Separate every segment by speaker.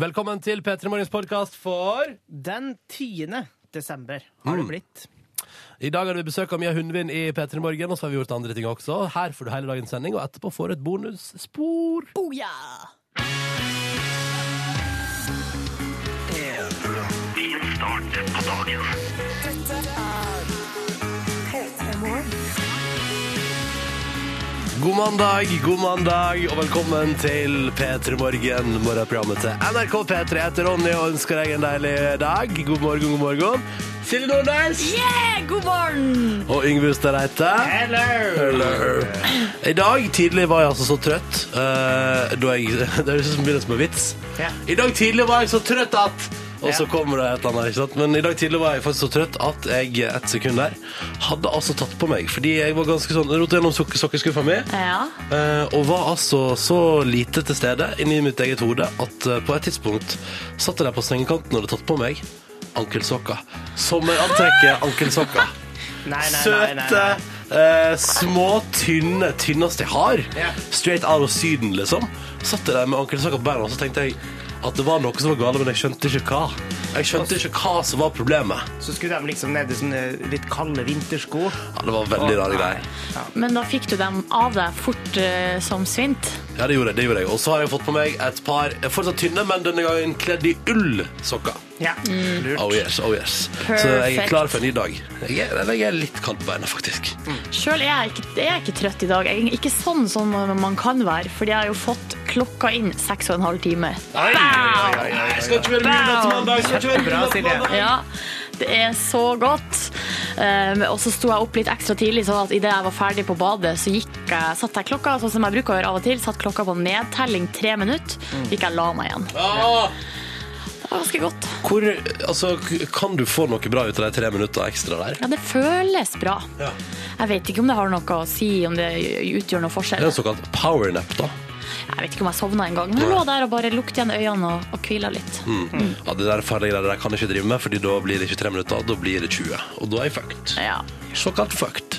Speaker 1: Velkommen til P3 Morgens podkast for
Speaker 2: Den 10. desember har det
Speaker 1: Mm.
Speaker 2: blitt.
Speaker 1: I dag har vi besøk av Mia Hundvin i P3 Morgen, og så har vi gjort andre ting også. Her får du hele dagens sending, og etterpå får du et bonusspor.
Speaker 3: Oh ja!
Speaker 1: God mandag, god mandag, og velkommen til P3 Morgen, morgenprogrammet til NRK P3. Jeg heter Ronny og ønsker deg en deilig dag. God morgen, god morgen. Silje Nordnes
Speaker 3: Yeah, god morgen!
Speaker 1: og Yngve Ustad Reite. I dag tidlig var jeg altså så trøtt eh, da jeg, Det høres ut som begynnelsen på en vits.
Speaker 2: Ja.
Speaker 1: I dag tidlig var jeg så trøtt at Og så
Speaker 2: Ja.
Speaker 1: kommer det et eller annet. ikke sant? Men i dag tidlig var jeg faktisk så trøtt at jeg eh, et sekund der hadde altså tatt på meg. Fordi jeg var ganske sånn rot gjennom sok sokkeskuffa mi.
Speaker 3: Ja.
Speaker 1: eh, og var altså så lite til stede inni mitt eget hode at eh, på et tidspunkt satt jeg der på sengekanten og hadde tatt på meg ankelsokker. Sommerantrekket ankelsokker.
Speaker 2: Nei, nei, nei, nei,
Speaker 1: Søte,
Speaker 2: nei.
Speaker 1: eh, små, tynne, tynneste jeg har.
Speaker 2: Ja.
Speaker 1: Straight out of Syden, liksom. Satt jeg der med ankelsokker på beina, og så tenkte jeg at det var noe som var galt, men jeg skjønte ikke hva. Jeg skjønte ikke hva som var problemet.
Speaker 2: Så skulle de liksom ned i sånne litt kalde vintersko.
Speaker 1: Ja, det var veldig rare greier.
Speaker 3: Men da fikk du dem av deg fort eh, som svint.
Speaker 1: Ja, det gjorde jeg. det gjorde jeg. Og så har jeg fått på meg et par eh, fortsatt tynne, men denne gangen kledd i ullsokker.
Speaker 2: Ja, lurt.
Speaker 1: Oh yes, oh yes. Så jeg er
Speaker 3: Perfekt.
Speaker 1: klar for en ny dag. Jeg er, eller jeg er litt kald på beina, faktisk.
Speaker 3: Sjøl er jeg, ikke, jeg er ikke trøtt i dag. Jeg er ikke sånn som man kan være, fordi jeg har jo fått klokka inn seks og en halv time.
Speaker 1: Skal ikke være
Speaker 3: midnattsmandag,
Speaker 1: Skal ikke være
Speaker 2: Bra, Silje.
Speaker 3: Ja, det er så godt. Um, og så sto jeg opp litt ekstra tidlig, sånn at idet jeg var ferdig på badet, så gikk jeg, satt jeg klokka, sånn som jeg bruker å gjøre av og til, satt klokka på nedtelling tre minutter, gikk jeg og la meg igjen. Det var ganske godt.
Speaker 1: Hvor, altså, k- kan du få noe bra ut av de tre minutter ekstra der?
Speaker 3: Ja, det føles bra.
Speaker 1: Ja.
Speaker 3: Jeg vet ikke om det har noe å si, om det utgjør noe
Speaker 1: Det er
Speaker 3: forskjell.
Speaker 1: en såkalt powernap, da.
Speaker 3: Jeg vet ikke om jeg sovna engang, men jeg lå der og bare lukket igjen øynene og, og hvila litt.
Speaker 1: Mm. Ja, det der farlige greiene der kan jeg ikke drive med, Fordi da blir det ikke tre minutter, da blir det 20. Og da er jeg fucked.
Speaker 3: Ja.
Speaker 1: Såkalt fucked.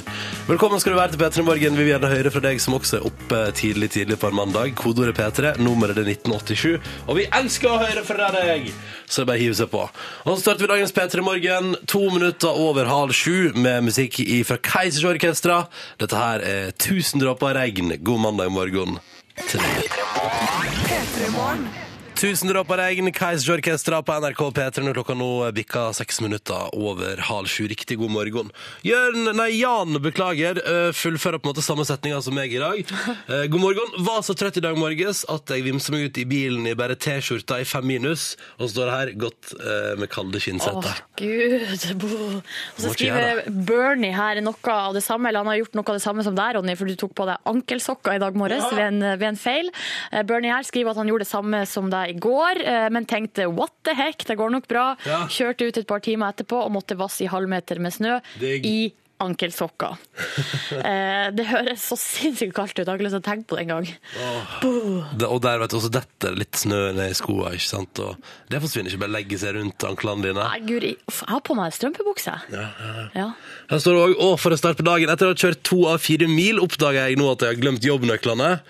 Speaker 1: Velkommen skal du være til P3 Morgen. Vi vil gjerne høre fra deg som også er oppe tidlig tidlig på en mandag. Kodeordet P3, nummeret er 1987. Og vi elsker å høre fra deg! Så det er bare å hive seg på. Og så starter vi dagens P3 Morgen to minutter over halv sju med musikk fra Keisers Orkestra. Dette her er 1000 dråper regn. God mandag morgen. Til deg. Tusen dråper regn, Keisers Orkestra på NRK P3 når klokka nå bikker seks minutter over halv sju. Riktig god morgen. Jørn, nei, Jan, beklager, eh, fullfører på en måte samme setninga som meg i dag. Eh, God morgen. Var så trøtt i dag morges at jeg vimser meg ut i bilen i bare T-skjorta i fem minus, og så står det her godt eh, med kalde
Speaker 3: Åh,
Speaker 1: skinnseter.
Speaker 3: gud. bo. Og så
Speaker 1: Må ikke
Speaker 3: skriver
Speaker 1: gjøre
Speaker 3: Bernie her noe av det samme, eller han har gjort noe av det samme som deg, Ronny, for du tok på deg ankelsokker i dag morges ved, en, ved en feil. Eh, Bernie her skriver at han gjorde det samme som deg i går, eh, men tenkte what the heck, det går nok bra.
Speaker 1: Ja.
Speaker 3: Kjørte ut et par timer etterpå og måtte vasse i halvmeter med snø
Speaker 1: Digg.
Speaker 3: i ankelsokker. Eh, det høres så sinnssykt kaldt ut, jeg har ikke lyst til å tenke på det engang.
Speaker 1: Det- Og der vet du, også detter litt snø ned i skoa, ikke sant? Og det forsvinner ikke, bare legger seg rundt anklene dine.
Speaker 3: Nei, guri, uff, jeg har på meg strømpebukse. Ja, ja, ja.
Speaker 1: Her står det òg 'Å, for en start på dagen'. Etter å ha kjørt to av fire mil oppdager jeg nå at jeg har glemt jobbnøklene,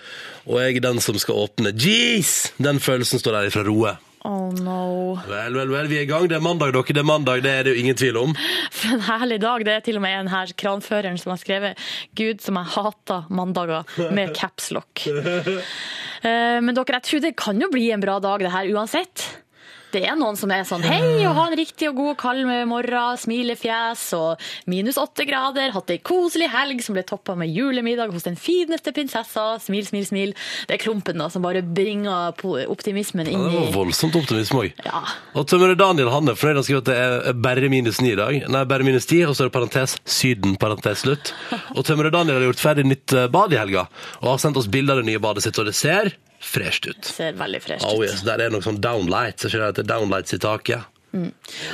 Speaker 1: og jeg er den som skal åpne. Jeez! Den følelsen står der ifra Roe.
Speaker 3: Oh no.
Speaker 1: Vel, vel, vel, vi er i gang. Det er mandag, dere. Det er mandag, det er det jo ingen tvil om.
Speaker 3: For en herlig dag. Det er til og med en her kranføreren som har skrevet 'Gud som jeg hater mandager' med capslock. Men dere, jeg tror det kan jo bli en bra dag det her uansett. Det er noen som er sånn hei, og ha en riktig og god og kald morgen, smilefjes og minus åtte grader, hatt ei koselig helg som ble toppa med julemiddag hos den fineste prinsessa, smil, smil, smil. Det er klumpen da som bare bringer po- optimismen
Speaker 1: Ja,
Speaker 3: inn
Speaker 1: det var
Speaker 3: i
Speaker 1: voldsomt optimisme òg.
Speaker 3: Ja.
Speaker 1: Og tømrer Daniel han er fornøyd. Han skriver at det er bare minus ni i dag. Nei, bare minus ti, og så er det parentes Syden, parentes slutt. Og tømrer Daniel har gjort ferdig nytt eh, bad i helga, og har sendt oss bilder av det nye badet sitt, og det ser fresht ut.
Speaker 3: Ser veldig fresht ut.
Speaker 1: Oh yes, der er noe sånn downlights. Jeg skjønner at det er downlights i taket.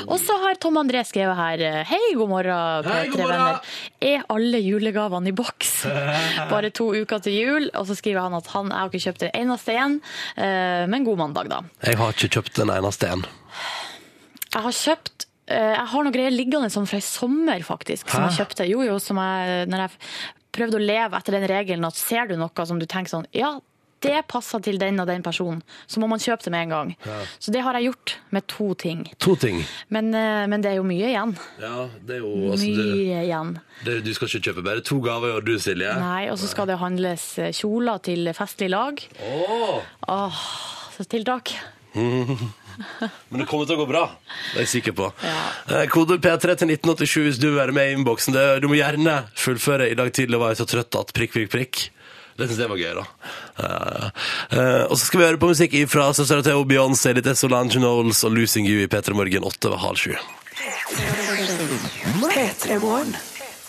Speaker 3: Og så har Tom André skrevet her eh, Hei, god morgen,
Speaker 1: Hei, god morgen!»
Speaker 3: P3-venner. Er alle julegavene i boks? Bare to uker til jul. Og så skriver han at han jeg har ikke kjøpt en eneste en, eh, men god mandag, da.
Speaker 1: Jeg har ikke kjøpt en eneste en.
Speaker 3: Jeg har kjøpt eh, jeg har noen greier liggende sånn fra i sommer, faktisk, som
Speaker 1: Hæ?
Speaker 3: jeg kjøpte. Jo, jo, som jeg, når jeg prøvde å leve etter den regelen at ser du noe som du tenker sånn Ja, det passer til den og den personen, så må man kjøpe det med en gang. Så det har jeg gjort med to ting.
Speaker 1: To ting.
Speaker 3: Men, eh, men det er jo mye igjen.
Speaker 1: Ja, det er jo altså, du,
Speaker 3: Mye igjen.
Speaker 1: det, du skal ikke kjøpe bare to gaver, gjør du, Silje?
Speaker 3: Nei, og så skal det handles eh, kjoler til festlig lag.
Speaker 1: Åh,
Speaker 3: Så tiltak.
Speaker 1: men det kommer til å gå bra. Det er jeg sikker på. Eh, Kodord P3 til 1987 hvis du vil være med i innboksen. Det- Du må gjerne fullføre. I dag tidlig var jeg så trøtt at prikk, prikk, prikk. Det synes jeg var gøy, da. Eh, eh, og så skal vi høre på musikk fra Søstera Theo, Beyoncé, litt Solange Knowles og Losing You i P3 Morgen åtte ved halv sju.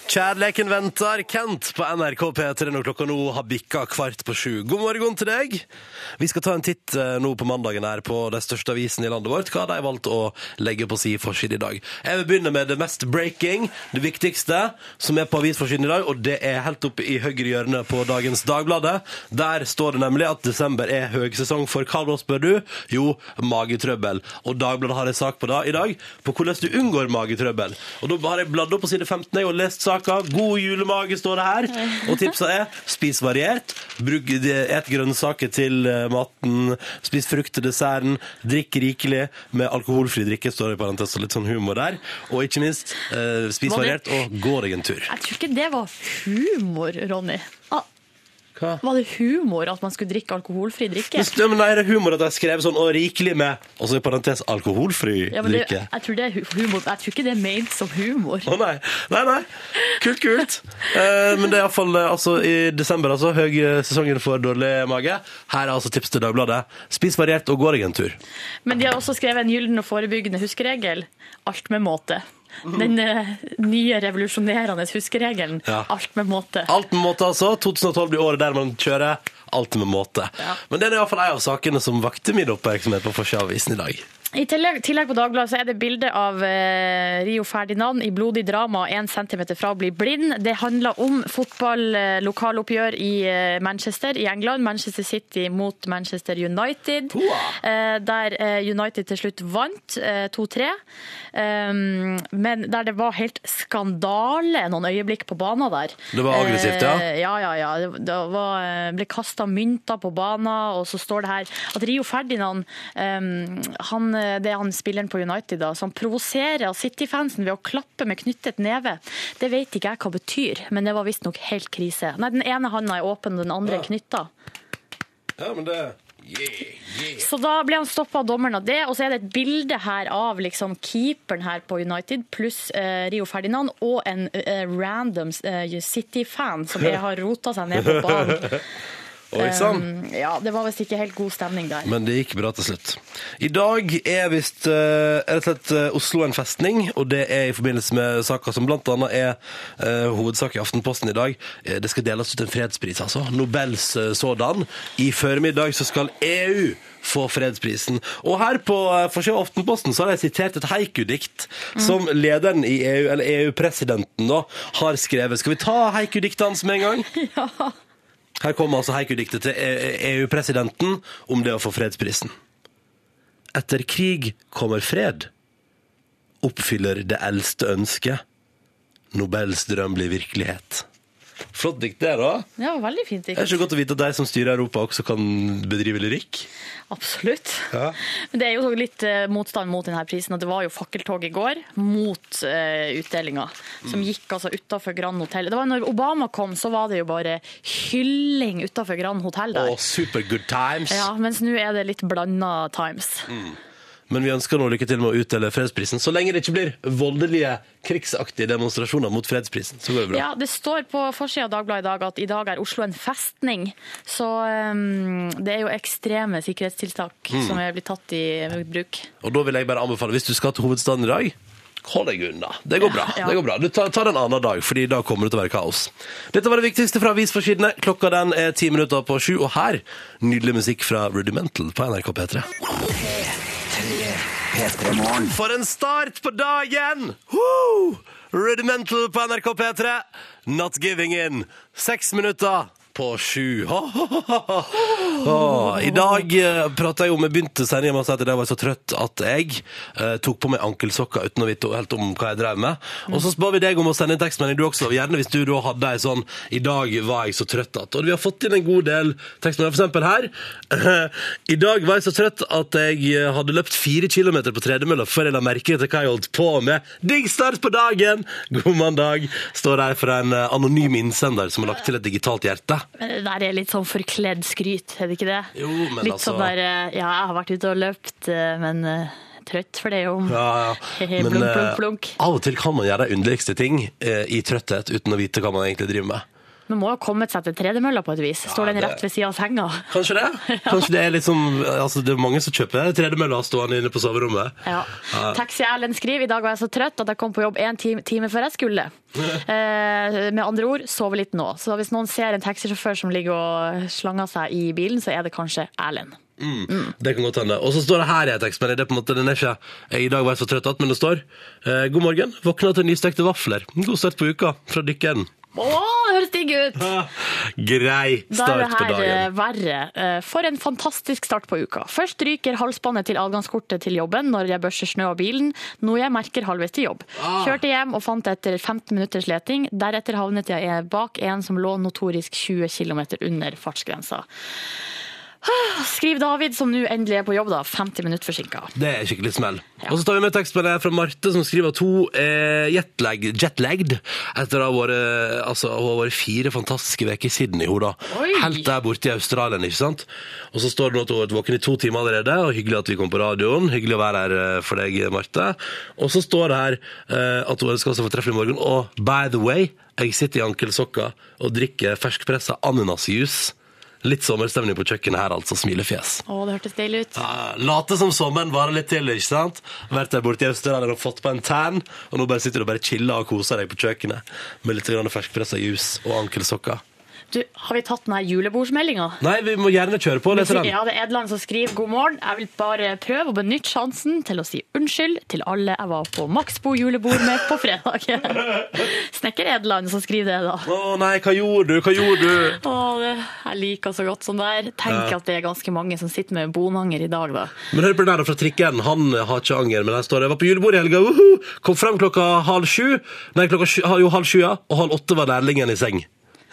Speaker 1: Kjærleken venter, Kent på NRK P3 når klokka nå har bikka kvart på sju. God morgen til deg. Vi skal ta en titt eh, nå på mandagen her på de største avisene i landet vårt. Hva har de valgt å legge på si forside i dag? Jeg vil begynne med det mest breaking, det viktigste, som er på avisforsiden i dag, og det er helt oppe i høyre hjørne på dagens Dagbladet. Der står det nemlig at desember er høgsesong for hva da, spør du? Jo, magetrøbbel. Og Dagbladet har en sak på da i dag på hvordan du unngår magetrøbbel. Og da har jeg bladd opp på side 15 jeg, og lest saka. God julemage står det her. Og tipsa er spis variert, bruk, eh, et grønnsaker til eh, maten, spis frukt til desserten, drikk rikelig med alkoholfri drikke, står det i parentes, og litt sånn humor der. Og ikke minst, eh, spis
Speaker 3: Må det-
Speaker 1: variert og gå deg en tur.
Speaker 3: Jeg tror ikke det var humor, Ronny. Ah,
Speaker 1: Hva?
Speaker 3: Var det humor at man skulle drikke alkoholfri drikke?
Speaker 1: Men stemmer, nei, det er humor at jeg skrev sånn, og rikelig med, og så i parentes, alkoholfri
Speaker 3: Ja, men det,
Speaker 1: drikke.
Speaker 3: jeg, tror det er hu- humor. jeg tror ikke det er ment som humor.
Speaker 1: Å nei. Nei, nei. Kult, kult. Eh, men det er iallfall eh, altså, i desember, altså. Høysesongen for dårlig mage. Her er altså tips til Dagbladet. Spis variert og gå deg en tur.
Speaker 3: Men de har også skrevet en gyllen og forebyggende huskeregel. Alt med måte. Den eh, nye revolusjonerende huskeregelen.
Speaker 1: Ja.
Speaker 3: Alt med måte.
Speaker 1: Alt med måte, altså. 2012 blir året der man kjører alt med måte.
Speaker 3: Ja.
Speaker 1: Men det er iallfall en av sakene som vakte min oppmerksomhet på forsida av avisen i dag.
Speaker 3: I tillegg, tillegg på Dagbladet så er det bilde av eh, Rio Ferdinand i blodig drama én centimeter fra å bli blind. Det handler om fotball-lokaloppgjør i eh, Manchester i England. Manchester City mot Manchester United.
Speaker 1: Hoa!
Speaker 3: Eh, der eh, United til slutt vant eh, 2-3. Um, men der det var helt skandale noen øyeblikk på banen der.
Speaker 1: Det var aggressivt, ja.
Speaker 3: Eh, ja, ja, ja. Det- Det var, eh, ble kasta mynter på banen, og så står det her at Rio Ferdinand, em, han, eh, det er han spilleren på United, da, som provoserer City-fansen ved å klappe med knyttet neve. Det vet ikke jeg hva betyr, men det var visstnok helt krise. Nei, Den ene handa er åpen, den andre er knytta.
Speaker 1: Ja, men det
Speaker 3: Så da ble han stoppa av dommeren av det, og så er det et bilde her av liksom keeperen her på United pluss eh, Rio Ferdinand og en eh, random eh, City-fan som er, har rota seg ned på banen.
Speaker 1: Oi sann.
Speaker 3: Um, ja, det var visst ikke helt god stemning der.
Speaker 1: Men det gikk bra til slutt. I dag er visst eh, rett og slett eh, Oslo en festning, og det er i forbindelse med saker som blant annet er eh, hovedsak i Aftenposten i dag. Eh, Det skal deles ut en fredspris, altså. Nobels eh, sådan. I formiddag så skal EU få fredsprisen. Og her på eh, forsiden av Aftenposten så har jeg sitert et haikudikt som lederen i EU, eller EU-presidenten da, har skrevet. Skal vi ta haikudiktene hans med en gang? Her kommer altså Haiku-diktet til E- EU-presidenten om det å få fredsprisen. Etter krig kommer fred. Oppfyller det eldste ønsket. Nobels drøm blir virkelighet. Flott dikt det, da.
Speaker 3: Det var veldig fint.
Speaker 1: Det er
Speaker 3: Ikke?
Speaker 1: så godt å vite at de som styrer Europa, også kan bedrive lyrikk.
Speaker 3: Absolutt.
Speaker 1: Ja.
Speaker 3: Men det er jo litt eh, motstand mot denne prisen, og det var jo fakkeltog i går mot uh, utdelinga, som gikk altså utafor Grand Hotell. Det var når Obama kom, så var det jo bare hylling utafor Grand Hotell der.
Speaker 1: Og super good times.
Speaker 3: Ja, mens nå er det litt blanda times.
Speaker 1: Men vi ønsker nå lykke til med å utdele fredsprisen, så lenge det ikke blir voldelige, krigsaktige demonstrasjoner mot fredsprisen. Så går det bra.
Speaker 3: Ja, Det står på forsida av Dagbladet i dag at i dag er Oslo en festning. Så um, det er jo ekstreme sikkerhetstiltak som er blitt tatt i bruk.
Speaker 1: Og da vil jeg bare anbefale, hvis du skal til hovedstaden i dag, hold deg unna. Det går bra.
Speaker 3: ja.
Speaker 1: det går bra. Du tar, tar en annen dag, fordi da kommer det til å være kaos. Dette var det viktigste fra avisforsidene. Klokka den er ti minutter på sju, og her nydelig musikk fra Rudimental på NRK P3. For en start på dagen! Woo! Rudimental på NRK P3. Not giving in. Seks minutter på sju. Ha, ha, ha, ha, ha. Ha. I dag eh, prata jeg om Jeg begynte sendinga med å si at jeg var så trøtt at jeg eh, tok på meg ankelsokker uten å vite helt om hva jeg drev med. Og så ba vi deg om å sende en tekstmelding, du også. Gjerne hvis du da hadde ei sånn 'I dag var jeg så trøtt at' Og vi har fått inn en god del tekstmeldinger, for eksempel her. I dag var jeg så trøtt at jeg eh, hadde løpt fire kilometer på tredemølla før jeg la merke til hva jeg holdt på med. Digg start på dagen! God mandag, står det her fra en eh, anonym innsender som har lagt til et digitalt hjerte.
Speaker 3: Men det der er litt sånn forkledd skryt, er det ikke det?
Speaker 1: Jo, men
Speaker 3: litt
Speaker 1: altså-
Speaker 3: sånn der eh, Ja, jeg har vært ute og løpt, eh, men eh, trøtt for det jo.
Speaker 1: Ja, ja.
Speaker 3: Hehe, blunk,
Speaker 1: eh,
Speaker 3: blunk, blunk.
Speaker 1: av og til kan man gjøre de underligste ting eh, i trøtthet uten å vite hva man egentlig driver med.
Speaker 3: Man må jo ha kommet seg til tredemølla på et vis. Står den
Speaker 1: det-
Speaker 3: rett ved sida av senga?
Speaker 1: Kanskje det? Kanskje det er liksom altså Det er mange som kjøper tredemølla stående inne på soverommet.
Speaker 3: Ja. Taxi Erlend skriver i dag var jeg så trøtt at jeg kom på jobb en time, time før jeg skulle. Eh, med andre ord, sove litt nå. Så hvis noen ser en taxisjåfør som ligger og slanger seg i bilen, så er det kanskje Erlend.
Speaker 1: Mm.
Speaker 3: Mm.
Speaker 1: Det kan godt hende. Og så står det her i en tekst, men det er på en måte, den er ikke eh, I dag var jeg så trøtt at, men det står eh, God morgen. Våkna til nystekte vafler. God start på uka fra dykkeren.
Speaker 3: Å, det høres digg ut!
Speaker 1: Ah, Grei
Speaker 3: Da er det
Speaker 1: start på
Speaker 3: her eh,
Speaker 1: dagen.
Speaker 3: verre. Eh, For en fantastisk start på uka. Først ryker halsbåndet til adgangskortet til jobben når jeg børster snø av bilen, noe jeg merker halvveis til jobb.
Speaker 1: Ah.
Speaker 3: Kjørte hjem og fant det etter 15 minutters leting. Deretter havnet jeg bak en som lå notorisk 20 km under fartsgrensa. Ah, Skriv David, som nå endelig er på jobb, da. 50 minutter forsinka.
Speaker 1: Det er skikkelig smell.
Speaker 3: Ja.
Speaker 1: Og så tar vi med tekstmeldingen fra Marte, som skriver at hun er jetlag, jetlagged etter å ha vært, altså, hun har vært fire fantastiske uker i Sydney. Hun, da.
Speaker 3: Oi!
Speaker 1: Helt der borte i Australien, ikke sant? Og så står det nå at hun har vært våken i to timer allerede, og hyggelig at vi kom på radioen. Hyggelig å være her eh, for deg, Marte. Og så står det her eh, at hun ønsker oss en fortreffelig morgen. Og by the way, jeg sitter i ankelsokka og drikker ferskpressa ananasjus. Litt sommerstemning på kjøkkenet her, altså. Smilefjes.
Speaker 3: Å, det hørtes deilig ut.
Speaker 1: Ja, Eh, Late som sommeren varer litt til, ikke sant? Vært der borte i Australia og fått på en tan, og nå bare sitter du og bare chiller og koser deg på kjøkkenet med litt grann ferskpressa jus og ankelsokker.
Speaker 3: Du, har vi tatt den her julebordsmeldinga?
Speaker 1: Nei, vi må gjerne kjøre på, leser den.
Speaker 3: Ja, det er Edland som skriver god morgen. Jeg vil bare prøve å benytte sjansen til å si unnskyld til alle jeg var på Maxbo julebord med på fredag. Snekker Edland som skriver det, da.
Speaker 1: Å nei, hva gjorde du, hva gjorde du?
Speaker 3: Å, det, jeg liker så godt sånn der. Tenk at det er ganske mange som sitter med bonanger i dag, da.
Speaker 1: Men hør på den her da fra trikken, han har ikke anger, men her står det. Jeg var på julebord i helga, uhu! Kom frem klokka halv sju, nei, klokka sju, jo, halv sju, ja, og halv åtte var lærlingen i seng.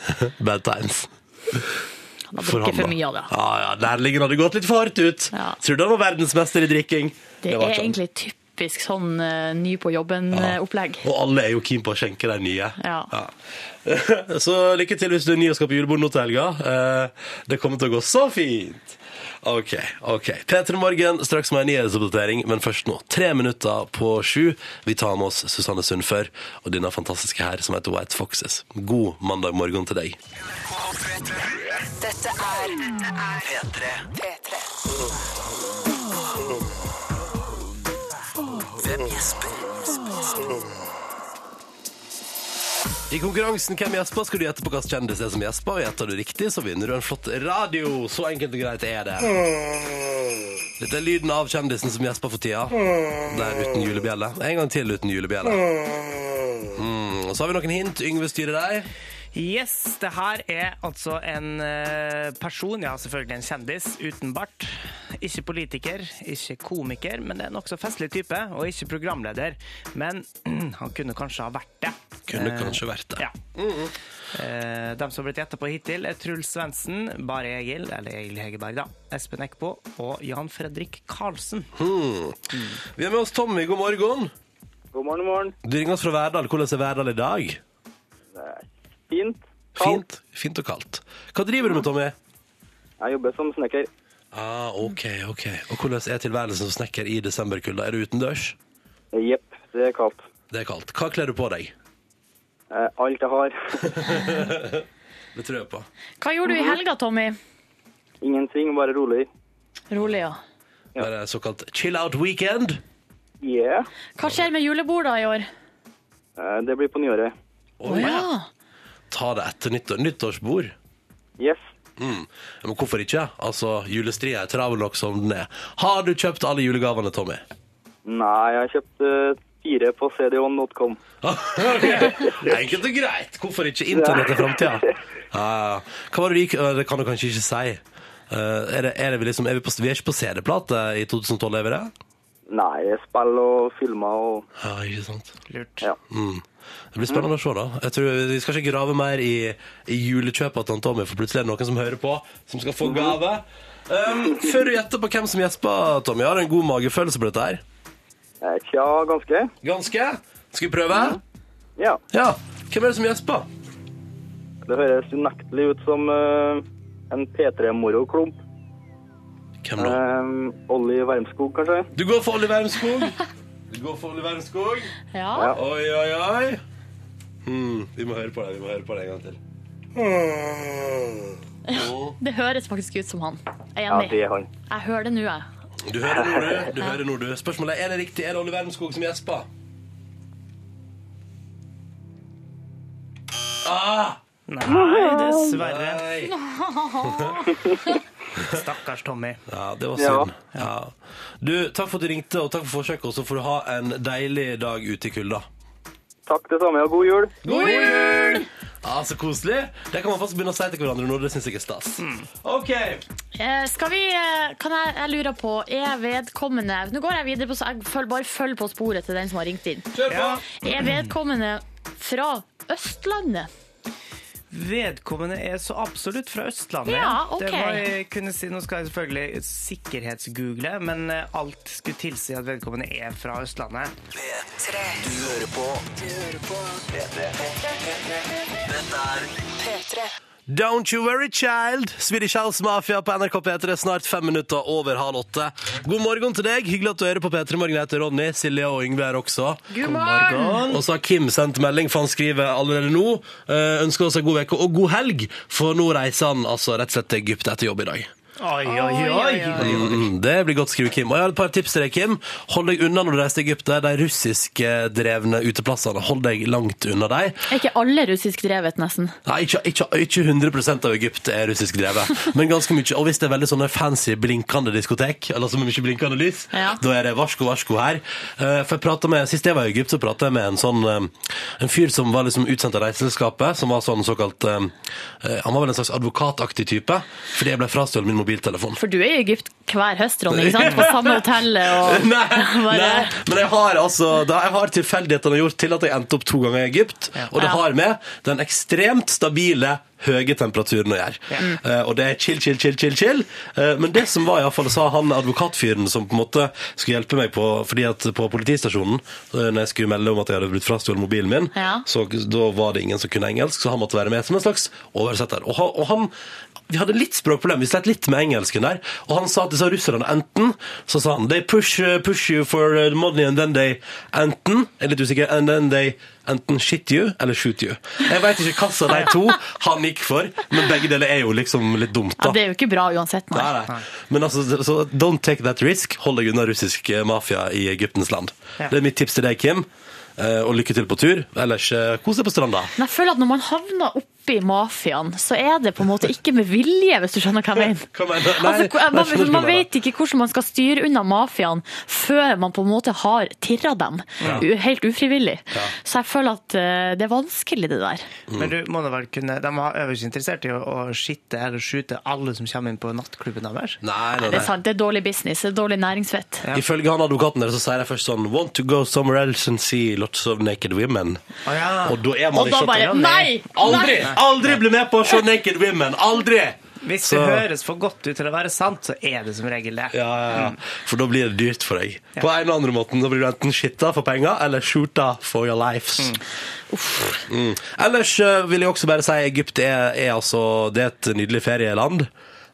Speaker 1: Bad times.
Speaker 3: Han har
Speaker 1: For han, da.
Speaker 3: drukket for mye av det.
Speaker 1: Ja, ja, lærlingen hadde gått litt for hardt ut.
Speaker 3: Ja.
Speaker 1: Trodde han var verdensmester i drikking.
Speaker 3: Det sånn.
Speaker 1: var
Speaker 3: er
Speaker 1: ikke han.
Speaker 3: egentlig typisk sånn eh, ny på
Speaker 1: Ja.
Speaker 3: jobben-opplegg.
Speaker 1: Og alle er jo keen på å skjenke de nye.
Speaker 3: Ja.
Speaker 1: Så lykke til hvis du er ny og skal på julebord nå til helga. Eh, Det kommer til å gå så fint! OK. ok. P3 Morgen, straks med en nyhetsoppdatering, men først nå. Tre minutter på sju. Vi tar med oss Susanne Sundfør og denne fantastiske her som heter White Foxes. God mandag morgen til deg.
Speaker 4: Dette er P3. P3. Hvem gjesper?
Speaker 1: I konkurransen Hvem gjesper? skal du gjette på hvilken kjendis det er som gjesper. Og gjetter du riktig, så vinner du en flott radio. Så enkelt og greit er det. Dette er lyden av kjendisen som gjesper for tida. Der uten julebjelle. En gang til uten julebjelle. Mm, og så har vi noen hint. Yngve styrer deg.
Speaker 2: Yes, det her er altså en eh, person, ja selvfølgelig en kjendis, uten bart. Ikke politiker, ikke komiker, men det er en nokså festlig type. Og ikke programleder, men han kunne kanskje ha vært det.
Speaker 1: Kunne
Speaker 2: Eh,
Speaker 1: kanskje vært det.
Speaker 2: Ja. Eh, de som har blitt gjetta på hittil, er Truls Svendsen, Bare Egil, eller Egil Hegerberg, da. Espen Eckbo og Jan Fredrik Karlsen.
Speaker 1: Vi har med oss Tommy. God morgen.
Speaker 5: God morgen, morgen.
Speaker 1: Du ringer oss fra Verdal. Hvordan er Verdal i dag?
Speaker 5: Fint. Kaldt.
Speaker 1: Fint, fint og kaldt. Hva driver du med, Tommy?
Speaker 5: Jeg jobber som snekker.
Speaker 1: Ah, OK, OK. Og hvordan er tilværelsen som snekker i desemberkulda? Er du utendørs?
Speaker 5: Jepp, det er kaldt.
Speaker 1: Det er kaldt. Hva kler du på deg?
Speaker 5: Eh, alt jeg har.
Speaker 1: Det tror jeg på.
Speaker 3: Hva gjorde du i helga, Tommy?
Speaker 5: Ingenting, bare rolig.
Speaker 3: Rolig, ja.
Speaker 1: Det er såkalt chill out weekend.
Speaker 5: Yeah.
Speaker 3: Hva skjer med julebord da i år?
Speaker 5: Eh, det blir på nyåret.
Speaker 3: Å ja.
Speaker 1: Ta det etter nyttår. nyttårsbord. Mm.
Speaker 5: Yes.
Speaker 1: Men hvorfor ikke? Altså, Julestria er travel nok som den er. Har du kjøpt alle julegavene, Tommy?
Speaker 5: Nei, jeg har kjøpt eh, fire på cdon.com.
Speaker 1: Ok. Enkelt og greit. Hvorfor ikke internett i framtida? Ja. Hva var det du gikk eh, Det kan du kanskje ikke si. Eh, er, det, er, det vi liksom, er vi, på, vi er ikke på CD-plate i 2012, er vi det?
Speaker 5: Nei, jeg spiller og filmer og
Speaker 1: Ja, ikke sant.
Speaker 2: Lurt.
Speaker 5: Ja.
Speaker 1: Det blir spennende å se, da. Jeg tror Vi skal ikke grave mer i, i julekjøpet til Tommy, for plutselig er det noen som hører på, som skal få gave. Um, før du gjetter på hvem som gjesper, Tommy, har du en god magefølelse på dette her?
Speaker 5: Eh, Tja, ganske.
Speaker 1: Ganske? Skal vi prøve?
Speaker 5: Ja.
Speaker 1: Ja. Hvem er det som gjesper?
Speaker 5: Det høres unektelig ut som eh, en P3-moroklump.
Speaker 1: Hvem da?
Speaker 5: Uh, Olli Wermskog, kanskje?
Speaker 1: Du går for Oliver Wermskog. Du går for Oliver Wermskog.
Speaker 3: Ja.
Speaker 1: Oi, oi, oi. Hmm, vi må høre på det vi må høre på det en gang til.
Speaker 3: Det høres faktisk ut som han. Jeg
Speaker 5: Ja,
Speaker 3: er
Speaker 5: det
Speaker 3: enig.
Speaker 5: er han.
Speaker 3: Jeg hører det nå, jeg.
Speaker 1: Du hører nå, du. du, hører nå, du. Spørsmålet er er det riktig. Er det Oliver Wermskog som gjesper? Ah,
Speaker 2: Nei, dessverre.
Speaker 1: nei.
Speaker 2: Stakkars Tommy.
Speaker 1: Ja, det var
Speaker 5: Ja.
Speaker 1: synd. Ja. Du, takk for at du ringte, og takk for forsøket. Og så får du ha en deilig dag ute i kulda.
Speaker 5: Takk det samme, og god jul!
Speaker 1: God jul! Ja, Så koselig. Det kan man faktisk begynne å si til hverandre nå. Det syns jeg er stas. OK.
Speaker 3: Eh, Skal vi eh, Kan jeg, jeg lurer på, er vedkommende Nå går jeg videre på så jeg følger, Bare følg på sporet til den som har ringt inn.
Speaker 1: Kjør på.
Speaker 3: Er vedkommende fra Østlandet?
Speaker 2: Vedkommende er så absolutt fra Østlandet.
Speaker 3: Ja, ok.
Speaker 2: Det må jeg kunne si. Nå skal jeg selvfølgelig sikkerhetsgoogle, men eh, alt skulle tilsi at vedkommende er fra Østlandet.
Speaker 4: P3. Du hører på. Du hører på. P3. Dette er P3.
Speaker 1: Don't you worry, child. Swedish House Mafia på NRK P3 snart fem minutter over halv åtte. God morgen til deg. Hyggelig at du hører på P3 Morgen. Jeg heter Ronny. Silje og Yngve er også.
Speaker 3: God morgen!
Speaker 1: Og så har Kim sendt melding, for han skriver allerede nå. eh, ønsker oss en god uke og god helg, for nå reiser han altså rett og slett til Egypt etter jobb i dag.
Speaker 2: Oi,
Speaker 3: oi, oi.
Speaker 1: Mm, det blir godt skrive, Kim. Og jeg har et par tips til deg, Kim. Hold deg unna når du reiser til Egypt. Det er De russiskdrevne uteplassene. Hold deg langt unna dem.
Speaker 3: Er ikke alle russisk drevet, nesten?
Speaker 1: Nei, ikke, ikke, ikke 100 av Egypt er russisk drevet, men ganske mye. Og hvis det er veldig sånne fancy blinkende diskotek, eller så mye blinkende lys,
Speaker 3: Ja.
Speaker 1: da er det varsko, varsko her. Eh, For jeg pratet med, Sist jeg var i Egypt, så prata jeg med en sånn eh, En fyr som var liksom utsendt av reiseselskapet, som var sånn såkalt eh, eh, Han var vel en slags advokataktig type, fordi jeg ble frastjålet min mobiltelefon.
Speaker 3: For du er i Egypt hver høst, Ronny, ikke sant? På samme hotellet og
Speaker 1: Nei,
Speaker 3: Bare-
Speaker 1: nei, men jeg har altså da, Jeg har tilfeldighetene gjort til at jeg endte opp to ganger i Egypt. Og det
Speaker 3: Ja.
Speaker 1: har med den ekstremt stabile høye temperaturen å gjøre. Eh, og det er chill, chill, chill, chill. chill. Eh, men det som var, i hvert fall, sa han advokatfyren som på en måte skulle hjelpe meg på fordi at på politistasjonen, eh, når jeg skulle melde om at jeg hadde blitt frastjålet mobilen min,
Speaker 3: Ja.
Speaker 1: så da var det ingen som kunne engelsk, så han måtte være med som en slags oversetter. Og, han- og han, vi hadde litt språkproblem, vi slet litt med engelsken der, og han sa at disse russerne enten, så sa han, they push, uh, push you for uh, the money and then they, enten, jeg er litt usikker, and then they enten shit you eller shoot you. Jeg vet ikke hva som de to han gikk for, men begge deler er jo liksom litt dumt da.
Speaker 3: ja, Det er jo ikke bra uansett, nei.
Speaker 1: Nei, nei. Men altså, så don't take that risk. Hold deg unna russisk eh, mafia i Egyptens land.
Speaker 2: Ja.
Speaker 1: Det er mitt tips til deg, Kim. Eh, Og lykke til på tur. Ellers eh, kos deg på stranda.
Speaker 3: Men jeg føler at når man havner oppi mafiaen, så er det på en måte ikke med vilje, hvis du skjønner hva jeg mener.
Speaker 1: Hva mener du? Nei,
Speaker 3: Altså,
Speaker 1: jeg skjønner ikke hva
Speaker 3: man,
Speaker 1: du
Speaker 3: man
Speaker 1: mener.
Speaker 3: vet ikke hvordan man skal styre unna mafiaen før man på en måte har tirra dem, u- helt ufrivillig. Så jeg føler at eh, det er vanskelig, det der.
Speaker 2: Men du må da vel kunne De var øverst interessert i å, å skitte eller skyte alle som kommer inn på nattklubben deres.
Speaker 1: Nei, nei,
Speaker 3: Det er
Speaker 1: nei.
Speaker 3: sant, det er dårlig business, det er dårlig næringsvett.
Speaker 1: Ifølge han advokaten der så sier de først sånn Want to go somewhere else and see lots of naked women.
Speaker 2: Å ja.
Speaker 1: Og da er man
Speaker 3: Og da
Speaker 1: ikke
Speaker 3: bare Nei!
Speaker 1: Aldri! Aldri bli med på å se naked women! Aldri!
Speaker 2: Hvis
Speaker 1: Så-
Speaker 2: det høres for godt ut til å være sant, så er det som regel det.
Speaker 1: Ja, ja,
Speaker 3: Mm.
Speaker 1: ja. For da blir det dyrt for deg. På en eller andre måten. Da blir du enten shitta for penger, eller shoota for your lives. Mm. Ellers eh, vil jeg også bare si Egypt er, er altså Det er et nydelig ferieland.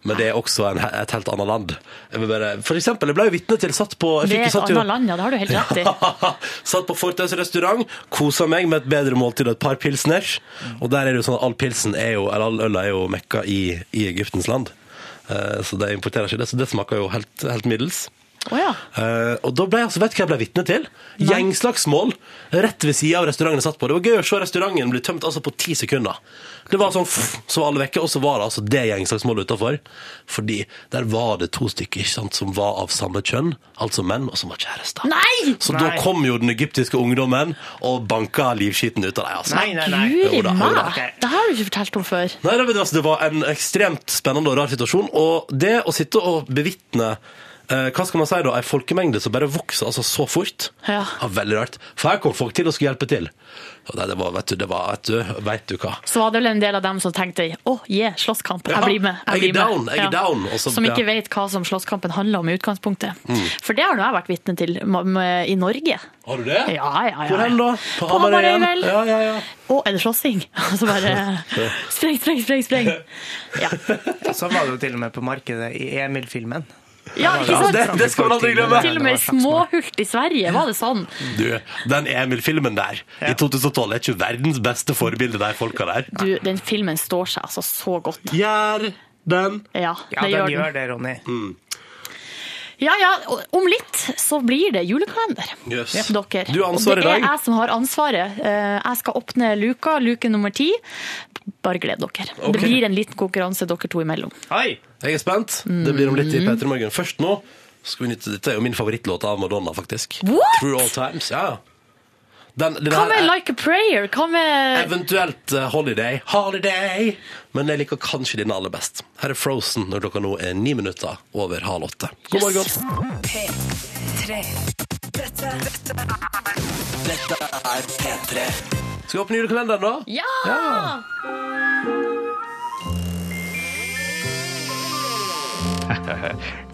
Speaker 1: Men det er også en, et helt annet land. Jeg vil bare, for eksempel, jeg ble jo vitne til satt på jeg
Speaker 3: Det
Speaker 1: fikk-
Speaker 3: er et
Speaker 1: satt jo-
Speaker 3: annet land, ja, det har du helt rett i.
Speaker 1: Satt på Fortaus restaurant, kosa meg med et bedre måltid og et par pilsners. Og der er det jo sånn at all pilsen er jo, eller all øla er jo mekka i, i Egyptens land. Eh, Så de importerer ikke det, så det smaker jo helt, helt middels.
Speaker 3: Å ja.
Speaker 1: Eh, og da ble jeg, altså, vet du hva jeg ble vitne til? Gjengslagsmål rett ved sida av restauranten jeg satt på. Det var gøy å se restauranten bli tømt altså, på ti sekunder. Det var sånn, pff, så var alle vekke, og så var det altså det gjengslagsmålet utafor. Fordi der var det to stykker ikke sant, som var av samme kjønn, altså menn, og som var kjærester.
Speaker 3: Nei!
Speaker 1: Så
Speaker 2: Nei.
Speaker 1: da kom jo den egyptiske ungdommen og banka livskiten ut av dem. Altså.
Speaker 2: Nei, nei, nei.
Speaker 3: Guri
Speaker 1: Jo da, jo da.
Speaker 3: meg! Det har du ikke fortalt om før.
Speaker 1: Nei, det, var- altså, det var en ekstremt spennende og rar situasjon. Og det å sitte og bevitne eh, hva skal man si da, ei folkemengde som bare vokser altså, så fort,
Speaker 3: Ja.
Speaker 1: var veldig rart. For her kom folk til og skulle hjelpe til. Og det, det var, vet du, det var, vet du, vet du hva.
Speaker 3: Så var det vel en del av dem som tenkte Å, yeah, slåsskamp, jeg
Speaker 1: Ja,
Speaker 3: blir med.
Speaker 1: jeg er
Speaker 3: blir med».
Speaker 1: down, jeg er down, og så-
Speaker 3: som ikke
Speaker 1: ja. Mm.
Speaker 3: vet hva som slåsskampen handler om i utgangspunktet. For det har nå jeg vært vitne til ma- med- i Norge.
Speaker 1: Har du det?
Speaker 3: Ja, ja, ja.
Speaker 1: Hvor hen da?
Speaker 3: På Hamarøy, vel.
Speaker 1: Ja, ja, ja.
Speaker 3: Å, er det slåssing? Og så bare Spreng, spreng, spreng, spreng. Ja,
Speaker 2: Sånn var det jo til og med på markedet i Emil-filmen.
Speaker 3: ja ikke
Speaker 1: Ja,
Speaker 3: sant?
Speaker 1: det, det skal man aldri glemme.
Speaker 3: Til og med i småhult i Sverige var det sånn.
Speaker 1: Du, den Emil-filmen der i
Speaker 2: Ja.
Speaker 1: 2012 er ikke verdens beste forbilde, de folka der.
Speaker 3: Du, den filmen står seg altså så godt.
Speaker 1: Gjør den.
Speaker 3: Ja,
Speaker 2: Ja,
Speaker 3: det
Speaker 2: den
Speaker 3: gjør den.
Speaker 2: gjør det, Ronny.
Speaker 1: Mm.
Speaker 3: Ja, ja, og om litt så blir det julekalender.
Speaker 1: Yes.
Speaker 3: Dere.
Speaker 1: Du har ansvaret i
Speaker 3: Og det
Speaker 1: dag.
Speaker 3: er jeg som har ansvaret. Eh, Jeg skal åpne luka, luke nummer ti. Bare gled dere.
Speaker 1: Ok.
Speaker 3: Det blir en liten konkurranse dere to imellom.
Speaker 2: Oi!
Speaker 1: Jeg er spent. Det blir om litt
Speaker 3: Mm.
Speaker 1: i P3 Morgen. Først nå skal vi nytte Dette er jo min favorittlåt av Madonna, faktisk.
Speaker 3: What?
Speaker 1: Through All Times. Ja, ja. Den, den
Speaker 3: Hva
Speaker 1: her
Speaker 3: med
Speaker 1: er
Speaker 3: Like a Prayer? Hva med
Speaker 1: eventuelt eh, Holiday. Holiday! Men jeg liker kanskje denne aller best. Her er Frozen når klokka nå er ni minutter over halv åtte. God
Speaker 3: Yes.
Speaker 1: morgen.
Speaker 4: Dette er P3.
Speaker 1: Skal vi åpne julekalenderen nå?
Speaker 3: Ja!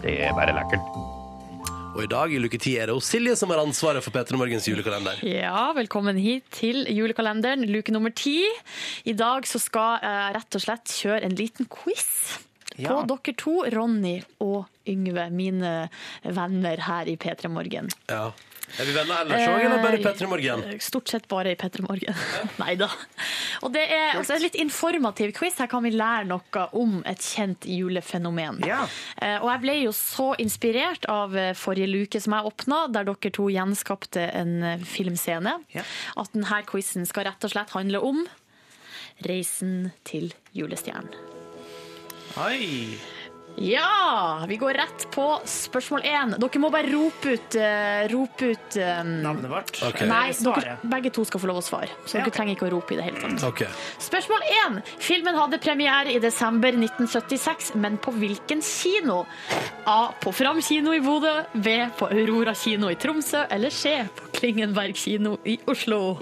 Speaker 6: Det er bare lekkert.
Speaker 1: Og i dag i luke ti er det jo Silje som har ansvaret for P3 Morgens julekalender.
Speaker 3: Ja, velkommen hit til julekalenderen, luke nummer ti. I dag så skal jeg rett og slett kjøre en liten quiz på
Speaker 2: Ja.
Speaker 3: dere to, Ronny og Yngve, mine venner her i P3 Morgen.
Speaker 1: Ja. Er vi venner ellers òg, eller bare i P3 Morgen?
Speaker 3: Eh, Stort sett bare i P3 Morgen. Nei da. Og det er altså en litt informativ quiz. Her kan vi lære noe om et kjent julefenomen.
Speaker 2: Ja.
Speaker 3: Eh, Og jeg ble jo så inspirert av eh, forrige luke som jeg åpna, der dere to gjenskapte en eh, filmscene,
Speaker 2: Ja.
Speaker 3: at denne quizen skal rett og slett handle om Reisen til julestjernen.
Speaker 2: Oi!
Speaker 3: Ja! Vi går rett på spørsmål én. Dere må bare rope ut, eh, rope ut eh,
Speaker 2: Navnet vårt.
Speaker 1: Ok.
Speaker 2: Eller
Speaker 3: Nei, dere,
Speaker 2: svaret.
Speaker 3: begge to skal få lov å svare. Så
Speaker 2: Ja, ok.
Speaker 3: dere trenger ikke å rope i det hele tatt.
Speaker 1: OK.
Speaker 3: Spørsmål 1. Filmen hadde premiere i desember 1976, men på hvilken kino? A. På Fram kino i Bodø. B. På Aurora kino i Tromsø. Eller C. På Klingenberg kino i Oslo.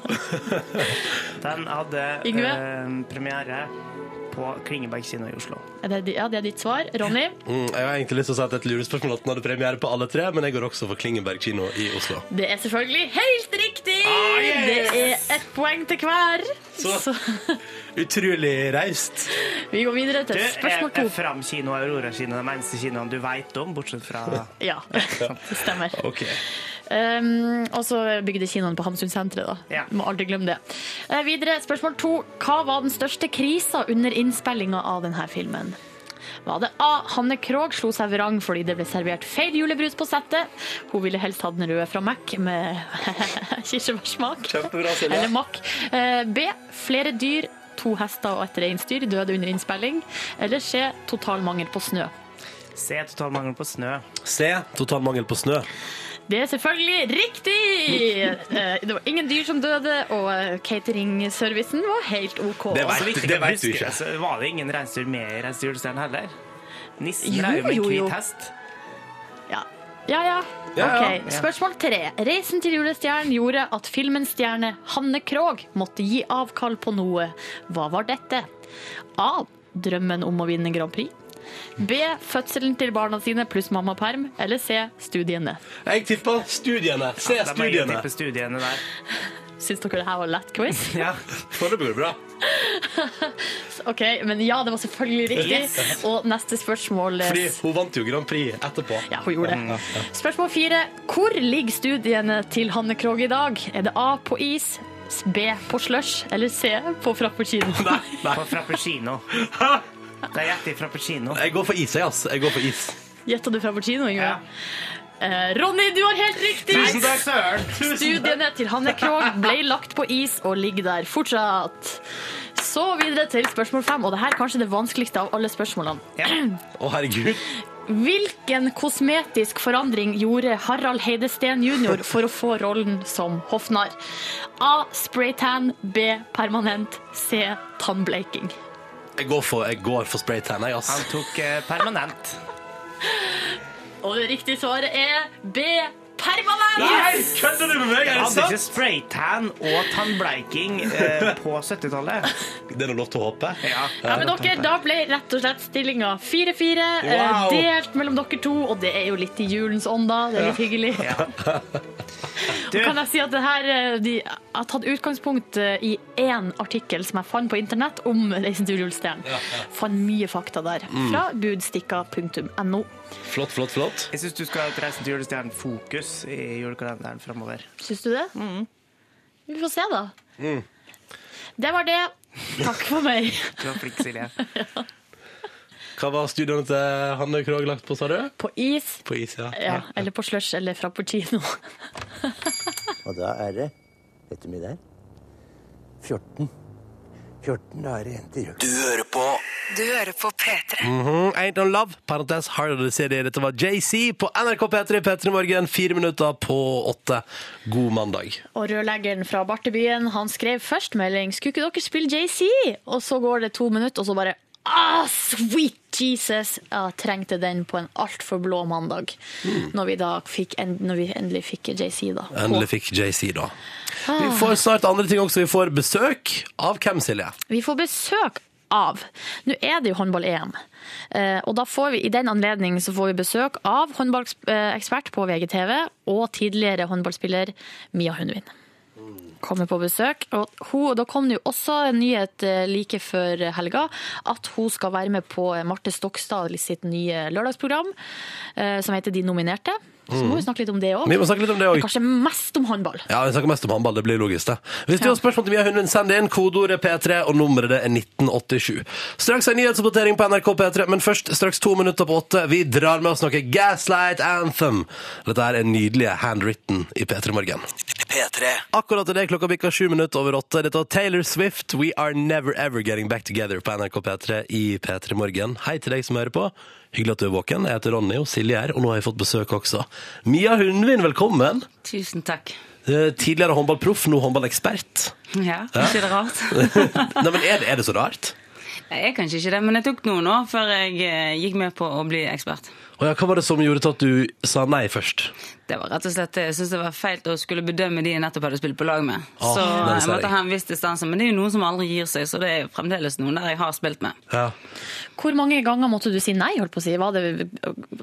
Speaker 2: Den hadde
Speaker 3: Yngve?
Speaker 2: eh, premiere på Klingeberg kino i Oslo.
Speaker 3: Er det, di- ja, det er ditt svar. Ronny?
Speaker 1: Mm, jeg har egentlig lyst til å si at det er et lurespørsmål at den hadde premiere på alle tre, men jeg går også for Klingenberg kino i Oslo.
Speaker 3: Det er selvfølgelig helt riktig! Det er ett poeng til hver.
Speaker 1: Så-
Speaker 3: Så
Speaker 1: Utrolig raust.
Speaker 3: vi går videre
Speaker 2: Du,
Speaker 3: til
Speaker 2: er,
Speaker 3: spørsmål
Speaker 2: er
Speaker 3: 2.
Speaker 2: Fram kino og Aurora kino de eneste kinoene du veit om, bortsett fra
Speaker 3: Ja, det stemmer.
Speaker 1: Ok.
Speaker 3: Um, og så bygde kinoen på Hamsunsenteret, da.
Speaker 2: Ja.
Speaker 3: Må aldri glemme det. Eh, videre, spørsmål to. Hva var den største krisa under innspillinga av denne filmen? Var det A. Hanne Krogh slo seg vrang fordi det ble servert feil julebrus på settet. Hun ville helst hatt den røde fra Mac med kirsebærsmak.
Speaker 1: Kjempebra, Silje.
Speaker 3: Eller Mac. Eh, B. Flere dyr, to hester og et reinsdyr døde under innspilling. Eller C. Total mangel på snø.
Speaker 2: Se total mangel på snø.
Speaker 1: Se, total mangel på snø.
Speaker 3: Det er selvfølgelig riktig! Eh, Det var ingen dyr som døde, og eh, cateringservicen var helt OK.
Speaker 1: Det var- Nei,
Speaker 2: Så vidt jeg
Speaker 1: det
Speaker 2: kan
Speaker 1: vet du
Speaker 2: huske,
Speaker 1: ikke.
Speaker 2: Så var det ingen reinsdyr med i Reinsdyr Julestjernen heller? Nissen
Speaker 3: Jo,
Speaker 2: er jo med
Speaker 3: jo,
Speaker 2: en
Speaker 3: jo.
Speaker 2: hvit hest.
Speaker 3: Ja, ja. ja.
Speaker 1: Ja, ja.
Speaker 3: Ok, Spørsmål tre. Reisen til julestjernen gjorde at filmens stjerne Hanne Krogh måtte gi avkall på noe. Hva var dette? A. Drømmen om å vinne Grand Prix. B. Fødselen til barna sine pluss mammaperm. Eller C. Studiene.
Speaker 1: Jeg tippa studiene. Se
Speaker 2: Det er bare å
Speaker 1: studiene.
Speaker 2: tippe studiene der.
Speaker 3: Syns dere det her var lett quiz?
Speaker 2: Ja.
Speaker 1: Foreløpig går det bra.
Speaker 3: Ok, Men ja, det var selvfølgelig riktig. Og neste spørsmål eh,
Speaker 1: Fordi hun vant jo Grand Prix etterpå.
Speaker 3: Ja, hun gjorde det. Spørsmål fire. Hvor ligger studiene til Hanne Krogh i dag? Er det A på is, B på slush eller C på frappuccino?
Speaker 1: Nei, nei.
Speaker 2: På Frappuccino. Det er gjett i Frappuccino.
Speaker 1: Jeg går for is, jeg, ass. Jeg går for is.
Speaker 3: Gjetta du frappuccino, Ingrid?
Speaker 2: Ja.
Speaker 3: Eh, Ronny, du har helt riktig!
Speaker 2: Tusen takk, søren! Tusen takk.
Speaker 3: Studiene til Hanne Krogh ble lagt på is og ligger der fortsatt. Så videre til spørsmål fem, og det her er kanskje det vanskeligste av alle spørsmålene.
Speaker 2: Ja.
Speaker 1: Å, herregud.
Speaker 3: Hvilken kosmetisk forandring gjorde Harald Heidesteen jr. for å få rollen som hoffnarr? A. Spraytan. B. Permanent. C. Tannbleiking.
Speaker 1: Jeg går for, jeg går for spraytan, jeg, ass.
Speaker 2: Han tok eh, permanent.
Speaker 3: Og det riktige svaret er B. Permanent!
Speaker 1: kødder du med meg?
Speaker 2: Jeg hadde ikke spraytan og tannbleiking eh, på 70-tallet.
Speaker 1: Det er det lov til å håpe.
Speaker 2: Ja.
Speaker 3: Ja, men dere, Da ble rett og slett stillinga 4-4, eh,
Speaker 1: Wow.
Speaker 3: delt mellom dere to. Og det er jo litt i julens ånd, da. Det er litt hyggelig.
Speaker 2: Du,
Speaker 3: Kan jeg si at det her, eh, de, Jeg har tatt utgangspunkt eh, i én artikkel som jeg fant på internett om Reisen til julestjernen. Fant mye fakta der. Fra budstikka.no.
Speaker 1: Flott, flott, flott.
Speaker 2: jeg syns du skal ha et Reisen til julestjernen fokus i julekalenderen framover.
Speaker 3: Syns du det? Vi får se, da. Det var det. Takk for meg.
Speaker 2: Du var flink, Silje.
Speaker 1: Hva var studioene til Hanne Krogh lagt på, sa du?
Speaker 3: På is,
Speaker 1: På is, ja.
Speaker 3: ja, eller på slush eller frappuccino.
Speaker 6: Og da er det Vet du hvor mye det er? 14. 14 dager igjen til jul.
Speaker 4: Du hører på
Speaker 7: Du hører på P3.
Speaker 1: Mm, Ain't No Love, parentes Harder to City. Dette var JC på NRK P3 P3 Morgen, fire minutter på åtte. God mandag.
Speaker 3: Og rørleggeren fra Bartebyen han skrev først melding Skulle ikke dere spille JC? Og så går det to minutter, og så bare Ah, sweet Jesus! Jeg trengte den på en altfor blå mandag. Når, vi da fikk, en- når vi endelig fikk JC, da.
Speaker 1: Endelig fikk JC, da. Vi får snart andre ting også. Vi får besøk av hvem, Silje?
Speaker 3: Vi får besøk av Nå er det jo håndball-EM. Eh, og da får vi, I den anledning så får vi besøk av håndballekspert på VGTV og tidligere håndballspiller Mia Hundvin. Kommer på besøk. Og hun, da kom det jo også en nyhet eh, like før helga at hun skal være med på Marte Stokstad sitt nye lørdagsprogram eh, som heter De nominerte. Så må vi snakke litt om det
Speaker 1: Mm. Vi
Speaker 3: òg.
Speaker 1: må snakke litt om det òg.
Speaker 3: Kanskje mest om håndball.
Speaker 1: Ja, Vi snakker mest om håndball. Det blir logisk, det. Hvis du har spørsmål til Mia Hundvin, send det inn. Kodeordet P3, og nummeret det er 1987. Straks en nyhetsoppdatering på NRK P3, men først straks to minutter på åtte. Vi drar med oss noe Gaslight Anthem. Dette er nydelige handwritten i P3 Morgen.
Speaker 4: P3.
Speaker 1: Akkurat i det klokka bikka sju minutter over åtte. Dette var Taylor Swift, We Are Never Ever Getting Back Together på NRK P3 i P3 Morgen. Hei til deg som hører på. Hyggelig at du er våken. Jeg heter Ronny og Silje er her, og nå har jeg fått besøk også. Mia Hundvin, velkommen.
Speaker 8: Tusen takk.
Speaker 1: Eh, Tidligere håndballproff, nå håndballekspert.
Speaker 8: Ja, Ikke det rart?
Speaker 1: Nei, men er det, er det så rart?
Speaker 8: Nei, jeg er kanskje ikke det, men jeg tok noen år før jeg eh, gikk med på å bli ekspert.
Speaker 1: Og ja, hva var det som gjorde til at du sa nei først?
Speaker 8: Det var rett og slett, Jeg syntes det var feil å skulle bedømme de jeg nettopp hadde spilt på lag med.
Speaker 1: Ah,
Speaker 8: så
Speaker 1: den
Speaker 8: jeg
Speaker 1: ser jeg.
Speaker 8: måtte ha en viss distanse. Men det er jo noen som aldri gir seg, så det er jo fremdeles noen der jeg har spilt med.
Speaker 1: Ja.
Speaker 3: Hvor mange ganger måtte du si nei? holdt på å si? Var det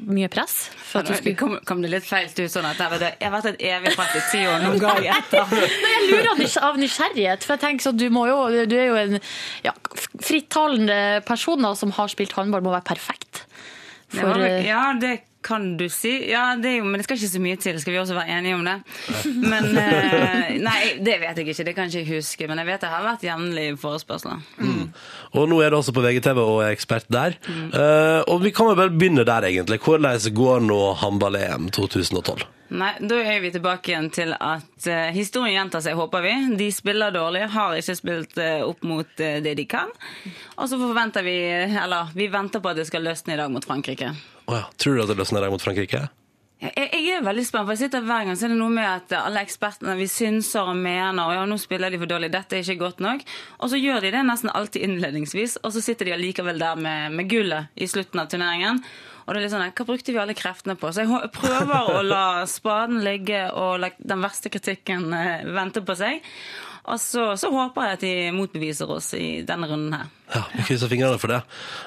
Speaker 3: mye press? For at du
Speaker 8: Det
Speaker 3: skulle...
Speaker 8: kom, kom det litt feil ut sånn at jeg, jeg har vært et evig press i ti år, noen gang etter.
Speaker 3: Nei, jeg lurer av nys- av nysgjerrighet, for jeg tenker sånn, du, må jo, du er jo en ja, f- frittalende person da, som har spilt håndball, må være perfekt.
Speaker 8: Det
Speaker 3: For,
Speaker 8: var vel-
Speaker 3: eh,
Speaker 8: ja, det kan du si. Ja, det er jo, men det skal ikke så mye til. Skal vi også være enige om det? Men eh, Nei, det vet jeg ikke. Det kan ikke jeg huske. Men jeg vet det har vært jevnlig forespørsler.
Speaker 1: Og nå er du også på VGTV og er ekspert der.
Speaker 8: Mm.
Speaker 1: Eh, og vi kan vel bare begynne der, egentlig. Hvordan går nå håndball-EM 2012?
Speaker 8: Nei, Da er vi tilbake igjen til at eh, historien gjentar seg, håper vi. De spiller dårlig, har ikke spilt eh, opp mot eh, det de kan. Og så forventer vi eh, Eller vi venter på at det skal løsne i dag mot Frankrike.
Speaker 1: Å ja. Tror du at det løsner deg mot Frankrike?
Speaker 8: Jeg, jeg er veldig spent, for jeg sitter hver gang så er det noe med at alle ekspertene vi synser og mener og ja, nå spiller de for dårlig, dette er ikke godt nok. Og så gjør de det nesten alltid innledningsvis, og så sitter de allikevel der med, med gullet i slutten av turneringen. Og det er litt sånn, Hva brukte vi alle kreftene på? Så jeg hå- prøver å la spaden ligge og la den verste kritikken eh, vente på seg. Og så, så håper jeg at de motbeviser oss i denne runden her.
Speaker 1: Ja, vi krysser fingrene for det.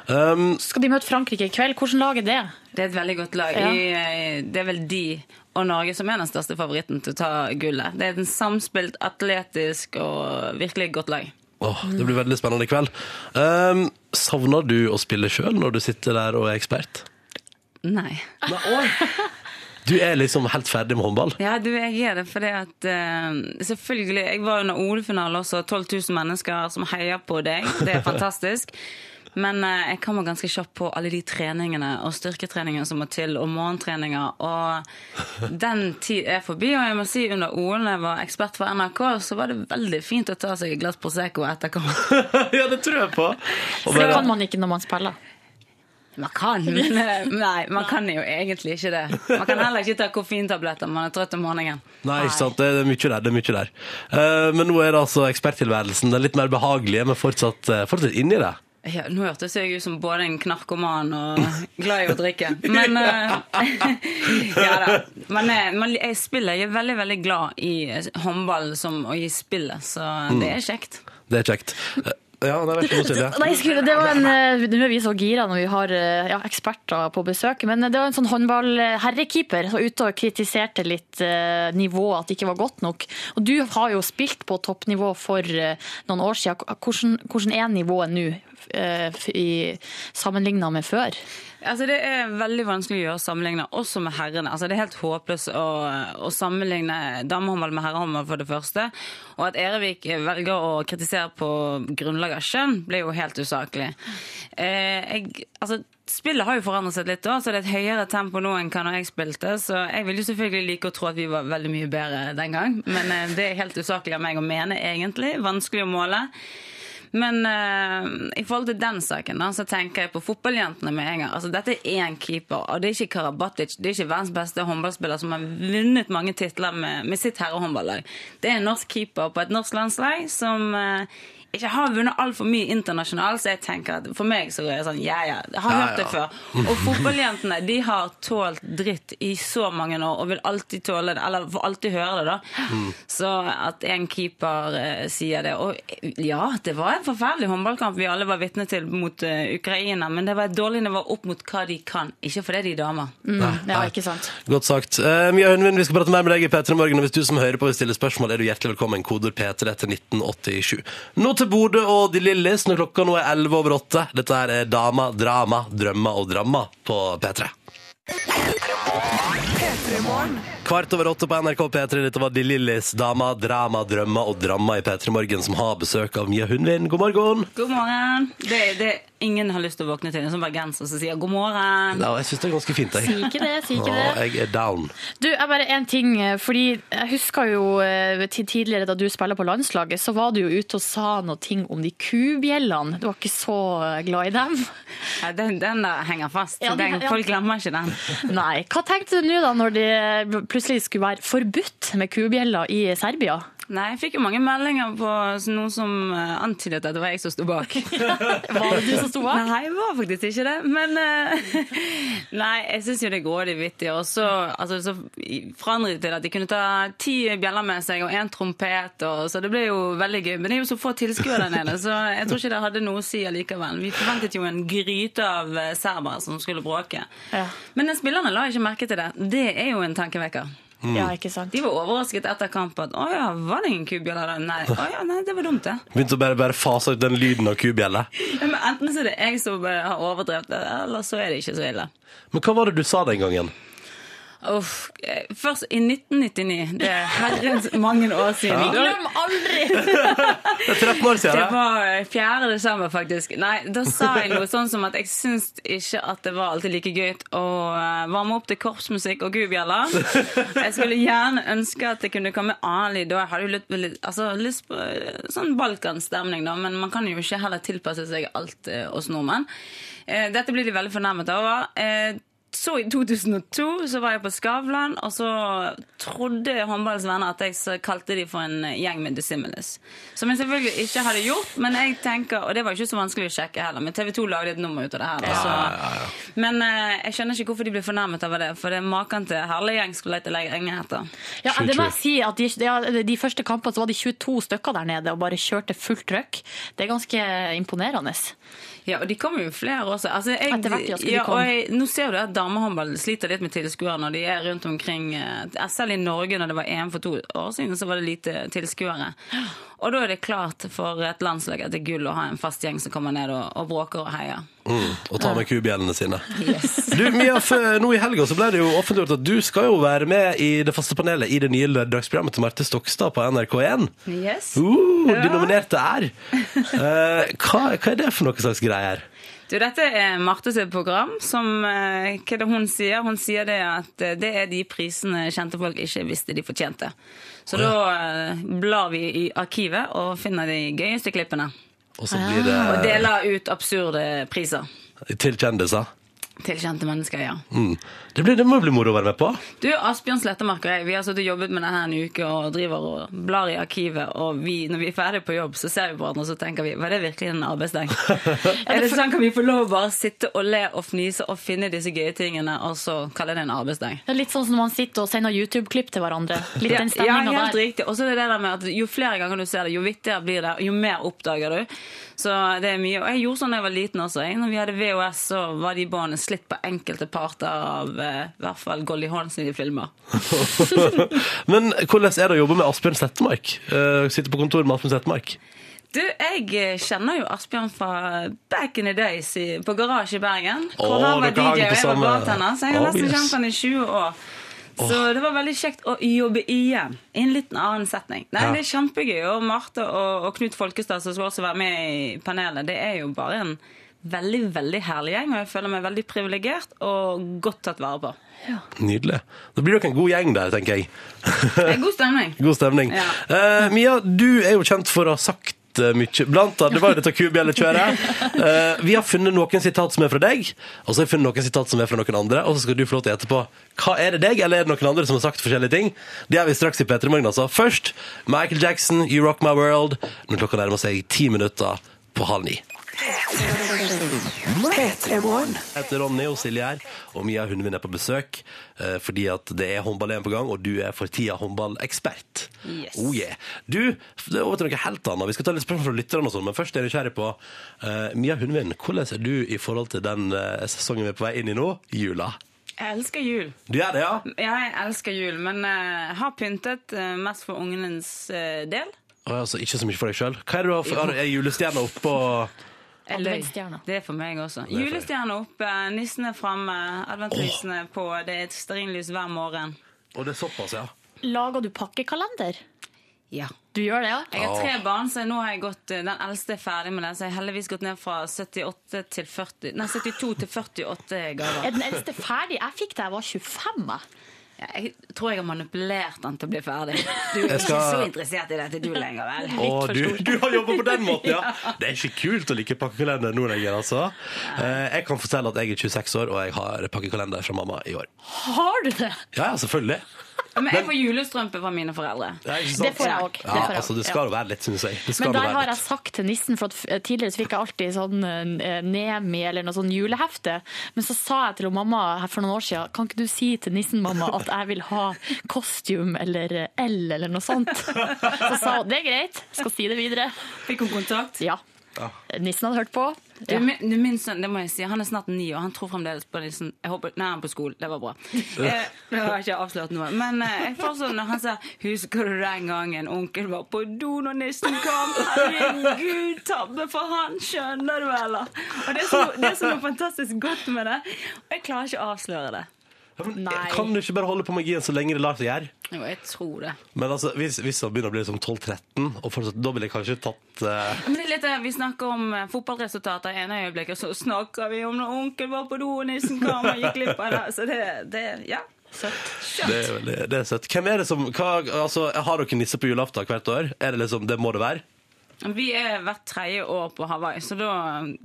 Speaker 1: Um,
Speaker 3: eh, Skal de møte Frankrike i kveld? Hvordan lag er det?
Speaker 8: Det er et veldig godt lag.
Speaker 3: Ja.
Speaker 8: I, det er vel de og Norge som er den største favoritten til å ta gullet. Det er et samspilt, atletisk og virkelig godt lag.
Speaker 1: åh, det blir veldig spennende i kveld. Um, savner du å spille sjøl når du sitter der og er ekspert?
Speaker 8: Nei.
Speaker 1: Du er liksom helt ferdig med håndball.
Speaker 8: Ja, du, jeg er det fordi at eh, Selvfølgelig, jeg var under OL-finale også. 12 000 mennesker som heier på deg. Det er fantastisk. Men eh, jeg kommer ganske kjapt på alle de treningene og styrketreningene som må til, og morgentreninger. Og den tid er forbi. Og jeg må si under OL, da jeg var ekspert for NRK, så var det veldig fint å ta seg et glass Prosecco etter kamp.
Speaker 1: ja, det tror jeg på. Og
Speaker 3: For det
Speaker 1: bare,
Speaker 3: kan man ikke når man spiller.
Speaker 8: Man kan, men eh, nei, man kan jo egentlig ikke det. Man kan heller ikke ta koffeintabletter når man er trøtt om morgenen.
Speaker 1: nei, ikke sant. Det er mye der. det er mye der. Eh, men nå er det altså eksperttilværelsen. Den litt mer behagelige, men fortsatt, eh, fortsatt inni det.
Speaker 8: Ja, nå hørtes jeg ut som både en knarkoman og glad i å drikke. Men eh, Ja da. Men eh, man, jeg spiller. Jeg er veldig, veldig glad i eh, håndball som, og i spillet, så det er kjekt.
Speaker 1: Det er kjekt. Eh, ja, nei, vær så god, Silje.
Speaker 3: Nei, jeg skulle, det var en, eh, Nå er vi så gira når vi har eh, ja, eksperter på besøk, men det var en sånn håndballherrekeeper som var ute og kritiserte litt eh, nivået, at det ikke var godt nok. Og Du har jo spilt på toppnivå for eh, noen år siden. Hvordan, hvordan er nivået nå, eh, f- i- sammenlignet med før?
Speaker 8: Altså Det er veldig vanskelig å gjøre sammenligne, også med herrene. Altså Det er helt håpløst å, å sammenligne damehåndball med herrehåndball, for det første. Og at Erevik velger å kritisere på grunnlag av kjønn, blir jo helt usaklig. Eh, jeg, altså Spillet har jo forandret seg litt, da, så det er et høyere tempo nå enn hva når jeg spilte. Så jeg vil jo selvfølgelig like å tro at vi var veldig mye bedre den gang, men eh, det er helt usaklig av meg å mene, egentlig. Vanskelig å måle. Men eh, i forhold til den saken da, så tenker jeg på fotballjentene med en gang. Altså, dette er én keeper, og det er ikke Karabatic. Det er ikke verdens beste håndballspiller som har vunnet mange titler med, med sitt herrehåndballag. Det er en norsk keeper på et norsk landslag som eh, ikke har vunnet altfor mye internasjonalt, så jeg tenker at for meg så er det sånn ja, ja, jeg har
Speaker 1: Ja,
Speaker 8: hørt det
Speaker 1: ja.
Speaker 8: før. Og fotballjentene de har tålt dritt i så mange år og vil alltid tåle det, eller får alltid høre det. da. Så at en keeper eh, sier det Og eh, ja, det var en forferdelig håndballkamp vi alle var vitne til mot eh, Ukraina, men det var et dårlig nivå opp mot hva de kan. Ikke fordi de er damer.
Speaker 3: Mm, Ja, ikke sant?
Speaker 1: Godt sagt. Eh, Mia Hønvind, vi skal prate mer med deg i P3 Morgen. Og hvis du som hører på vil stille spørsmål, er du hjertelig velkommen. Koder P3 til 1987. Nå til Bodø og De Lillis når klokka nå er 11 over 8. Dette her er Dama, Drama, Drømmer og Dramma på P3. Kvart over åtte på NRK P3. Dette var De Lillis Dama, Drama, Drømmer og Dramma i P3 Morgen, som har besøk av Mia Hundvin. God morgen!
Speaker 8: God morgen! Det, det ingen har lyst til å våkne til en sånn bergenser som sier god morgen.
Speaker 1: Ja, jeg syns det er ganske fint,
Speaker 3: Si
Speaker 1: jeg.
Speaker 3: ikke det, si
Speaker 1: Og
Speaker 3: ikke det.
Speaker 1: jeg er down.
Speaker 3: Du, jeg bare en ting, eh, fordi jeg husker jo eh, til tidligere da du spiller på landslaget, så var du jo ute og sa noe ting om de kubjellene. Du var ikke så eh, glad i dem.
Speaker 8: Ja, den, den der henger fast.
Speaker 3: Ja, den-
Speaker 8: den,
Speaker 3: ja.
Speaker 8: Folk glemmer ikke den.
Speaker 3: Nei, hva tenkte du nå da når det plutselig skulle være forbudt med kubjeller i Serbia?
Speaker 8: Nei, jeg fikk jo mange meldinger på noen som eh, antydet at det var jeg som sto bak.
Speaker 3: Var det du som sto bak?
Speaker 8: Nei, jeg var faktisk ikke det. Men eh, Nei, jeg syns jo det er grådig vittig. Og så, altså, så forandret det til at de kunne ta ti bjeller med seg og én trompet, og, så det ble jo veldig gøy. Men det er jo så få tilskuere der nede, så jeg tror ikke det hadde noe å si allikevel. Vi forventet jo en gryte av eh, serbere som skulle bråke.
Speaker 3: Ja.
Speaker 8: Men den spillerne la ikke merke til det. Det er jo en tankevekker.
Speaker 3: Ja, ikke sant?
Speaker 8: De var overrasket etter kampen. Å ja, var det ingen kubjeller da? Nei. Å ja, nei, det var dumt, det.
Speaker 1: Begynte å bare, bare fase ut den lyden av kubjelle.
Speaker 8: Ja, men enten så er det jeg som eh, har overdrevet det, eller så er det ikke så ille.
Speaker 1: Men hva var det du sa den gangen?
Speaker 8: Uff, eh, først i 1999. Det er herrens mange år siden. Da-
Speaker 3: Glem aldri!
Speaker 1: Det er 13 år
Speaker 8: Det
Speaker 1: siden.
Speaker 8: var eh, 4. desember, faktisk. Nei, da sa jeg noe sånn som at jeg syns ikke at det var alltid like gøy å eh, varme opp til korpsmusikk og gubjeller. Jeg skulle gjerne ønske at det kunne komme annen lyd. Og jeg hadde jo litt, litt, altså, lyst på eh, sånn balkanstemning, da, men man kan jo ikke heller tilpasse seg alt eh, oss nordmenn. Eh, Dette blir de veldig fornærmet over. Eh, så i 2002 så var jeg på Skavlan, og så trodde håndballens venner at jeg så kalte de for en eh, gjeng med dissimilis. Som jeg selvfølgelig ikke hadde gjort, men jeg tenker, og det var ikke så vanskelig å sjekke heller, men TV 2 lagde et nummer ut av det her. da, Så. Men eh, jeg skjønner ikke hvorfor de ble fornærmet over det, for det er maken til herlig gjeng skulle lete lenge etter.
Speaker 3: Ja,
Speaker 1: True,
Speaker 3: det må
Speaker 1: true.
Speaker 3: jeg si at de, ja, de første kampene så var de 22 stykker der nede og bare kjørte fullt trøkk. Det er ganske imponerende.
Speaker 8: Ja, og de kommer jo flere også. Altså, jeg,
Speaker 3: Etter hvert, ja, skal de
Speaker 8: ja,
Speaker 3: komme.
Speaker 8: og jeg, nå ser du at damehåndball sliter litt med tilskuere når de er rundt omkring. eh, Selv i Norge, når det var EM for to år siden, så var det lite tilskuere. Og da er det klart for et landslag at det er gull å ha en fast gjeng som kommer ned og, og bråker og heier.
Speaker 1: Mm, og ta med kubjellene sine. Du, Mia, f- nå i helga så ble det jo offentliggjort at du skal jo være med i det faste panelet i det nye lørdagsprogrammet til Marte Stokstad på NRK1.
Speaker 8: Yes.
Speaker 1: Uh,
Speaker 8: Ja.
Speaker 1: De nominerte er. Eh, hva, hva er det for noe slags greier?
Speaker 8: Du, dette er Martes program, som eh, Hva er det hun sier? Hun sier det at eh, det er de prisene kjente folk ikke visste de fortjente. Så da eh, blar vi i arkivet og finner de gøyeste klippene.
Speaker 1: Og så blir det
Speaker 8: Og deler ut absurde priser
Speaker 1: til kjendiser.
Speaker 8: til kjente mennesker, ja.
Speaker 1: Mm. Det, blir, det må jo bli moro å være med på.
Speaker 8: Du, Asbjørn Slettemark og jeg, vi har sittet og jobbet med dette en uke og driver og blar i arkivet, og vi, når vi er ferdig på jobb, så ser vi på hverandre og så tenker vi, var det virkelig en arbeidsdag? er det sånn, kan vi få lov å bare sitte og le og fnise og finne disse gøye tingene, og så kalle det en arbeidsdag?
Speaker 3: Det er litt sånn som når man sitter og sender YouTube-klipp til hverandre. Litt
Speaker 8: Ja,
Speaker 3: den
Speaker 8: ja,
Speaker 3: stemninga
Speaker 8: helt
Speaker 3: der.
Speaker 8: riktig. Og så er det det der med at jo flere ganger du ser det, jo vittigere blir det, og jo mer oppdager du. Så det er mye. Og jeg gjorde sånn da jeg var liten også. Jeg. Når vi hadde VHS, så var de båndene slitt på enkelte parter av eh, i hvert fall Golly Horn sine filmer.
Speaker 1: Men hvordan er det å jobbe med Asbjørn Slettemark? Eh, sitte på kontor med Asbjørn Slettemark.
Speaker 8: Du, jeg eh, kjenner jo Asbjørn fra back in the days i, på Garasje i Bergen. Hvor
Speaker 1: Åh,
Speaker 8: han var
Speaker 1: dere hang
Speaker 8: DJ
Speaker 1: på
Speaker 8: og jeg var
Speaker 1: samme-
Speaker 8: bartender, så jeg har
Speaker 1: Oh,
Speaker 8: nesten
Speaker 1: yes.
Speaker 8: kjent han i 20 år. Så det var veldig kjekt å jobbe igjen i en litt annen setning. Nei,
Speaker 1: Ja.
Speaker 8: Det er kjempegøy. Og Marte og, og Knut Folkestad, som skal også være med i panelet, det er jo bare en veldig, veldig herlig gjeng. Og jeg føler meg veldig privilegert og godt tatt vare på.
Speaker 1: Nydelig. Da blir dere en god gjeng der, tenker jeg.
Speaker 8: Det er god stemning.
Speaker 1: God stemning.
Speaker 8: Ja.
Speaker 1: Eh, Mia, du er jo kjent for å ha sagt eh, mye. Blant annet, det var jo dette kubjellekjøret. Eh, vi har funnet noen sitat som er fra deg, og så har vi funnet noen sitat som er fra noen andre, og så skal du få lov til å gjette på hva er det deg, eller er det noen andre som har sagt forskjellige ting. Det gjør vi straks i P3 Morgen, altså. Først Michael Jackson, You Rock My World, når klokka nærmer seg ti minutter på halv ni. Jeg heter Ronny og Silje her, og Mia Hundvin er på besøk eh, fordi at det er håndball-EM på gang, og du er for tida håndballekspert.
Speaker 8: Yes.
Speaker 1: Oh yeah. Du, det er over til noe helt annet. Vi skal ta litt spørsmål fra lytterne, og sånn, men først er jeg nysgjerrig på eh, Mia Hundvin, hvordan er du i forhold til den eh, sesongen vi er på vei inn i nå, jula?
Speaker 8: Jeg elsker jul.
Speaker 1: Du gjør det, ja?
Speaker 8: Ja, jeg elsker jul, men eh, har pyntet eh, mest for ungenes eh, del.
Speaker 1: Å, Altså, ikke så mye for deg sjøl. Hva er det du har for har du- Er julestjerna oppå
Speaker 8: Jeg løy.
Speaker 3: Adventsstjerna.
Speaker 8: Det er for meg også.
Speaker 1: for deg.
Speaker 8: Julestjerna oppe, nissen er framme, adventlysene er på. Det er et stearinlys hver morgen.
Speaker 1: Og det er såpass, ja?
Speaker 3: Lager du pakkekalender?
Speaker 8: Ja.
Speaker 3: Du gjør det, ja?
Speaker 8: Jeg har tre barn, så nå har jeg gått, eh, den eldste er ferdig med den. Så jeg har heldigvis gått ned fra 78 til 40, nei, 72 til 48 gaver.
Speaker 3: Er den eldste ferdig? Jeg fikk da jeg var 25. jeg.
Speaker 8: Ja, Jeg tror jeg har manipulert den til å bli ferdig. Du er
Speaker 1: Jeg
Speaker 8: ikke
Speaker 1: skal-
Speaker 8: så interessert i dette, du lenger, vel?
Speaker 1: Å, du, du har jobba på den måten, ja! Det er ikke kult å like pakkekalender nå lenger, altså. Eh, Jeg kan fortelle at jeg er 26 år, og jeg har pakkekalender fra mamma i år.
Speaker 3: Har du det?
Speaker 1: Ja, ja, selvfølgelig.
Speaker 8: Men jeg får julestrømpe fra mine foreldre.
Speaker 1: Ja, ikke sant?
Speaker 3: Det får jeg òg.
Speaker 1: Ja, altså, det skal jo være litt, syns jeg. Det skal
Speaker 3: Men
Speaker 1: jo
Speaker 3: der
Speaker 1: være
Speaker 3: har jeg
Speaker 1: litt.
Speaker 3: sagt til nissen, for at f- tidligere så fikk jeg alltid sånn eh, Nemi eller noe sånn julehefte. Men så sa jeg til hun mamma her for noen år siden Kan ikke du si til nissen, mamma, at jeg vil ha costume eller eh, L eller noe sånt? Så sa hun det er greit, jeg skal si det videre.
Speaker 8: Fikk hun kontakt?
Speaker 3: Ja. Nissen hadde hørt på.
Speaker 8: Du,
Speaker 3: Ja.
Speaker 8: min, du, min sønn, det må jeg si, han er snart ni, og han tror fremdeles på liksom, jeg håper, Nei, han er på skolen. Det var bra. Eh, jeg har ikke avslørt noe. Men eh, jeg får sånn når han sier 'Husker du den gangen onkel var på do når nissen kom?' Herregud, tabbe for han, skjønner du, eller? Og det er så, det er så noe fantastisk godt med det. Og jeg klarer ikke å avsløre det.
Speaker 1: Ja, men,
Speaker 3: Nei.
Speaker 1: Kan du ikke bare holde på magien så lenge det lar seg gjøre?
Speaker 8: Jo, jeg tror det.
Speaker 1: Men altså, hvis, hvis han begynner å bli liksom 12-13, og fortsatt, da ville jeg kanskje tatt eh,
Speaker 8: Men det er litt det, Vi snakker om eh, fotballresultater i ene øyeblikket, og så snakker vi om når onkel var på do og nissen kom og gikk glipp av det. Så det, det ja. Søtt.
Speaker 1: det, er veldig, det er søtt. Hvem er det som hva, altså, Har dere nisse på julaften hvert år? Er det liksom, det må det være?
Speaker 8: Vi er hvert tredje år på Hawaii, så da,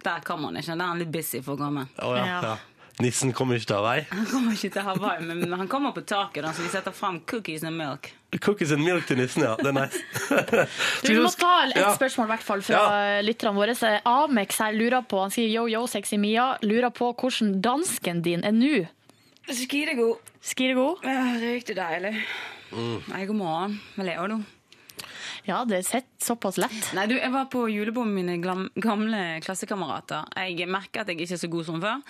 Speaker 8: der kommer han ikke. Der er han litt busy for å komme.
Speaker 1: Å, ja,
Speaker 3: Ja.
Speaker 1: ja. Nissen kommer ikke til å ha vei.
Speaker 8: Han kommer ikke til Hawaii, men han kommer på taket, da, så vi setter fram cookies and milk.
Speaker 1: Cookies and milk til nissen, ja. Det er nice.
Speaker 3: Du, vi må ta et
Speaker 1: Ja.
Speaker 3: spørsmål i hvert fall fra lytterne våre. Så Amex her lurer på, han skriver yo yo sexy Mia, lurer på hvordan dansken din er nå.
Speaker 8: Skidegod.
Speaker 3: Skriver god.
Speaker 8: Riktig deilig. Nei, god morgen. Hva lever du?
Speaker 3: Ja, det sitter såpass lett.
Speaker 8: Nei, du, jeg var på julebord med mine glam- gamle klassekamerater. Jeg merker at jeg ikke er så god som før.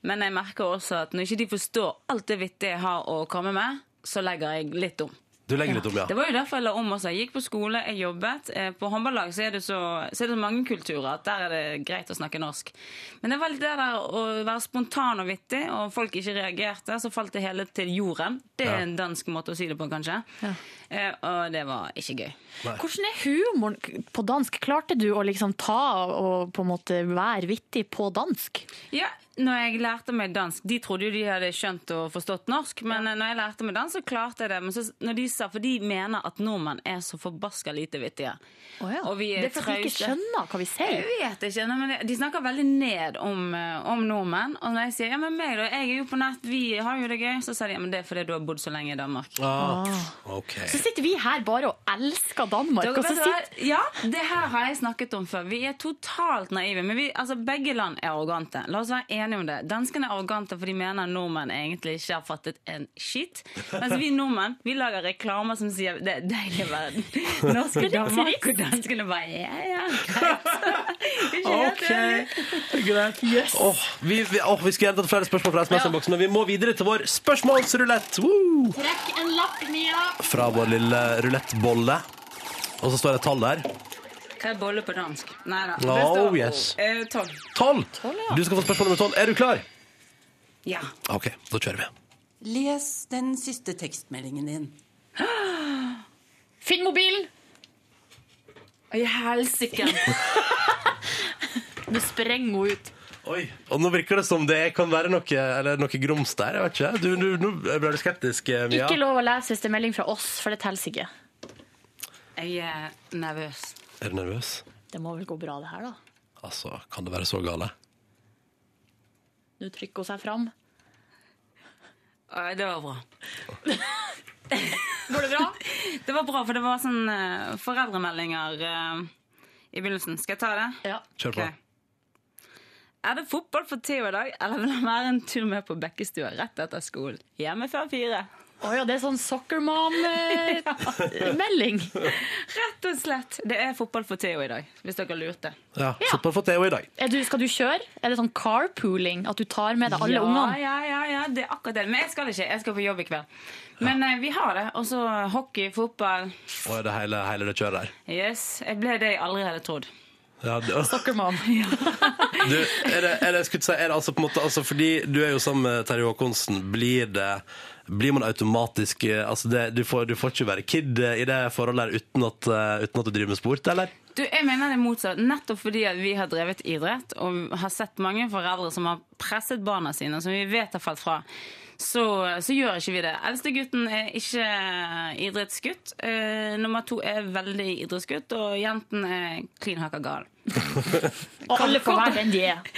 Speaker 8: Men jeg merker også at når ikke de forstår alt det vittige jeg har å komme med, så legger jeg litt om.
Speaker 1: Du legger litt om, ja.
Speaker 8: Det var jo derfor jeg la om også. Jeg gikk på skole, jeg jobbet. Eh, På håndballag så er det så, så, er det så mange kulturer at der er det greit å snakke norsk. Men det var litt det der å være spontan og vittig, og folk ikke reagerte, så falt det hele til jorden. Det er en dansk måte å si det på, kanskje. Eh, Og det var ikke gøy.
Speaker 3: Hvordan er humoren på dansk? Klarte du å liksom ta og på en måte være vittig på dansk?
Speaker 8: Ja, når jeg lærte meg dansk De trodde jo de hadde skjønt og forstått norsk, men eh, når jeg lærte meg dansk, så klarte jeg det. Men så, når de sa, For de mener at nordmenn er så forbaska lite vittige. Og vi er
Speaker 3: det er for at vi ikke
Speaker 8: trause.
Speaker 3: skjønner hva vi
Speaker 8: Jeg
Speaker 3: sier.
Speaker 8: vet ikke, nei, men det- De snakker veldig ned om, eh, om nordmenn. Og når jeg sier ja, men meg da, jeg er jo på nett, vi har jo det gøy, så sier de ja, men det er fordi du har bodd så lenge i Danmark.
Speaker 1: Ah, OK.
Speaker 3: Så sitter vi her bare og elsker Danmark,
Speaker 8: Dere,
Speaker 3: og så
Speaker 8: vet du hva?
Speaker 3: sitter
Speaker 8: Ja, det her har jeg snakket om før. Vi er totalt naive. Men vi, altså, begge land er arrogante. La oss være enige om det. Danskene er arrogante, for de mener nordmenn egentlig ikke har fattet en skitt. Mens vi nordmenn vi lager reklamer som sier det er deilig å være norsk i Danmark. Og danskene bare ja, ja, greit. Det er ikke helt ærlig.
Speaker 1: Greit. Åh, vi, vi, åh, vi skulle gjerne tatt flere spørsmål fra SMS-boksen, men vi må videre til vår spørsmålsrulett. Woo!
Speaker 3: Trekk en lapp, Mia!
Speaker 1: Fra vår lille rulettbolle. Og så står det et tall der.
Speaker 8: Hva er bolle på dansk? Nei da.
Speaker 1: Oh, yes.
Speaker 8: Eh, tolv.
Speaker 1: Tolv! Du skal få spørsmål nummer tolv. Er du klar?
Speaker 8: Ja.
Speaker 1: OK, da kjører vi.
Speaker 9: Les den siste tekstmeldingen din.
Speaker 3: Finn mobilen!
Speaker 8: I helsike.
Speaker 3: Nå sprenger hun ut.
Speaker 1: Oi. Og nå virker det som det kan være noe, eller noe grums der. Jeg vet ikke. Du, du, nå ble du skeptisk, eh, Mia.
Speaker 3: Ikke lov å lese siste melding fra oss, for det teller ikke.
Speaker 8: Jeg er nervøs.
Speaker 1: Er du nervøs?
Speaker 3: Det må vel gå bra, det her, da.
Speaker 1: Altså, kan det være så gale?
Speaker 3: Nå trykker hun seg fram.
Speaker 8: Eh, Det var bra.
Speaker 3: Går det bra?
Speaker 8: Det var bra, for det var sånn eh, foreldremeldinger eh, i begynnelsen. Skal jeg ta det?
Speaker 3: Ja.
Speaker 1: Kjør på.
Speaker 8: Ok. Er det fotball for Theo i dag, eller vil han være en tur med på Bekkestua rett etter skolen? Hjemme før fire.
Speaker 3: Å ja, det er sånn soccer eh, mom-melding.
Speaker 8: Rett og slett. Det er fotball for Theo i dag, hvis dere lurte.
Speaker 1: Ja, Fotball for Theo i dag.
Speaker 3: Skal du kjøre? Er det sånn carpooling? At du tar med deg alle
Speaker 8: ja,
Speaker 3: ungene?
Speaker 8: Ja, ja, ja, det er akkurat det. Men jeg skal ikke. Jeg skal på jobb i kveld. Men eh, vi har det. Og så hockey, fotball.
Speaker 1: Og er det hele, hele det kjøret der.
Speaker 8: Yes. Jeg ble det jeg aldri hadde trodd.
Speaker 1: Ja, du,
Speaker 3: Soccer mom.
Speaker 1: du, er det, er det, jeg skulle si, er det altså på en måte altså Fordi du er jo sammen med Terje Håkonsen, blir det blir man automatisk eh, altså det, du, får, du får ikke være kid eh, i det forholdet her uten at, eh, uten at du driver med sport, eller?
Speaker 8: Du, jeg mener det motsatt. Nettopp fordi at vi har drevet idrett og har sett mange foreldre som har presset barna sine, som vi vet har falt fra. Så, så gjør ikke vi det. Eldste gutten er ikke idrettsgutt. Eh, nummer to er veldig idrettsgutt, og jenten er klin hakka gal.
Speaker 3: Og alle får være den de er.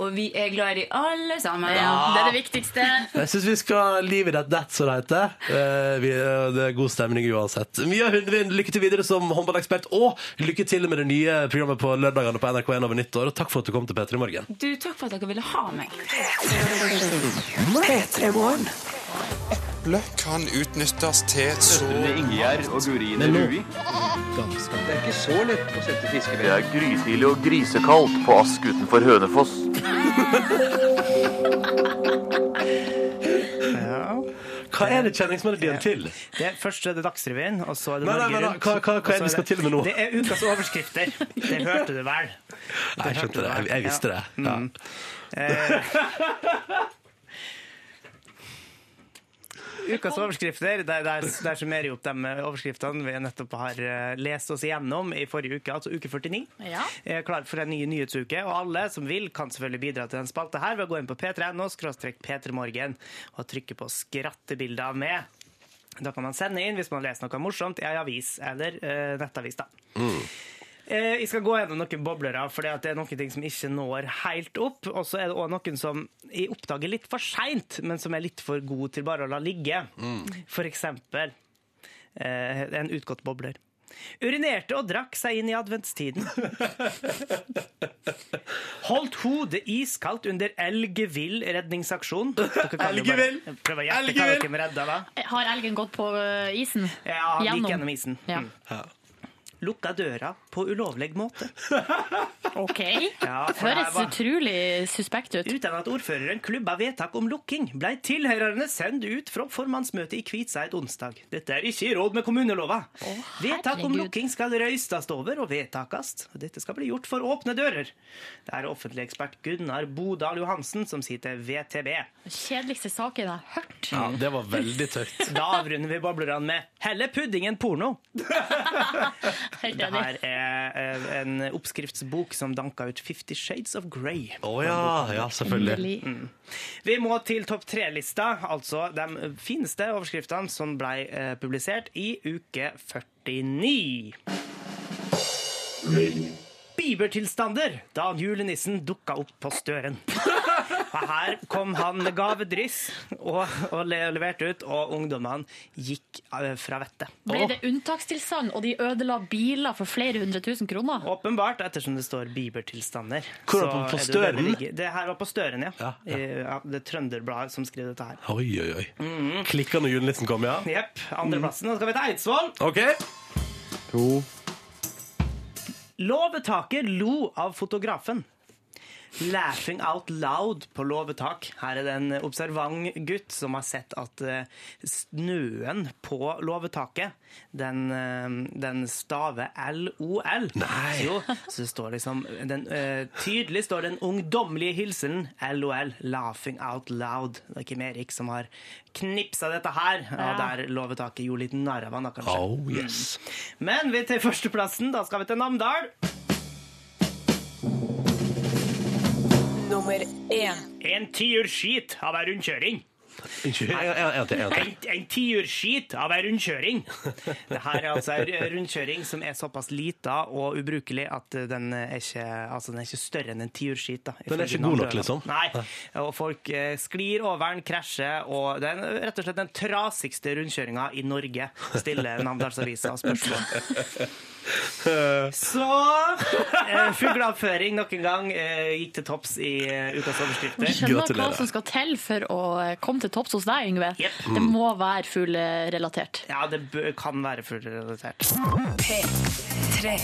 Speaker 8: Og vi er glad i de alle sammen.
Speaker 3: Det er det viktigste.
Speaker 1: Jeg syns vi skal leave it at that, som det heter. Eh, vi, eh, det er god stemning uansett. Mia Hundvin, lykke til videre som håndballekspert, og lykke til med det nye programmet på lørdagene på NRK1 over nyttår. Og takk for at du kom til P3 Morgen.
Speaker 8: Du, takk for at dere ville ha meg.
Speaker 10: kan utnyttes til så
Speaker 11: Det er grytidlig og grisekaldt på Ask utenfor Hønefoss.
Speaker 1: Hva er det kjenningsmelodien til?
Speaker 2: Det er først er det Dagsrevyen, og så er det
Speaker 1: Nei, nei, nei,
Speaker 2: Norge
Speaker 1: nei.
Speaker 2: Rundt.
Speaker 1: Hva- hva- hva er det vi
Speaker 2: og så
Speaker 1: skal til med nå?
Speaker 2: Det er ukas overskrifter. Det hørte du vel?
Speaker 1: Nei, jeg skjønte det. Jeg, jeg visste det. Ja.
Speaker 2: Eh. Ukas overskrifter, der, der, der summerer jeg opp de eh, overskriftene vi nettopp har eh, lest oss igjennom i forrige uke, altså uke 49.
Speaker 3: Ja.
Speaker 2: er klar for en ny nyhetsuke, og alle som vil kan selvfølgelig bidra til den spalta her ved å gå inn på p3.no p3morgen og trykke på skrattebilder med. Da kan man sende inn hvis man har lest noe morsomt i en avis eller eh, nettavis. da. Eh, jeg skal gå gjennom noen boblere, for det er noen ting som ikke når helt opp. Og så er det også noen som jeg oppdager litt for seint, men som er litt for god til bare å la ligge. For eksempel eh, en utgått bobler. Urinerte og drakk seg inn i adventstiden. Holdt hodet iskaldt under elgevill redningsaksjon. Dere kan jo bare-
Speaker 1: Elgevill!
Speaker 2: Prøv å gjette hva
Speaker 1: Elgevill!
Speaker 2: dere redda, da.
Speaker 3: Har elgen gått på ø, isen?
Speaker 2: Ja, han gikk
Speaker 3: Gjennom.
Speaker 2: gjennom isen.
Speaker 3: Ja.
Speaker 2: Mm. lukka døra på ulovlig måte.
Speaker 3: OK.
Speaker 2: Ja, for det
Speaker 3: Høres
Speaker 2: her var-
Speaker 3: utrolig suspekt ut.
Speaker 2: Uten at ordføreren klubba vedtak om lukking, blei tilhørerne sendt ut fra formannsmøtet i Kvitseid onsdag. Dette er ikke i råd med kommunelova. vedtak om
Speaker 3: herregud.
Speaker 2: lukking skal røystast over og vedtakast. og Dette skal bli gjort for åpne dører. Det er offentlig ekspert Gunnar Bodal Johansen som sier til VTB.
Speaker 3: Kjedeligste saken jeg har hørt.
Speaker 1: Ja, det var veldig tørt.
Speaker 2: Da avrunder vi boblerne med 'Heller pudding enn porno'. Det her er eh, en oppskriftsbok som danka ut 'Fifty Shades of Grey'.
Speaker 1: Å ja, ja, selvfølgelig.
Speaker 2: Mm. Vi må til topp tre-lista, altså de fineste overskriftene som ble eh, publisert i uke 49. Bieber-tilstander da julenissen dukka opp på Støren. Og her kom han med gavedryss og, og le- leverte ut, og ungdommene gikk eh, fra vettet.
Speaker 3: Ble det unntakstilstand, og de ødela biler for flere hundre tusen kroner?
Speaker 2: Åpenbart, ettersom det står Bieber-tilstander.
Speaker 1: Hvor
Speaker 2: Så
Speaker 1: var det på
Speaker 2: er det jo det
Speaker 1: Støren?
Speaker 2: det ligger- Det her var på Støren, ja. I, ja det er Trønderbladet som skrev dette her.
Speaker 1: Oi, oi, oi. Klikka når julenissen kom, ja?
Speaker 2: Jepp.
Speaker 1: Mm.
Speaker 2: Andreplassen. Nå skal vi til Eidsvoll.
Speaker 1: OK.
Speaker 12: To.
Speaker 2: Låvetaket lo av fotografen. Laughing out loud på låvetak. Her er det en observant gutt som har sett at eh, snøen på låvetaket, den, eh, den staver LOL. Nei! Jo, så det står liksom den, eh, Tydelig står den ungdommelige hilsenen LOL, laughing out loud. Det er Kim Erik som har knipsa dette her, og
Speaker 1: Ja.
Speaker 2: der låvetaket gjorde litt narr av han, da, kanskje.
Speaker 1: Oh, yes.
Speaker 2: Men vi til førsteplassen, da skal vi til Namdal. Nummer én. En tiurskit av ei rundkjøring.
Speaker 1: Unnskyld. En en- en til. En til.
Speaker 2: En, en tiurskit av ei rundkjøring. Det her er altså ei rundkjøring som er såpass lita og ubrukelig at den er ikke, altså den er ikke større enn en tiurskit. da,
Speaker 1: Den er
Speaker 2: ifølge
Speaker 1: ikke god nok,
Speaker 2: Namdal.
Speaker 1: liksom?
Speaker 2: Nei. Og folk eh, sklir over den, krasjer, og det er en- rett og slett den trasigste rundkjøringa i Norge, stiller Namdalsavisa spørsmål. Så eh, Fugleavføring nok en gang eh, gikk til topps i eh, ukas overskrifter.
Speaker 3: Jeg skjønner hva som skal til for å eh, komme til topps hos deg, Yngve. Det må være fuglerelatert.
Speaker 2: Ja, det bø- kan være fuglerelatert.
Speaker 7: P3.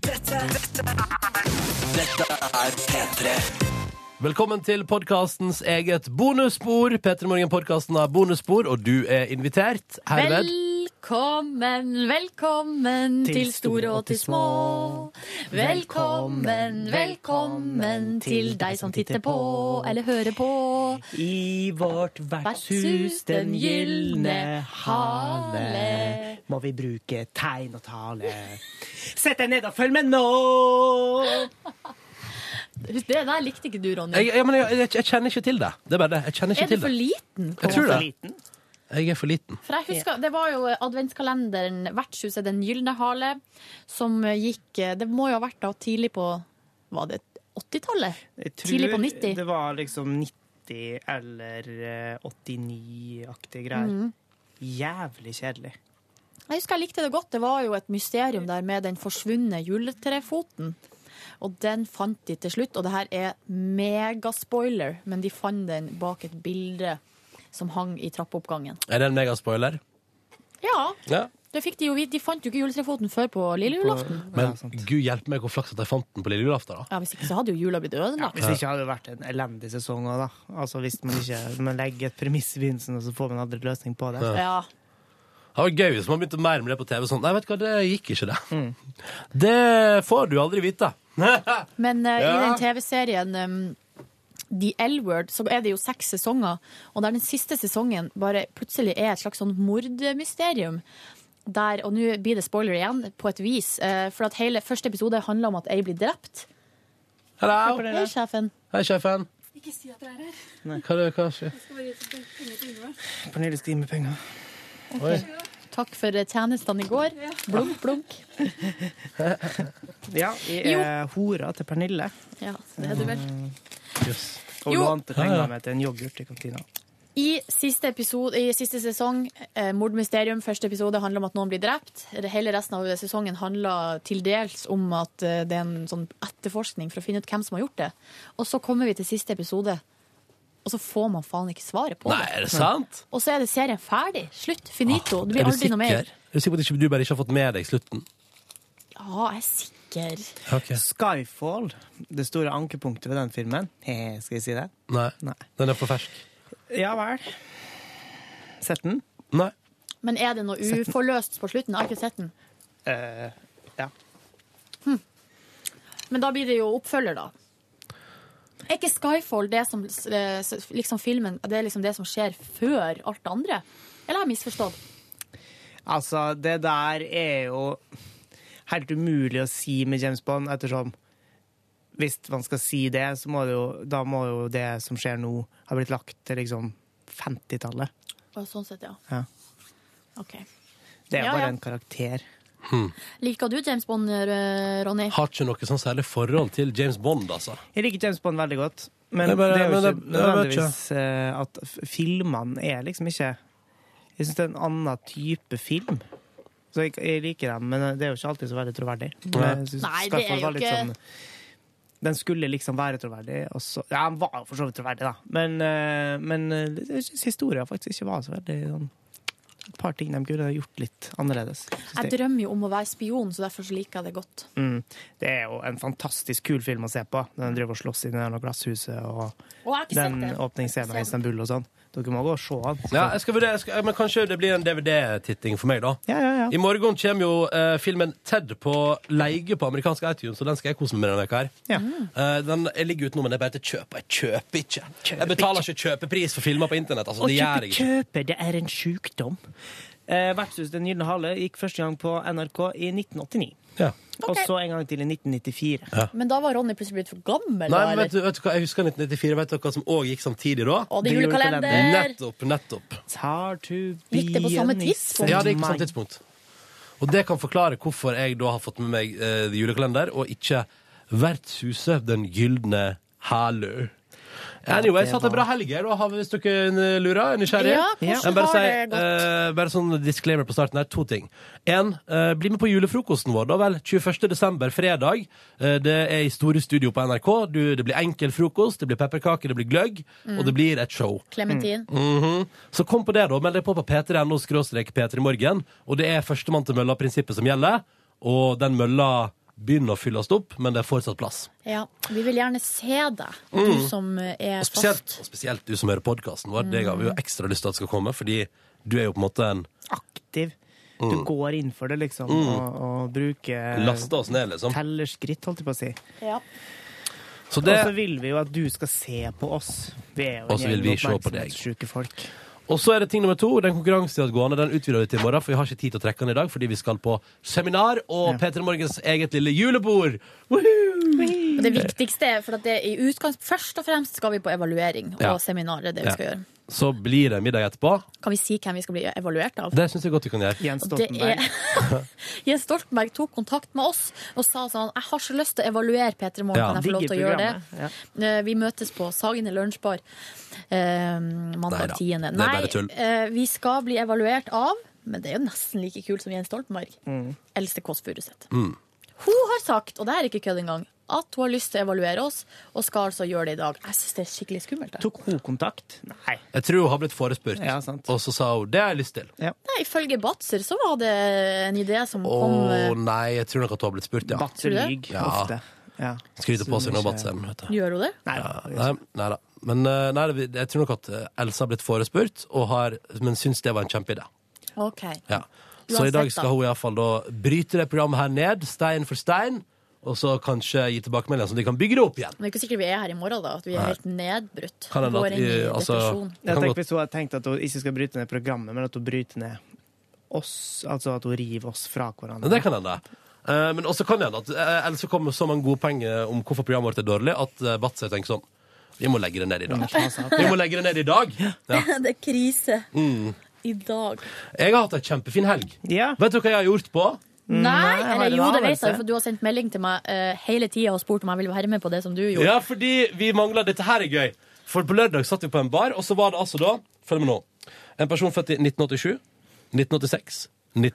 Speaker 7: Dette, dette er
Speaker 4: Dette er P3.
Speaker 1: Velkommen til podkastens eget bonusspor. P3 Morgen-podkasten har bonusspor, og du er invitert. Herved.
Speaker 3: Velkommen, velkommen
Speaker 1: Til
Speaker 3: til store og til små. Velkommen, velkommen til deg som titter på eller hører på.
Speaker 2: I vårt vertshus, den gylne hale, må vi bruke tegn og tale. Sett deg ned og følg med nå!
Speaker 3: Husk, Det der likte ikke du, Ronny.
Speaker 1: Jeg, ja, men jeg, jeg, jeg kjenner ikke til det. Det er bare det. Jeg kjenner ikke
Speaker 3: Er du
Speaker 1: til
Speaker 3: for
Speaker 1: det.
Speaker 3: liten?
Speaker 1: Jeg tror det. Jeg er for liten.
Speaker 3: For jeg husker, Det var jo adventskalenderen Vertshuset Den gylne hale som gikk Det må jo ha vært da tidlig på Var det 80-tallet? Tidlig på 90?
Speaker 2: Det var liksom 90 eller eh, 89-aktige greier.
Speaker 3: Mhm.
Speaker 2: Jævlig kjedelig.
Speaker 3: Jeg husker jeg likte det godt. Det var jo et mysterium der med den forsvunne juletrefoten. Og den fant de til slutt, og det her er megaspoiler, men de fant den bak et bilde som hang i trappeoppgangen.
Speaker 1: Er det en megaspoiler?
Speaker 3: Ja,
Speaker 1: Ja.
Speaker 3: det fikk de jo vite. De fant jo ikke juletrefoten før på lille julaften.
Speaker 1: Men gud hjelpe meg hvor flaks at jeg fant den på lille julaften, da.
Speaker 3: Ja, Hvis ikke så hadde jo jula blitt ødelagt.
Speaker 2: Hvis det ikke hadde det vært en elendig sesong òg, da. Altså hvis man ikke man legger et premiss i begynnelsen, og så får man aldri løsning på det.
Speaker 1: Ja. Det hadde vært gøy hvis man begynte mer med det på TV. Sånn. Nei, vet du hva, det gikk ikke, det. Det får du aldri vite.
Speaker 3: Men eh, i
Speaker 1: Ja.
Speaker 3: den TV-serien um, The L-Word, så er det jo seks sesonger, og der den siste sesongen bare plutselig er et slags sånn mordmysterium. Der, og nå blir det spoiler igjen, på et vis. eh, For at hele første episode handler om at ei blir drept.
Speaker 1: Hallo.
Speaker 3: Hei, sjefen.
Speaker 1: Hei, sjefen.
Speaker 13: Ikke si at dere er her.
Speaker 1: Hva, er det- hva skjer?
Speaker 13: Jeg skal bare gi penger til Yngve.
Speaker 2: Pernille skal gi meg penger.
Speaker 1: Oi.
Speaker 3: Takk for eh, tjenestene i går. Blunk, blunk.
Speaker 2: Ja, jeg er hora til Pernille.
Speaker 3: Ja, det er du vel.
Speaker 2: Yes. Og
Speaker 3: Jo.
Speaker 2: lånte
Speaker 1: Ja, ja.
Speaker 2: penger med til en yoghurt i kantina.
Speaker 3: I siste, episode, I siste sesong, eh, mordmysterium, første episode handler om at noen blir drept. Hele resten av sesongen handler til dels om at eh, det er en sånn etterforskning for å finne ut hvem som har gjort det. Og så kommer vi til siste episode, og så får man faen ikke svaret på
Speaker 1: Nei, er det sant?
Speaker 3: Og så er det serien ferdig. Slutt. Finito. Det
Speaker 1: Er
Speaker 3: blir
Speaker 1: du
Speaker 3: aldri
Speaker 1: sikker?
Speaker 3: noe mer.
Speaker 1: Er du sikker på at ikke- du bare ikke har fått med deg slutten?
Speaker 3: Ja, jeg er sikker.
Speaker 2: Skyfall, det store ankepunktet ved den filmen. Hehe, skal jeg si det?
Speaker 1: Nei. Den er for fersk.
Speaker 2: Ja vel. Sett den?
Speaker 1: Nei.
Speaker 3: Men er det noe uforløst på slutten? Jeg har ikke sett den.
Speaker 2: Eh, ja.
Speaker 3: Men da blir det jo oppfølger, da. Er ikke Skyfall det som eh, s- liksom filmen Det er liksom det som skjer før alt det andre? Eller har jeg misforstått?
Speaker 2: Altså, det der er jo helt umulig å si med James Bond, ettersom hvis man skal si det, så må det jo, da må jo det som skjer nå, ha blitt lagt til liksom 50-tallet.
Speaker 3: Og sånn sett, ja.
Speaker 2: Ja.
Speaker 3: OK.
Speaker 2: Det er jo
Speaker 3: Ja,
Speaker 2: bare
Speaker 3: ja.
Speaker 2: en karakter.
Speaker 3: Liker du James Bond, eh, Ronny?
Speaker 1: Har ikke noe sånn særlig forhold til James Bond, altså.
Speaker 2: Jeg liker James Bond veldig godt, men
Speaker 1: Jeg bare-
Speaker 2: det er jo
Speaker 1: men
Speaker 2: ikke
Speaker 1: jeg- jeg vet
Speaker 2: nødvendigvis eh, at f- filmene er liksom ikke Jeg syns det er en annen type film. Så jeg, jeg liker dem, men det er jo ikke alltid så veldig troverdig. Men
Speaker 1: Nei.
Speaker 2: jeg synes
Speaker 3: Nei, det
Speaker 2: Skyfall
Speaker 3: er
Speaker 2: var
Speaker 3: jo
Speaker 2: litt
Speaker 3: ikke-
Speaker 2: sånn- den skulle liksom være troverdig, og så Ja, den var jo for så vidt troverdig, da, men, eh, men eh, jeg synes historien faktisk ikke var så veldig sånn Et par ting de burde ha gjort litt annerledes. synes
Speaker 3: Jeg drømmer jo om å være spion, så derfor så liker jeg det godt.
Speaker 2: Mm. Det er jo en fantastisk kul film å se på. Den driver og slåss inn i det der glasshuset og
Speaker 3: jeg har ikke
Speaker 2: den
Speaker 3: sett det.
Speaker 2: åpningsscenen
Speaker 1: liksom.
Speaker 2: i Istanbul og sånn. Dere må gå og se den.
Speaker 1: Ja, jeg skal vurdere, jeg skal, men kanskje det blir en DVD-titting for meg, da. I morgen kommer jo eh, filmen Ted på leie på amerikansk iTunes, og den skal jeg kose meg med denne veka her.
Speaker 2: Ja.
Speaker 1: Eh, den jeg ligger utenom, men jeg bare til kjøp. Jeg kjøper ikke. jeg betaler ikke kjøpepris for filmer på internett. Altså,
Speaker 2: Å
Speaker 1: det gjør
Speaker 2: kjøpe,
Speaker 1: jeg ikke.
Speaker 2: kjøpe, det er en sjukdom. Eh, Vertshuset Den gylne hale gikk første gang på NRK i 1989.
Speaker 1: Ja.
Speaker 2: Og så en gang til i 1994.
Speaker 1: Ja.
Speaker 3: Sånn. Men da var Ronny plutselig blitt for
Speaker 1: Nei,
Speaker 3: gammel. da,
Speaker 1: men
Speaker 3: eller?
Speaker 1: vet du, vet du hva, Jeg husker 1994. Vet dere hva som òg gikk samtidig da?
Speaker 3: Å, det er
Speaker 1: eh.
Speaker 3: julekalender!
Speaker 1: Nettopp, nettopp.
Speaker 2: Tar to
Speaker 3: Gikk det på samme tidspunkt?
Speaker 1: Ja, det gikk på samme tidspunkt. Og det kan forklare hvorfor jeg da har fått med meg eh, julekalender, og ikke Vertshuset Den gylne hælø. Anyway,
Speaker 2: det
Speaker 1: satt en
Speaker 2: var-
Speaker 1: bra helg her, og har vi- hvis dere eh, lurer, er nysgjerrig.
Speaker 2: Ja, hvordan
Speaker 1: Jeg bare
Speaker 2: har
Speaker 1: sier,
Speaker 2: det gått?
Speaker 1: eh, bare sånn disclaimer på starten her, to ting. En, eh, bli med på julefrokosten vår, da vel. 21. desember, fredag. Eh, det er i store studio på NRK. Du, det blir enkel frokost, det blir pepperkaker, det blir gløgg,
Speaker 3: Mm.
Speaker 1: og det blir et show.
Speaker 3: Clementin.
Speaker 1: Mhm. Så kom på det, da. Meld deg på på p3.no skråstrek p3 morgen. Og det er førstemann til mølla-prinsippet som gjelder. Og den mølla begynner å fylles opp, men det er fortsatt plass.
Speaker 3: Ja, vi vil gjerne se deg, du
Speaker 1: Mm.
Speaker 3: som eh, er Mm.
Speaker 1: Og spesielt, og spesielt du som hører podkasten vår. Det har vi jo ekstra lyst til at skal komme, fordi du er jo på en måte en
Speaker 2: Aktiv. Du
Speaker 1: Mm.
Speaker 2: går inn for det, liksom,
Speaker 1: Mm.
Speaker 2: og, og
Speaker 3: Eh,
Speaker 2: bruker eh,
Speaker 1: Laster oss ned, liksom.
Speaker 2: Tellerskritt, holdt jeg på å si.
Speaker 3: Ja.
Speaker 1: Så det-
Speaker 3: Altså,
Speaker 2: Og så vil vi jo at du skal se på oss. Vi er jo
Speaker 1: Og så vil vi se på deg.
Speaker 2: oppmerksomhetssjuke folk.
Speaker 1: Og så er det ting nummer to. Den konkurransen gående, den utvider vi til i morgen, for vi har ikke tid til å trekke den i dag fordi vi skal på seminar og P3 Morgens eget lille julebord.
Speaker 3: Og
Speaker 1: Mm.
Speaker 3: Det viktigste er, for at det er i utgangs... Først og fremst skal vi på evaluering
Speaker 1: Ja.
Speaker 3: og seminar. Det er det vi
Speaker 1: Ja.
Speaker 3: skal gjøre.
Speaker 1: Så blir det middag etterpå.
Speaker 3: Kan vi si hvem vi skal bli evaluert av?
Speaker 1: Det syns jeg godt vi kan gjøre.
Speaker 3: Og det er- Jens Stoltenberg tok kontakt med oss og sa sånn Jeg har så lyst til å evaluere P3 Morgen,
Speaker 1: Ja.
Speaker 3: kan jeg få lov til å
Speaker 1: Digger
Speaker 3: gjøre det?
Speaker 1: programmet,
Speaker 3: Eh, Vi møtes på Sagene lunsjbar eh, mandag
Speaker 1: Neida,
Speaker 3: 10.
Speaker 1: det er
Speaker 3: Nei,
Speaker 1: bare tull.
Speaker 3: eh, vi skal bli evaluert av Men det er jo nesten like kult som Jens Stoltenberg. Else Kåss Furuseth.
Speaker 1: Mm.
Speaker 3: Hun har sagt, og det er ikke kødd engang, at hun har lyst til å evaluere oss, og skal altså gjøre det i dag. Jeg syns det er skikkelig skummelt. jeg.
Speaker 2: Tok hun kontakt? Nei.
Speaker 1: Jeg tror hun har blitt forespurt, og så sa hun det har jeg lyst til.
Speaker 3: Nei, ifølge Batzer så var det en idé som
Speaker 1: Å
Speaker 3: kom eh,
Speaker 1: nei, jeg tror nok at hun har blitt spurt, ja.
Speaker 3: Tror du det? lyg
Speaker 1: ja.
Speaker 2: ofte. Ja.
Speaker 1: Skryter på
Speaker 2: Så
Speaker 1: seg nå,
Speaker 2: ikke-
Speaker 1: Batzeren. vet du.
Speaker 3: Gjør hun det?
Speaker 1: Ja, nei, nei da. Men eh, nei, det- jeg tror nok at eh, Elsa har blitt forespurt, og har, men syns det var en kjempeidé.
Speaker 3: OK.
Speaker 1: Ja. Så i
Speaker 3: Uansett,
Speaker 1: dag skal
Speaker 3: da.
Speaker 1: hun iallfall da bryte det programmet her ned, stein for stein, og så kanskje gi tilbakemeldinger så de kan bygge det opp igjen.
Speaker 3: Men det er ikke sikkert vi er her i morgen, da. At vi er
Speaker 1: Nei.
Speaker 3: helt nedbrutt.
Speaker 1: Kan hende at
Speaker 3: Går inn i
Speaker 1: vi, altså,
Speaker 3: depresjon.
Speaker 2: Jeg
Speaker 1: Kan
Speaker 2: tenker
Speaker 1: godt-
Speaker 2: Hvis hun hadde tenkt at hun ikke skal bryte ned programmet, men at hun bryter ned oss, altså at hun river oss fra hverandre.
Speaker 1: Det kan hende. Eh, Men også kan det hende at eh, ellers så kommer så mange gode poeng eh, om hvorfor programmet vårt er dårlig, at eh, Batzer tenker sånn Vi må legge det ned i dag.
Speaker 2: altså.
Speaker 1: Vi må legge det ned i dag. Ja.
Speaker 3: det er krise
Speaker 1: Mm.
Speaker 3: i dag.
Speaker 1: Jeg har hatt ei kjempefin helg. Vet dere hva jeg har gjort på?
Speaker 3: Nei, eller jo, det vet jeg, for du har sendt melding til meg eh, hele tida og spurt om jeg ville være med på det som du gjorde.
Speaker 1: Ja, fordi vi mangler Dette her er gøy. For på lørdag satt vi på en bar, og så var det altså da Følg med nå. En person født i 1987, 1986,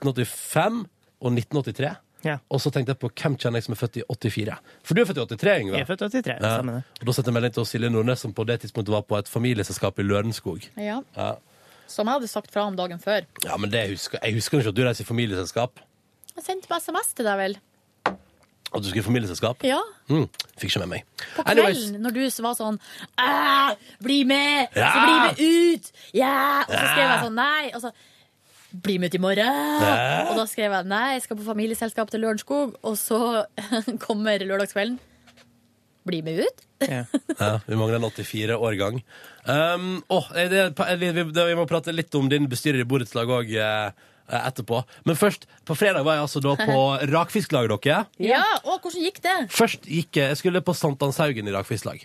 Speaker 1: 1985 og 1983.
Speaker 2: Ja.
Speaker 1: Og så tenkte jeg på hvem kjenner jeg som er født i 84. For du er født i 83, Yngve.
Speaker 2: Jeg er født i 83,
Speaker 1: Ja.
Speaker 2: stemmer det.
Speaker 1: Og da sendte jeg melding til Silje Nordnes, som på det tidspunktet var på et familieselskap i Lørenskog.
Speaker 3: Ja,
Speaker 1: Ja.
Speaker 3: Som jeg hadde sagt fra om dagen før.
Speaker 1: ja, men det husker, jeg husker jo ikke at du reiser i familieselskap.
Speaker 3: Jeg sendte på SMS til deg, vel.
Speaker 1: At du skulle i familieselskap?
Speaker 3: Ja.
Speaker 1: Mm, fikk ikke med meg.
Speaker 3: På
Speaker 1: Anyways.
Speaker 3: kvelden, når du var sånn «Æ, Bli med!
Speaker 1: Ja!
Speaker 3: Så bli med ut! Ja! Og så
Speaker 1: Ja!
Speaker 3: skrev jeg sånn nei. Og så bli med ut i morgen!
Speaker 1: Ja!
Speaker 3: Og da skrev jeg nei, jeg skal på familieselskap til Lørenskog. Og så kommer lørdagskvelden. Bli med ut?
Speaker 1: Ja, vi mangler en 84-årgang. Um, åh, er det, er vi, vi, det, vi må prate litt om din bestyrer i borettslag òg eh, etterpå. Men først, på fredag var jeg altså da på rakfisklaget dere.
Speaker 3: Ja! Å, hvordan gikk det?
Speaker 1: Først gikk jeg Jeg skulle på Sankthanshaugen i rakfisklag.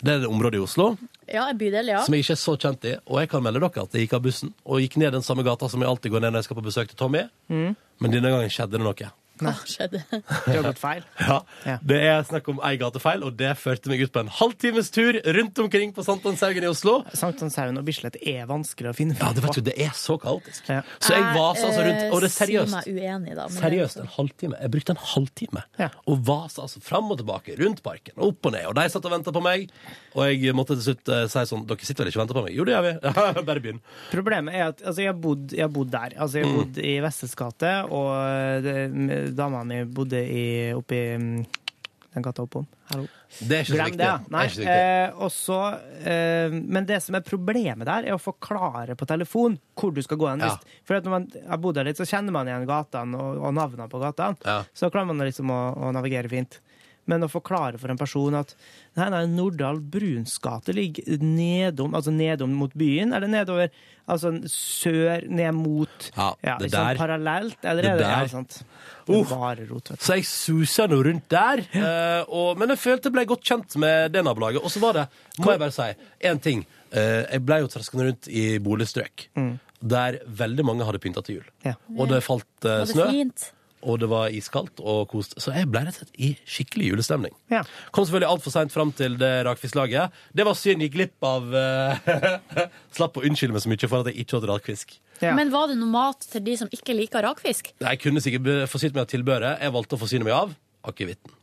Speaker 1: Det er et område i Oslo
Speaker 3: Ja, en bydel, ja.
Speaker 1: som jeg ikke er så kjent i. Og jeg kan melde dere at jeg gikk av bussen og gikk ned den samme gata som jeg alltid går ned når jeg skal på besøk til Tommy. Men denne gangen skjedde det noe.
Speaker 3: Hva skjedde?
Speaker 2: Du har gått feil.
Speaker 1: Ja, Det er snakk om ei gatefeil, og det førte meg ut på en halvtimes tur rundt omkring på Sankthanshaugen i Oslo.
Speaker 2: Sankthanshaugen og Bislett er vanskelig å finne
Speaker 1: Ja, det vet du, det er så kaotisk. Så jeg vasa altså rundt, og det er seriøst.
Speaker 3: Jeg eh, sier meg uenig, da. men
Speaker 1: Seriøst, en halvtime. Jeg brukte en halvtime og vasa altså fram og tilbake rundt parken. Opp og ned. Og de satt og venta på meg. Og jeg måtte til slutt eh, si sånn Dere sitter vel ikke og venter på meg? Jo, det gjør vi. Bare begynn.
Speaker 2: Problemet er at altså, jeg har bodd, jeg har bodd der. Altså, jeg har
Speaker 1: Mm.
Speaker 2: bodd i Vestens gate, og eh, det- dama mi bodde i, oppi mm, den gata oppom. Hallo.
Speaker 1: Det er ikke så
Speaker 2: Glem
Speaker 1: viktig.
Speaker 2: det, ja.
Speaker 1: Det er
Speaker 2: Nei,
Speaker 1: ikke så viktig.
Speaker 2: eh, og så, eh, men det som er problemet der, er å forklare på telefon hvor du skal gå hen.
Speaker 1: Ja.
Speaker 2: Hvis- For at når man har bodd der litt, så kjenner man igjen gatene og, og navnene på gatene.
Speaker 1: Ja.
Speaker 2: Så klarer man liksom å, å navigere fint. Men å forklare for en person at nei, nei, Nordahl Bruns gate ligger nedom, altså nedom mot byen, eller nedover altså sør, ned mot
Speaker 1: Ja, det
Speaker 2: ikke sant,
Speaker 1: der.
Speaker 2: Parallelt, eller
Speaker 1: Det
Speaker 2: er det
Speaker 1: der.
Speaker 2: Ja, sant. Det er
Speaker 1: Uff.
Speaker 2: bare rot, vet du.
Speaker 1: Så jeg susa nå rundt der. eh, og, men jeg følte jeg ble godt kjent med det nabolaget. Og så var det, må jeg bare si, én ting. Eh, jeg ble jo traskende rundt i boligstrøk
Speaker 3: Mm.
Speaker 1: der veldig mange hadde pynta til jul. Og det falt eh,
Speaker 3: Var det
Speaker 1: snø.
Speaker 3: fint?
Speaker 1: Og det var iskaldt og kost. Så jeg ble rett og slett i skikkelig julestemning.
Speaker 2: Ja.
Speaker 1: Kom selvfølgelig altfor seint fram til det rakfisklaget. Det var synd. Gikk glipp av eh, Slapp å unnskylde meg så mye for at jeg ikke hadde rakfisk.
Speaker 3: Men var det noe mat til de som ikke liker rakfisk?
Speaker 1: Jeg kunne sikkert be- forsynt meg av tilbøret. Jeg valgte å forsyne meg av akevitten.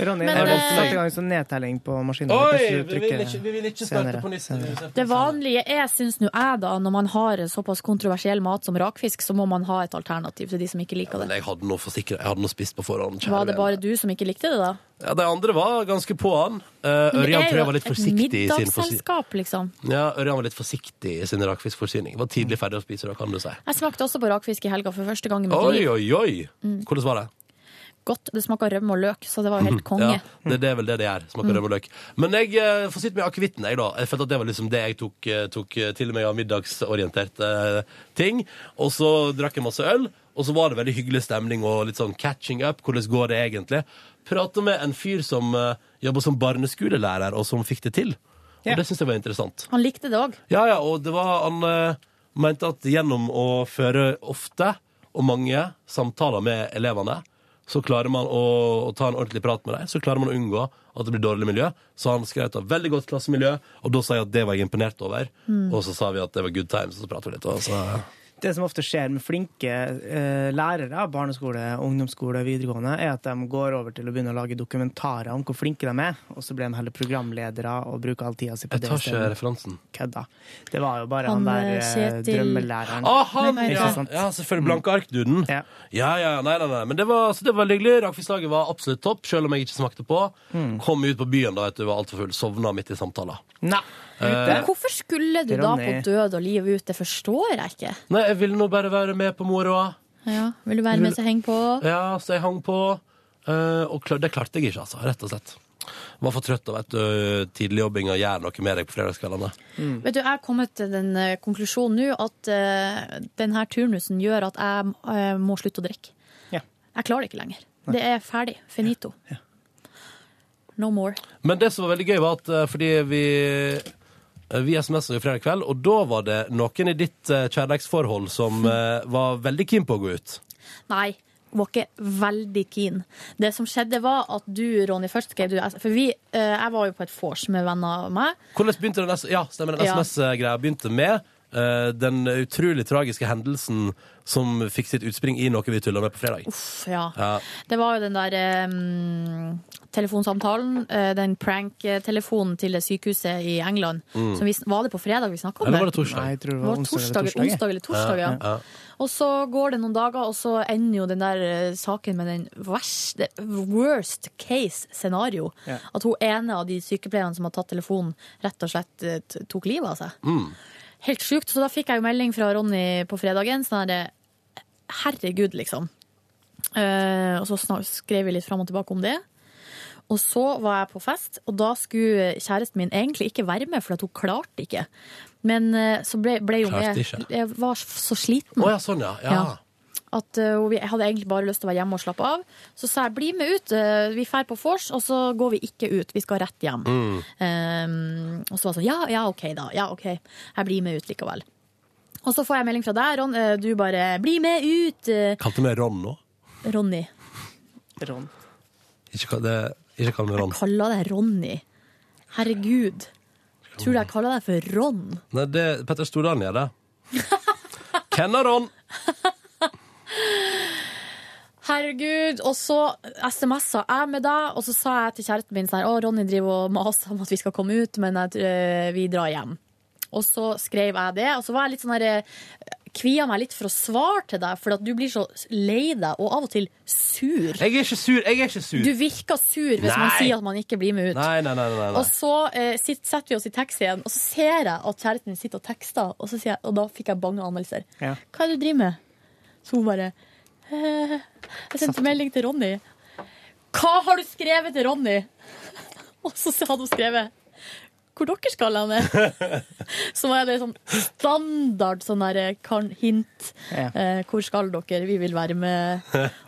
Speaker 2: Ronny,
Speaker 3: Men,
Speaker 2: jeg har
Speaker 3: eh,
Speaker 2: satt i gang sånn nedtelling på maskinen.
Speaker 1: Oi,
Speaker 2: Hvis du
Speaker 1: vi vil
Speaker 2: trykker
Speaker 1: ikke- vi vil ikke starte
Speaker 2: senere,
Speaker 1: på nytt.
Speaker 2: senere.
Speaker 3: Det vanlige er, syns nå jeg, da, når man har såpass kontroversiell mat som rakfisk, så må man ha et alternativ til de som ikke liker
Speaker 1: Men
Speaker 3: det.
Speaker 1: jeg hadde noe forsikret. Jeg hadde noe spist på forhånd. kjære
Speaker 3: Var det
Speaker 1: vene.
Speaker 3: bare du som ikke likte det, da?
Speaker 1: Ja, de andre var ganske på han. Eh, Ørjan
Speaker 3: Men det
Speaker 1: tror
Speaker 3: er
Speaker 1: jeg
Speaker 3: jo
Speaker 1: var litt
Speaker 3: et
Speaker 1: forsiktig i sin forsi-
Speaker 3: middagsselskap, liksom.
Speaker 1: Ja, Ørjan var litt forsiktig i sin rakfiskforsyning. Var tidlig ferdig å spise, da kan du si.
Speaker 3: Jeg smakte også på rakfisk i helga for første gang i mitt
Speaker 1: Oi,
Speaker 3: liv.
Speaker 1: oi, oi!
Speaker 3: Mm.
Speaker 1: Hvordan var det?
Speaker 3: Godt. Det smaka rømme og løk, så det var jo helt konge.
Speaker 1: Mhm. Ja, det, det er vel det det gjør. Smaker
Speaker 3: Mm.
Speaker 1: rømme og løk. Men jeg eh, får sitte med akevitten, jeg, da. Jeg følte at det var liksom det jeg tok, eh, tok eh, til meg av middagsorienterte eh, ting. Og så drakk jeg masse øl, og så var det veldig hyggelig stemning og litt sånn catching up. Hvordan går det egentlig? Prata med en fyr som eh, jobber som barneskolelærer, og som fikk det til. Og det syns jeg var interessant.
Speaker 3: Han likte det òg.
Speaker 1: Ja, ja, og det var han eh, mente at gjennom å føre ofte og mange samtaler med elevene, så klarer man å, å ta en ordentlig prat med dem, så klarer man å unngå at det blir dårlig miljø. Så han skrøt av veldig godt klassemiljø, og da sa jeg at det var jeg imponert over.
Speaker 2: Mm.
Speaker 1: Og så sa vi at det var good times, og så pratet vi litt. Og så,
Speaker 2: Det som ofte skjer med flinke eh, lærere, barneskole, ungdomsskole, videregående, er at de går over til å begynne å lage dokumentarer om hvor flinke de er, og så blir de heller programledere og bruker all tida si på
Speaker 1: jeg
Speaker 2: det.
Speaker 1: tar ikke
Speaker 2: isteden.
Speaker 1: referansen.
Speaker 2: Kødda. Det var jo bare
Speaker 1: Han,
Speaker 2: han, der eh,
Speaker 1: Kjetil-
Speaker 2: drømmelæreren.
Speaker 1: Å, Ah, han,
Speaker 2: Ikke
Speaker 1: ja.
Speaker 2: sant?
Speaker 1: ja, selvfølgelig. Blanke ark-duden. Ja. ja, nei, nei, nei. Men det var, så det var veldig hyggelig. Rakfislaget var absolutt topp, selv om jeg ikke smakte på. Kom ut på byen da, vet du, var altfor full. Sovna midt i samtaler.
Speaker 2: Nei.
Speaker 1: Eh,
Speaker 3: Men hvorfor skulle du da på
Speaker 1: Ronny.
Speaker 3: død og liv ut? Det forstår jeg ikke.
Speaker 1: Nei, jeg ville nå bare være med på moroa.
Speaker 3: Ja, vil du være med, så heng på.
Speaker 1: Ja, så jeg hang på. eh, og klar, det klarte jeg ikke, altså. Rett og slett. Var for trøtt av et uh, tidligjobbing og gjør noe med deg på fredagskveldene.
Speaker 3: Vet du, Jeg har kommet til den eh, konklusjonen nå at eh, denne turnusen gjør at jeg eh, må slutte å drikke.
Speaker 2: Ja.
Speaker 3: Jeg klarer det ikke lenger. Det er ferdig. Finito. No more.
Speaker 1: Men det som var veldig gøy, var at eh, fordi vi eh, vi SMS-a jo fredag kveld, og da var det noen i ditt eh, kjærlighetsforhold som eh, var veldig keen på å gå ut.
Speaker 3: Nei, var ikke veldig keen. Det som skjedde var at du, Ronny, først skrev du For vi, eh, jeg var jo på et vors med venner av meg.
Speaker 1: Hvordan begynte den, S- ja, stemmer, den
Speaker 3: Ja.
Speaker 1: SMS-greia begynte med eh, den utrolig tragiske hendelsen som fikk sitt utspring i noe vi tulla med på fredag.
Speaker 3: Uff, ja.
Speaker 1: Ja.
Speaker 3: Det var jo den der em, telefonsamtalen, eh, den prank-telefonen til det sykehuset i England.
Speaker 1: Mm.
Speaker 3: Som vi, sn- var det på fredag vi snakka om?
Speaker 1: Eller var det torsdag?
Speaker 3: Nei, jeg tror
Speaker 1: det var onsdag eller
Speaker 3: torsdag,
Speaker 1: torsdag, ja.
Speaker 3: onsdag eller torsdag, ja.
Speaker 1: Ja, ja.
Speaker 3: Og så går det noen dager, og så ender jo den der eh, saken med den verste, worst case scenario.
Speaker 1: Ja.
Speaker 3: At hun ene av de sykepleierne som har tatt telefonen, rett og slett eh, t- tok livet av seg.
Speaker 1: Mm.
Speaker 3: Helt sjukt. Så da fikk jeg jo melding fra Ronny på fredagen. Sånn her, herregud, liksom. Eh, og så snak- skrev vi litt fram og tilbake om det. Og så var jeg på fest, og da skulle kjæresten min egentlig ikke være med, for at hun klarte ikke. Men eh, så ble, ble hun
Speaker 1: Klarte
Speaker 3: med.
Speaker 1: ikke?
Speaker 3: Jeg var så sliten.
Speaker 1: Å ja, sånn, ja. ja.
Speaker 3: Ja. At eh, hun- jeg hadde egentlig bare lyst til å være hjemme og slappe av. Så sa jeg bli med ut, eh, vi drar på vors, og så går vi ikke ut. Vi skal rett hjem.
Speaker 1: Mm.
Speaker 3: Um, og så var det sånn, ja, ja, ok da, ja, ok, jeg blir med ut likevel. Og så får jeg melding fra deg, Ron, eh, du bare, bli med ut, eh,
Speaker 1: Kalte meg Ron nå.
Speaker 3: Ronny.
Speaker 2: Ron.
Speaker 1: Ikke, kall- det, ikke kall meg Ron.
Speaker 3: Kaller deg Ronny. Herregud. Tror du jeg kaller deg for Ron?
Speaker 1: Nei, det, Petter Stordalen gjør det. Hvem er Ron?
Speaker 3: Herregud, og så SMS-a jeg med deg, og så sa jeg til kjæresten min sånn, her, å, Ronny driver og maser om at vi skal komme ut, men jeg, eh, vi drar hjem. Og så skrev jeg det, og så var jeg litt sånn her, eh, kvia meg litt for å svare til deg, for at du blir så lei deg, og av og til sur.
Speaker 1: Jeg er ikke sur! Jeg er ikke sur!
Speaker 3: Du virker sur hvis man
Speaker 1: Nei.
Speaker 3: sier at man ikke blir med ut.
Speaker 1: Nei, nei, nei. nei, nei.
Speaker 3: Og så eh, sitt, setter vi oss i taxien, og så ser jeg at kjæresten min sitter og tekster, og, så sier jeg, og da fikk jeg bange anmeldelser.
Speaker 1: Ja.
Speaker 3: Hva er det du driver med? Så hun bare eh, Jeg sendte melding til Ronny. Hva har du skrevet til Ronny? Og så hadde hun skrevet hvor dere skal han er. Så var det sånn standard sånn der eh, kan hint.
Speaker 2: Ja.
Speaker 3: Eh, hvor skal dere? Vi vil være med.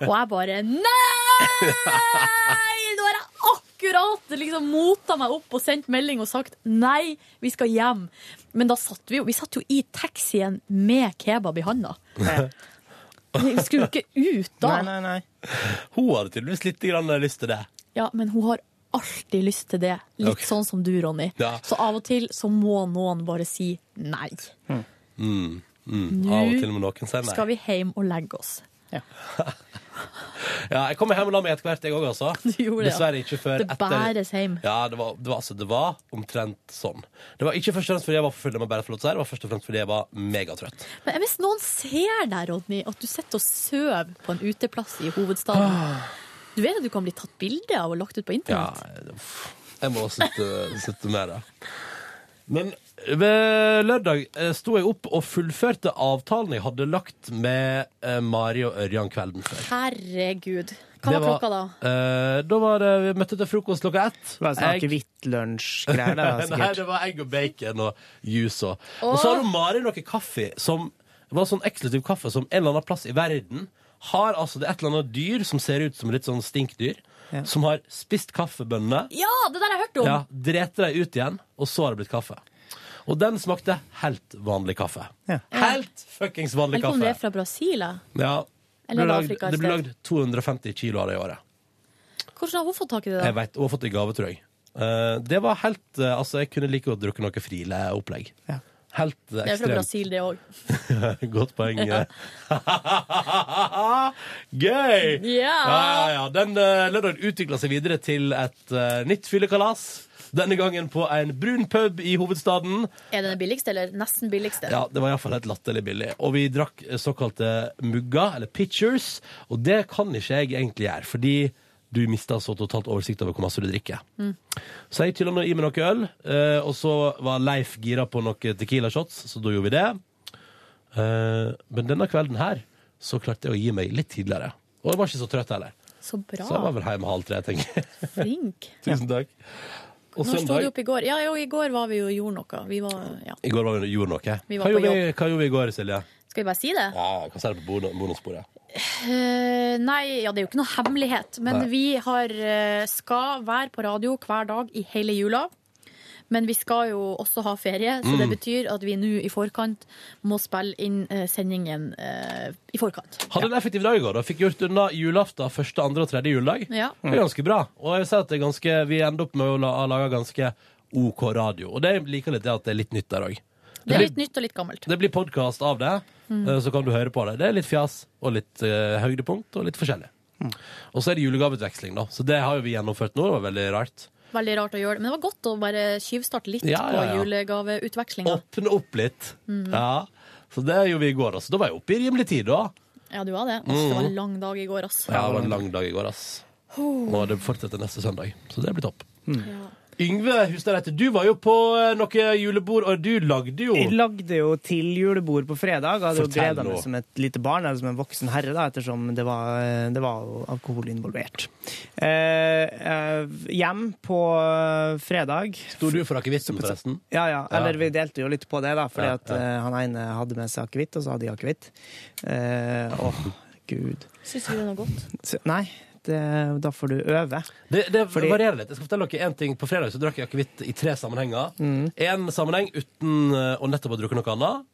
Speaker 3: Og jeg bare Nei! Nå har jeg akkurat liksom mota meg opp og sendt melding og sagt nei, vi skal hjem. Men da satt vi jo Vi satt jo i taxien med kebab i handa. Vi skulle jo ikke ut da.
Speaker 1: Nei, Hun hadde tydeligvis litt grann lyst til det.
Speaker 3: Ja, men hun har alltid lyst til det. Litt
Speaker 1: Ok.
Speaker 3: sånn som du, Ronny.
Speaker 1: Ja.
Speaker 3: Så av og til så må noen bare si nei.
Speaker 1: Mm, mm.
Speaker 3: Nå
Speaker 1: Av og til må noen si nei.
Speaker 3: skal vi hjem og legge oss.
Speaker 1: Ja, jeg kom hjem og la meg etter hvert, jeg òg, altså.
Speaker 3: gjorde det, ja.
Speaker 1: Dessverre ikke før
Speaker 3: Det bæres hjem.
Speaker 1: Ja, det var, det, var, altså, det var omtrent sånn. Det var ikke først og fremst fordi jeg var for full, det må jeg bare få lov til å si. Det var først og fremst fordi jeg var megatrøtt.
Speaker 3: Men hvis noen ser deg, Rodney, at du sitter og sover på en uteplass i hovedstaden Du vet at du kan bli tatt bilde av og lagt ut på
Speaker 1: Ah. Ja,
Speaker 3: internett?
Speaker 1: uff. jeg må slutte, slutte med det. Men ved lørdag eh, sto jeg opp og fullførte avtalen jeg hadde lagt med eh, Mari og Ørjan kvelden før.
Speaker 3: Herregud. Hva var,
Speaker 1: Det
Speaker 3: klokka da?
Speaker 1: eh, da var det, vi møtte til frokost klokka ett.
Speaker 2: Det var sånn akevittlunsjgreier der, da,
Speaker 1: Nei,
Speaker 2: sikkert.
Speaker 1: det var egg og bacon og juice og Og så har hun Mari noe kaffe som var sånn eksklusiv kaffe som en eller annen plass i verden har altså det er et eller annet dyr som ser ut som litt sånn stinkdyr, som har spist kaffebønnene,
Speaker 3: Ja, det der har jeg hørt om!
Speaker 1: ja, drete dem ut igjen, og så har det blitt kaffe. Og den smakte helt vanlig kaffe. Helt fuckings vanlig
Speaker 3: Eller om det
Speaker 1: kaffe.
Speaker 3: er fra Brasil? jeg.
Speaker 1: Ja. Det
Speaker 3: Eller
Speaker 1: ble lagd,
Speaker 3: Afrika i
Speaker 1: det ble
Speaker 3: sted.
Speaker 1: lagd 250 kilo av det i året.
Speaker 3: Hvordan har hun fått tak i det?
Speaker 1: Jeg
Speaker 3: da?
Speaker 1: vet, Hun har fått det i gave, tror jeg. Eh, det var helt eh, Altså, jeg kunne like godt drukket noe Friele-opplegg. Helt eh,
Speaker 3: Det er fra
Speaker 1: ekstremt.
Speaker 3: Brasil, det òg.
Speaker 1: Godt poeng. eh. Gøy!
Speaker 3: Ja.
Speaker 1: ja, ja. Den uh, lørdagen utvikla seg videre til et eh, nytt fyllekalas. Denne gangen på en brun pub i hovedstaden.
Speaker 3: Er det den billigste, eller nesten billigste?
Speaker 1: Ja, Det var iallfall helt latterlig billig. Og vi drakk eh, såkalte mugger, eller pitchers. Og det kan ikke jeg egentlig gjøre, fordi du mister så totalt oversikt over hvor masse du drikker.
Speaker 4: Mm.
Speaker 1: Så jeg tylla nå i meg noe øl, eh, og så var Leif gira på noen Tequila shots, så da gjorde vi det. Eh, men denne kvelden her så klarte jeg å gi meg litt tidligere. Og jeg var ikke så trøtt heller.
Speaker 3: Så bra.
Speaker 1: Så jeg var vel hjemme halv tre, tenker jeg.
Speaker 3: Flink.
Speaker 1: Tusen takk. Og
Speaker 3: Når sto du
Speaker 1: søndag
Speaker 3: opp i går? Ja, jo, i går var vi jo og gjorde noe. Vi var, ja.
Speaker 1: I går var vi, gjorde noe.
Speaker 3: Vi var
Speaker 1: hva,
Speaker 3: på
Speaker 1: gjorde vi, hva gjorde vi i går, Silje?
Speaker 3: Skal vi bare si det?
Speaker 1: Ja, hva sier du på bono- bonusbordet?
Speaker 3: Eh, nei, ja, det er jo ikke noe hemmelighet. Men
Speaker 1: Nei.
Speaker 3: vi har, eh, skal være på radio hver dag i hele jula. Men vi skal jo også ha ferie, så det
Speaker 1: Mm.
Speaker 3: betyr at vi nå i forkant må spille inn eh, sendingen eh, i forkant.
Speaker 1: Hadde en effektiv dag i går. da Fikk gjort unna julaften, første, andre og tredje juledag.
Speaker 3: Ja.
Speaker 1: Det er ganske bla. Og jeg vil si at det er ganske, vi ender opp med å la, ha laga ganske OK radio. Og det jeg liker litt, det er at det er litt nytt der òg.
Speaker 3: Det er litt nytt og litt gammelt.
Speaker 1: Det blir podkast av det,
Speaker 3: Mm.
Speaker 1: eh, så kan du høre på det. Det er litt fjas og litt eh, høydepunkt og litt forskjellig. Og så er det julegaveutveksling, da. Så det har jo vi gjennomført nå. Det var veldig rart.
Speaker 3: Veldig rart å gjøre det. Men det var godt å bare tyvstarte litt
Speaker 1: Ja, ja, ja.
Speaker 3: på julegaveutvekslinga.
Speaker 1: Åpne opp litt.
Speaker 3: Mhm.
Speaker 1: Ja. Så det gjorde vi i går, altså. Da var jeg oppe i rimelig tid, da.
Speaker 3: Ja, du var det. Ass, det var
Speaker 1: Mhm.
Speaker 3: en lang dag i går, ass.
Speaker 1: Ja, det var en lang dag i går, ass.
Speaker 3: Oh.
Speaker 1: Og det fortsetter neste søndag. Så det blir topp. Yngve Hustadreite, du var jo på eh, noe julebord, og du lagde jo
Speaker 2: Jeg lagde jo til julebord på fredag. Jeg hadde jo
Speaker 1: Fortell
Speaker 2: gleda meg
Speaker 1: nå.
Speaker 2: som et lite barn, eller som en voksen herre, da, ettersom det var, det var jo alkohol involvert. Eh, eh, hjem på eh, fredag
Speaker 1: Sto du for akevitten, forresten?
Speaker 2: Ja, ja.
Speaker 1: Ja.
Speaker 2: Eller vi delte jo litt på det, da, fordi
Speaker 1: Ja,
Speaker 2: at eh, han ene hadde med seg akevitt, og så hadde jeg akevitt. Eh, Åh, gud.
Speaker 3: Syns du det er noe godt?
Speaker 2: Så- Nei, det, da får du øve.
Speaker 1: Det, det
Speaker 2: Fordi-
Speaker 1: varierer litt. Jeg skal fortelle dere en ting. På fredag så drakk jeg akevitt i tre sammenhenger. En sammenheng uten eh, å nettopp ha drukket noe annet.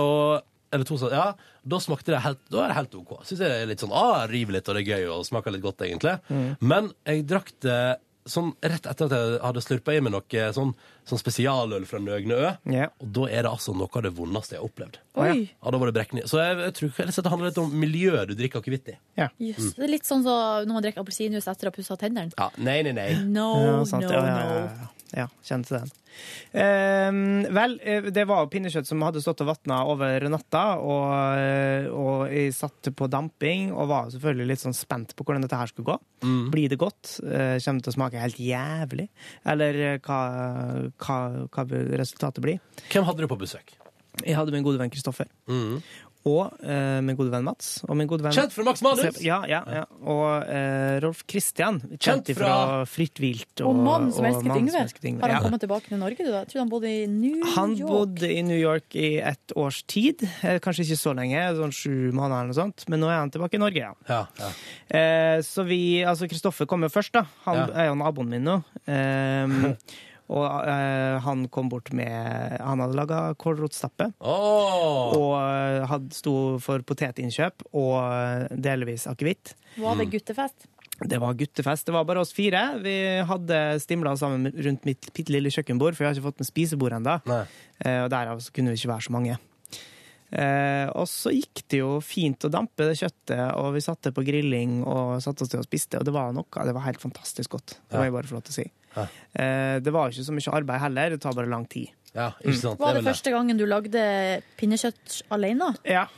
Speaker 1: Og, eller to, sam- ja, da smakte det helt, da er det helt OK. Syns jeg det er litt sånn ah, river litt, og det er gøy, og smaker litt godt, egentlig.
Speaker 14: Mm.
Speaker 1: Men jeg drakk det sånn rett etter at jeg hadde slurpa i meg noe sånn, sånn spesialøl fra Nøgne Ø. Og da er det altså noe av det vondeste jeg har opplevd.
Speaker 3: Oi.
Speaker 1: Ja, da var det brekkende. Så jeg, jeg tror kanskje det handler litt om miljøet du drikker akevitt i.
Speaker 2: Mm.
Speaker 3: Jøss. Det er litt sånn som når man drikker appelsinjuice etter å ha pussa tennene.
Speaker 1: Ja, nei, nei, nei.
Speaker 3: No,
Speaker 2: Ja, sant.
Speaker 3: Oh,
Speaker 2: Ja,
Speaker 3: no,
Speaker 2: ja, ja,
Speaker 3: no.
Speaker 2: ja. Ja, kjente den. Eh, vel, eh, det var jo pinnekjøtt som hadde stått og vatna over natta, og, eh, og jeg satt på damping og var selvfølgelig litt sånn spent på hvordan dette her skulle gå.
Speaker 1: Mm.
Speaker 2: Blir det godt? Eh, Kommer det til å smake helt jævlig? Eller eh, hva, hva, hva vil resultatet blir?
Speaker 1: Hvem hadde du på besøk?
Speaker 2: Jeg hadde min gode venn Kristoffer. Og eh, min gode venn Mats. Og min gode venn
Speaker 1: Kjent fra Max Manus!
Speaker 2: Ja, ja, ja. Og eh, Rolf Kristian.
Speaker 3: Kjent
Speaker 2: Kjent
Speaker 3: fra-
Speaker 2: fra Fritt vilt.
Speaker 3: Og mannen som elsket
Speaker 2: Mannen som
Speaker 3: Yngve.
Speaker 2: elsket Yngve,
Speaker 3: Har han
Speaker 2: ja.
Speaker 3: kommet tilbake til Norge? Du, da? Jeg trodde han bodde i New
Speaker 2: Han
Speaker 3: York.
Speaker 2: bodde i New York i et års tid. Eh, Kanskje ikke så lenge, sånn sju måneder eller noe sånt. Men nå er han tilbake i Norge, ja. Eh, så vi, altså Kristoffer kom jo først, da. Han
Speaker 1: Ja.
Speaker 2: er jo naboen min nå. Ehm, og eh, han kom bort med Han hadde laga kålrotstappe. Og eh, hadde, sto for potetinnkjøp og eh, delvis akevitt.
Speaker 3: Var det
Speaker 2: Mm.
Speaker 3: guttefest?
Speaker 2: Det var guttefest. Det var bare oss fire. Vi hadde stimla sammen rundt mitt bitte lille kjøkkenbord, for jeg har ikke fått med spisebord ennå. Og derav så kunne vi ikke være så mange. Eh, og så gikk det jo fint å dampe det kjøttet, og vi satte på grilling og satte oss til og spiste, og det var noe. Det var helt fantastisk godt. Det må jeg bare få lov til å si. Eh, det var ikke så mye arbeid heller, det tar bare lang tid.
Speaker 1: Ja, ikke sant.
Speaker 3: Var det første gangen du lagde pinnekjøtt alene?
Speaker 2: Ja.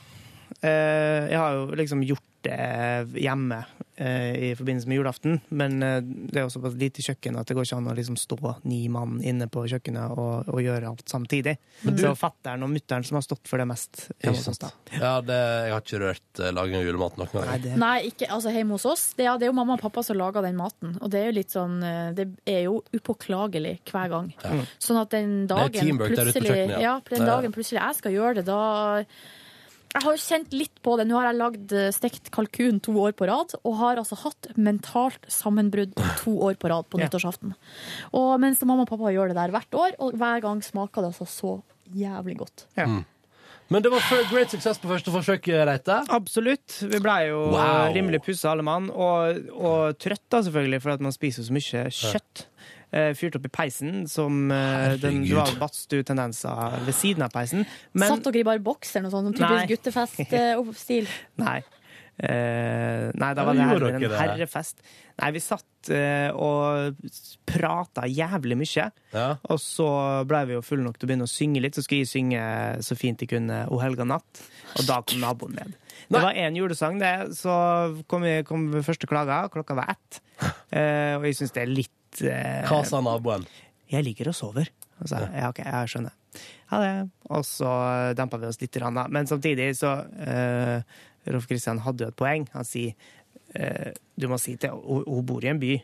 Speaker 2: Eh, jeg har jo liksom gjort det hjemme eh, i forbindelse med julaften, men eh, det er jo såpass lite kjøkken at det går ikke an å liksom stå ni mann inne på kjøkkenet og, og gjøre alt samtidig.
Speaker 1: Men du-
Speaker 2: Så fatter'n og mutter'n som har stått for det mest. hjemme hos oss da.
Speaker 1: Ja, det, jeg har ikke rørt eh, laging av julemat noen gang.
Speaker 3: Nei, ikke altså, hjemme hos oss. Det er, det er jo mamma og pappa som lager den maten. Og det er jo litt sånn eh, Det er jo upåklagelig hver gang.
Speaker 1: Ja.
Speaker 2: Mm.
Speaker 3: Sånn at den dagen
Speaker 1: Det er teamwork der ute på
Speaker 3: plutselig
Speaker 1: kjøkkenet, ja.
Speaker 3: ja.
Speaker 1: Ja,
Speaker 3: den
Speaker 1: ja.
Speaker 3: dagen plutselig jeg skal gjøre det, da Jeg har jo kjent litt på det. Nå har jeg lagd eh, stekt kalkun to år på rad, og har altså hatt mentalt sammenbrudd to år på rad på
Speaker 15: Ja.
Speaker 3: nyttårsaften. Og mens mamma og pappa gjør det der hvert år, og hver gang smaker det altså så jævlig godt.
Speaker 1: Mm. Men det var for great success på første forsøk, eh, Reite.
Speaker 2: Absolutt. Vi ble jo
Speaker 1: Wow.
Speaker 2: eh, rimelig pussa alle mann, og, og trøtt da selvfølgelig, for at man spiser jo så mye kjøtt. Eh, Fyrt opp i peisen, som eh, den, det
Speaker 3: Herregud.
Speaker 2: var badstue-tendenser ved siden av peisen. Men
Speaker 3: Satt dere i bare bokser, noe sånt, sånn
Speaker 2: Nei.
Speaker 3: typisk eh, guttefest-stil?
Speaker 2: Nei. Eh, nei, da
Speaker 1: Ja,
Speaker 2: var det
Speaker 1: gjorde
Speaker 2: her,
Speaker 1: dere
Speaker 2: en
Speaker 1: det?
Speaker 2: herrefest. Nei, vi satt eh, og prata jævlig mye. Og så ble vi jo fulle nok til å begynne å synge litt, så skulle jeg synge så fint jeg kunne 'O helga natt', og da kom naboen ned. Det var én julesang, det. Så kom, vi, kom første klaga, klokka var ett. Eh, og jeg syns det er litt eh,
Speaker 1: Hva sa naboen?
Speaker 2: Jeg ligger og sover. Og så, ja, OK, jeg skjønner. Ha det. Og så dempa vi oss litt, grann, da. men samtidig så eh, Rolf Kristian hadde jo et poeng. Han sier eh, du må si til Hun hun bor i en by.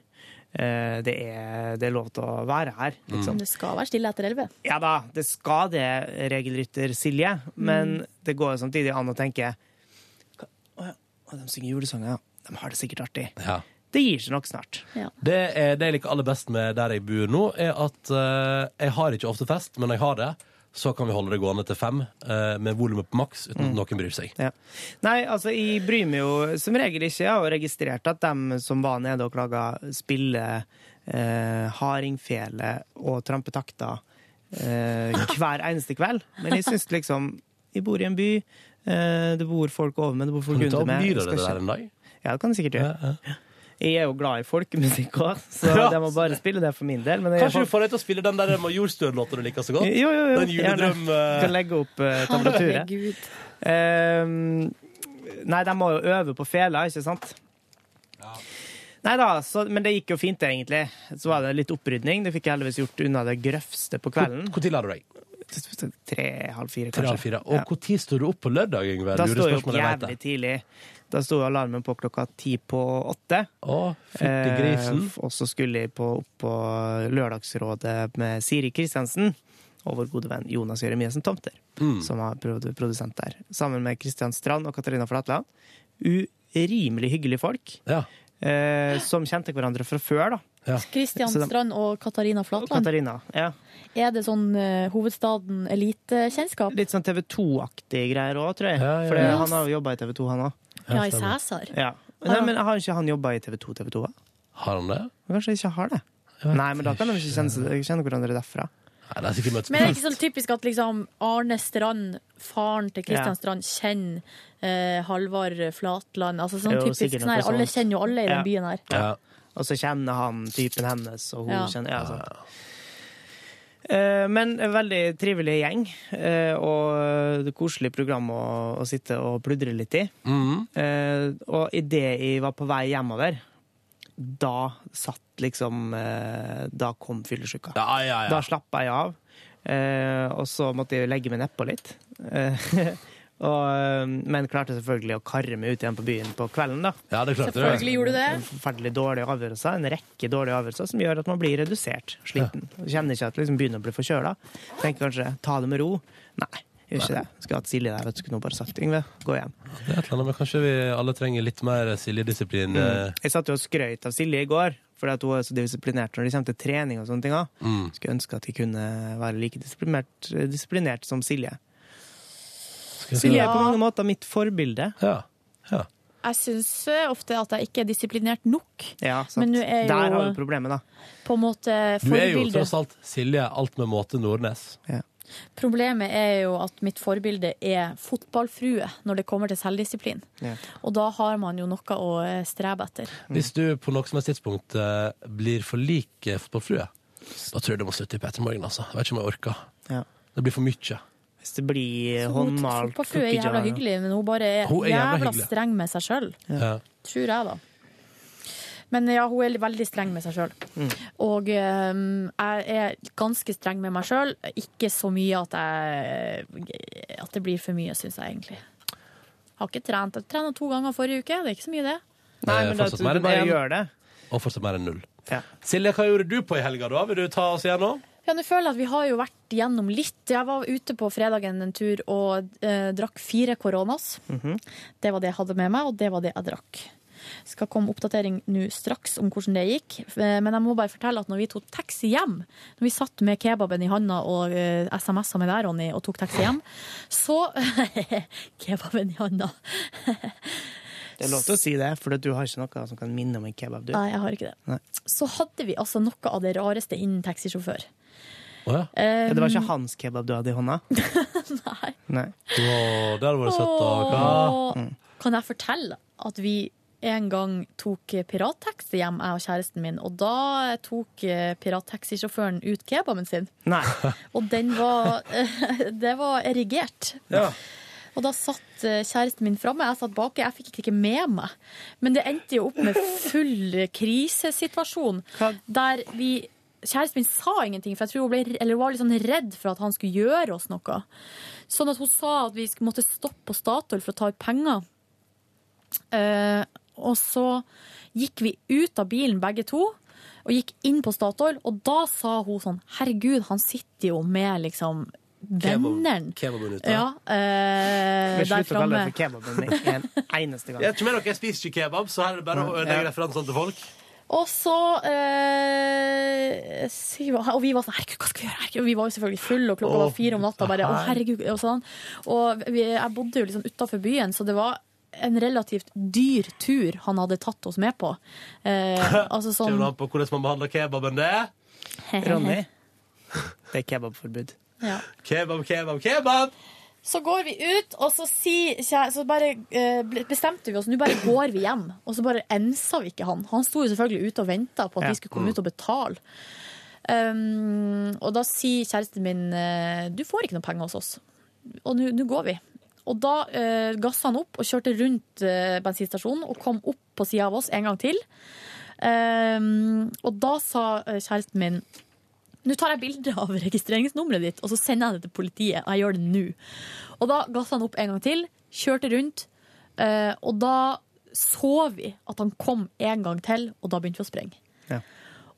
Speaker 2: Eh, det, er, det er lov til å være her, liksom.
Speaker 3: Det skal være stille etter elleve.
Speaker 2: Ja da, det skal det, regelrytter Silje, men det går jo samtidig an å tenke "Hva- Å ja, å, de synger julesanger, ja. De har det sikkert artig.
Speaker 1: Ja.
Speaker 2: Det gir seg nok snart.
Speaker 1: Det, er, det jeg liker aller best med der jeg bor nå, er at eh, jeg har ikke ofte fest, men når jeg har det, så kan vi holde det gående til fem, eh, med volumet på maks, uten at noen bryr seg.
Speaker 2: Ja. Nei, altså, jeg bryr meg jo som regel ikke. Jeg har jo registrert at dem som var nede og klaga, spiller eh, hardingfele og trampetakter eh, hver eneste kveld. Men jeg syns liksom Jeg bor i en by, eh, det bor folk over meg, det bor folk
Speaker 1: Kan du ta
Speaker 2: under meg.
Speaker 1: opp
Speaker 2: jeg
Speaker 1: lyder det
Speaker 2: skal
Speaker 1: der en dag?
Speaker 2: Ja, det kan jeg sikkert gjøre. Jeg er jo glad i folkemusikk òg, så
Speaker 1: Ja.
Speaker 2: de må bare spille det for min del. Men jeg
Speaker 1: Kanskje du får deg til å spille den der Majorstuen-låta du liker så godt?
Speaker 2: Jo, jo, jo.
Speaker 1: Den juledrøm...
Speaker 2: Gjerne. Kan legge opp eh, tablaturet. Ehm, nei, de må jo øve på fela, ikke sant? Nei da, så, men det gikk jo fint, egentlig. Så var det litt opprydning. Det fikk jeg heldigvis gjort unna det grøvste på kvelden.
Speaker 1: Når la du deg?
Speaker 2: Tre-halv fire,
Speaker 1: Tre av
Speaker 2: kanskje.
Speaker 1: fire. Og hvor tid står du opp på lørdag, Yngve?
Speaker 2: Da
Speaker 1: Lurer
Speaker 2: sto jeg opp
Speaker 1: spørsmålet jeg vet
Speaker 2: jævlig tidlig. Da sto alarmen på klokka ti på åtte.
Speaker 1: Å, fytti grisen.
Speaker 2: Eh, og så skulle jeg på, opp på Lørdagsrådet med Siri Kristiansen og vår gode venn Jonas Jeremiassen Tomter,
Speaker 3: Mm.
Speaker 1: Mm.
Speaker 2: som har prod- produsent der. Sammen med Kristian Strand og Katarina Flatland. Urimelig hyggelige folk. Eh, som kjente hverandre fra før, da.
Speaker 3: Kristian
Speaker 2: Så de-
Speaker 3: Strand og Katarina Flatland.
Speaker 2: Katarina. Ja.
Speaker 3: Er det sånn eh, hovedstaden elitekjennskap?
Speaker 2: Litt sånn TV 2-aktige greier òg, tror jeg.
Speaker 3: ja,
Speaker 2: For
Speaker 3: ja.
Speaker 2: han har jo jobba i TV 2, han òg.
Speaker 3: Ja, i Cæsar.
Speaker 2: Ja. Nei, men har ikke han jobba i TV 2 TV 2?
Speaker 1: Har han det?
Speaker 2: Kanskje ikke har det. Nei, men da kan de ikke kjenne, kjenne hverandre derfra.
Speaker 1: Nei, det er sikkert møtt
Speaker 3: Men er det ikke sånn typisk at liksom Arne Strand, faren til
Speaker 2: Ja.
Speaker 3: Kristian Strand, kjenner eh, Halvard Flatland? Altså sånn
Speaker 2: Jo,
Speaker 3: typisk
Speaker 2: sikkert
Speaker 3: sånn her,
Speaker 2: noe
Speaker 3: Alle
Speaker 2: sånt.
Speaker 3: kjenner jo alle i den
Speaker 2: Ja.
Speaker 3: byen her.
Speaker 2: Ja. Og så kjenner han typen hennes, og hun
Speaker 3: Ja.
Speaker 2: kjenner ja, sant. Eh, Men en veldig trivelig gjeng, eh, og det er koselig program å, å sitte og pludre litt i.
Speaker 1: Mm.
Speaker 2: Eh, Og idet jeg var på vei hjemover, da satt liksom eh, Da kom fyllesyka.
Speaker 1: ja, ja.
Speaker 2: Da slappa jeg av, eh, og så måtte jeg legge meg nedpå litt. Eh, Og, eh, men klarte selvfølgelig å karre meg ut igjen på byen på kvelden, da.
Speaker 1: Ja, det klarte du. Selvfølgelig gjorde du det.
Speaker 2: Forferdelig dårlige avgjørelser, en rekke dårlige avgjørelser som gjør at man blir redusert, sliten. Kjenner ikke at liksom begynner å bli forkjøla. Tenker kanskje ta det med ro. Nei, gjør ikke det. Skulle hatt Silje der, vet du. Skulle hun bare sagt Yngve, gå hjem.
Speaker 1: Det er et eller annet, men kanskje vi alle trenger litt mer Silje-disiplin. eh.
Speaker 2: Jeg satt jo og skrøyt av Silje i går, fordi at hun er så disiplinert når det kommer til trening og sånne ting. også.
Speaker 1: Mm.
Speaker 2: Skulle ønske at jeg kunne være like disiplinert, disiplinert som Silje.
Speaker 1: jeg
Speaker 2: Silje er
Speaker 3: si-
Speaker 2: på mange måter mitt forbilde.
Speaker 1: Ja.
Speaker 3: Jeg syns ofte at jeg ikke er disiplinert nok,
Speaker 2: sant.
Speaker 3: Men nå er jo-
Speaker 2: Der har vi problemet, da.
Speaker 3: på en måte
Speaker 1: Du er jo
Speaker 3: forbilde.
Speaker 1: tross alt Silje alt med måte Nordnes.
Speaker 3: Problemet er jo at mitt forbilde er fotballfrue når det kommer til selvdisiplin. Og da har man jo noe å eh, strebe etter.
Speaker 2: Mm.
Speaker 1: Hvis du på noe som helst tidspunkt eh, blir for lik eh, fotballfrue, da tror jeg du må slutte i P3 Morgen, altså. Jeg vet ikke om jeg orker.
Speaker 2: Ja.
Speaker 1: Det blir for mye.
Speaker 2: Hvis det blir
Speaker 3: Hun- Fotballfrue er jævla hyggelig, men hun bare er,
Speaker 1: Hun er jævla
Speaker 3: jævla,
Speaker 1: hyggelig.
Speaker 3: streng med seg sjøl.
Speaker 1: Ja.
Speaker 3: Tror jeg, da. Men ja, hun er veldig streng med seg sjøl.
Speaker 1: Mm.
Speaker 3: Og eh, jeg er ganske streng med meg sjøl. Ikke så mye at jeg At det blir for mye, syns jeg egentlig. Har ikke trent. Jeg trena to ganger forrige uke. Det er ikke så mye, det.
Speaker 2: Nei,
Speaker 1: Eh,
Speaker 2: men da
Speaker 1: fortsatt
Speaker 2: tror
Speaker 1: mer
Speaker 2: du
Speaker 1: enn
Speaker 2: bare
Speaker 1: en.
Speaker 2: gjør det.
Speaker 1: Og fortsatt mer enn null.
Speaker 2: Ja.
Speaker 1: Silje, hva gjorde du på i helga, da? Vil du ta oss igjen nå?
Speaker 3: Ja, nå føler jeg at vi har jo vært gjennom litt. Jeg var ute på fredagen en tur og eh, drakk fire koronas. Det var det jeg hadde med meg, og det var det jeg drakk. Skal komme oppdatering nå straks om hvordan det gikk. Eh, Men jeg må bare fortelle at når vi tok taxi hjem, når vi satt med kebaben i handa og eh, SMS-a med deg, Ronny, og tok taxi hjem, så Kebaben i handa.
Speaker 2: Det er lov til å si det, for du har ikke noe som kan minne om en kebab. du.
Speaker 3: Nei, jeg har ikke det.
Speaker 2: Nei.
Speaker 3: Så hadde vi altså noe av det rareste innen taxisjåfør.
Speaker 2: Ja, det var ikke hans kebab du hadde i hånda? Nei.
Speaker 1: Å, der var det søtt, da.
Speaker 3: Åh.
Speaker 1: Hva?
Speaker 3: Kan jeg fortelle at vi en gang tok eh, pirattaxi hjem, jeg og kjæresten min, og da tok eh, pirattaxisjåføren ut kebaben sin.
Speaker 2: Nei.
Speaker 3: Og den var Det var erigert.
Speaker 2: Ja.
Speaker 3: Og da satt eh, kjæresten min framme, jeg satt baki. Jeg fikk ikke med meg. Men det endte jo opp med full krisesituasjon. Der vi Kjæresten min sa ingenting, for jeg tror hun ble, eller hun var litt sånn redd for at han skulle gjøre oss noe. Sånn at hun sa at vi skulle- måtte stoppe på Statoil for å ta ut penger. Eh, og så gikk vi ut av bilen begge to, og gikk inn på Statoil, og da sa hun sånn Herregud, han sitter jo med liksom venneren.
Speaker 1: Kebaben ute.
Speaker 3: Ja, eh,
Speaker 2: Vi
Speaker 3: der
Speaker 2: slutter å kalle det
Speaker 3: framme.
Speaker 2: for kebaben med en eneste gang.
Speaker 1: Jeg er ikke med dere, jeg spiser ikke kebab, så her er det bare å legge referansene til folk.
Speaker 3: Og så eh, sier hun- Og vi var sånn Herregud, hva skal vi gjøre? Herregud, vi var jo selvfølgelig fulle, og klokka var fire om natta. Bare, å, herregud, og sånn. Og vi, jeg bodde jo liksom utafor byen, så det var en relativt dyr tur han hadde tatt oss med på. Eh,
Speaker 1: Kommer
Speaker 3: altså
Speaker 1: det
Speaker 3: sånn
Speaker 1: an på hvordan man behandler kebaben, det?
Speaker 2: Ronny, Det er kebabforbud.
Speaker 3: Ja.
Speaker 1: Kebab, kebab, kebab!
Speaker 3: Så går vi ut, og så, sier kjæ- så bare, eh, ble- bestemte vi oss. Nå bare går vi hjem. Og så bare ensa vi ikke han. Han sto jo selvfølgelig ute og venta på at
Speaker 14: Ja.
Speaker 3: vi skulle komme
Speaker 14: Mm.
Speaker 3: ut og betale. Um, og da sier kjæresten min eh, du får ikke noe penger hos oss. Og nå nå går vi. Og da uh, gassa han opp og kjørte rundt eh, bensinstasjonen og kom opp på sida av oss en gang til. Um, og da sa eh, kjæresten min nå tar jeg bilde av registreringsnummeret ditt, og så sender jeg det til politiet. Og jeg gjør det nå. Og da gassa han opp en gang til, kjørte rundt, eh, og da så vi at han kom en gang til, og da begynte vi å sprenge.
Speaker 2: Ja.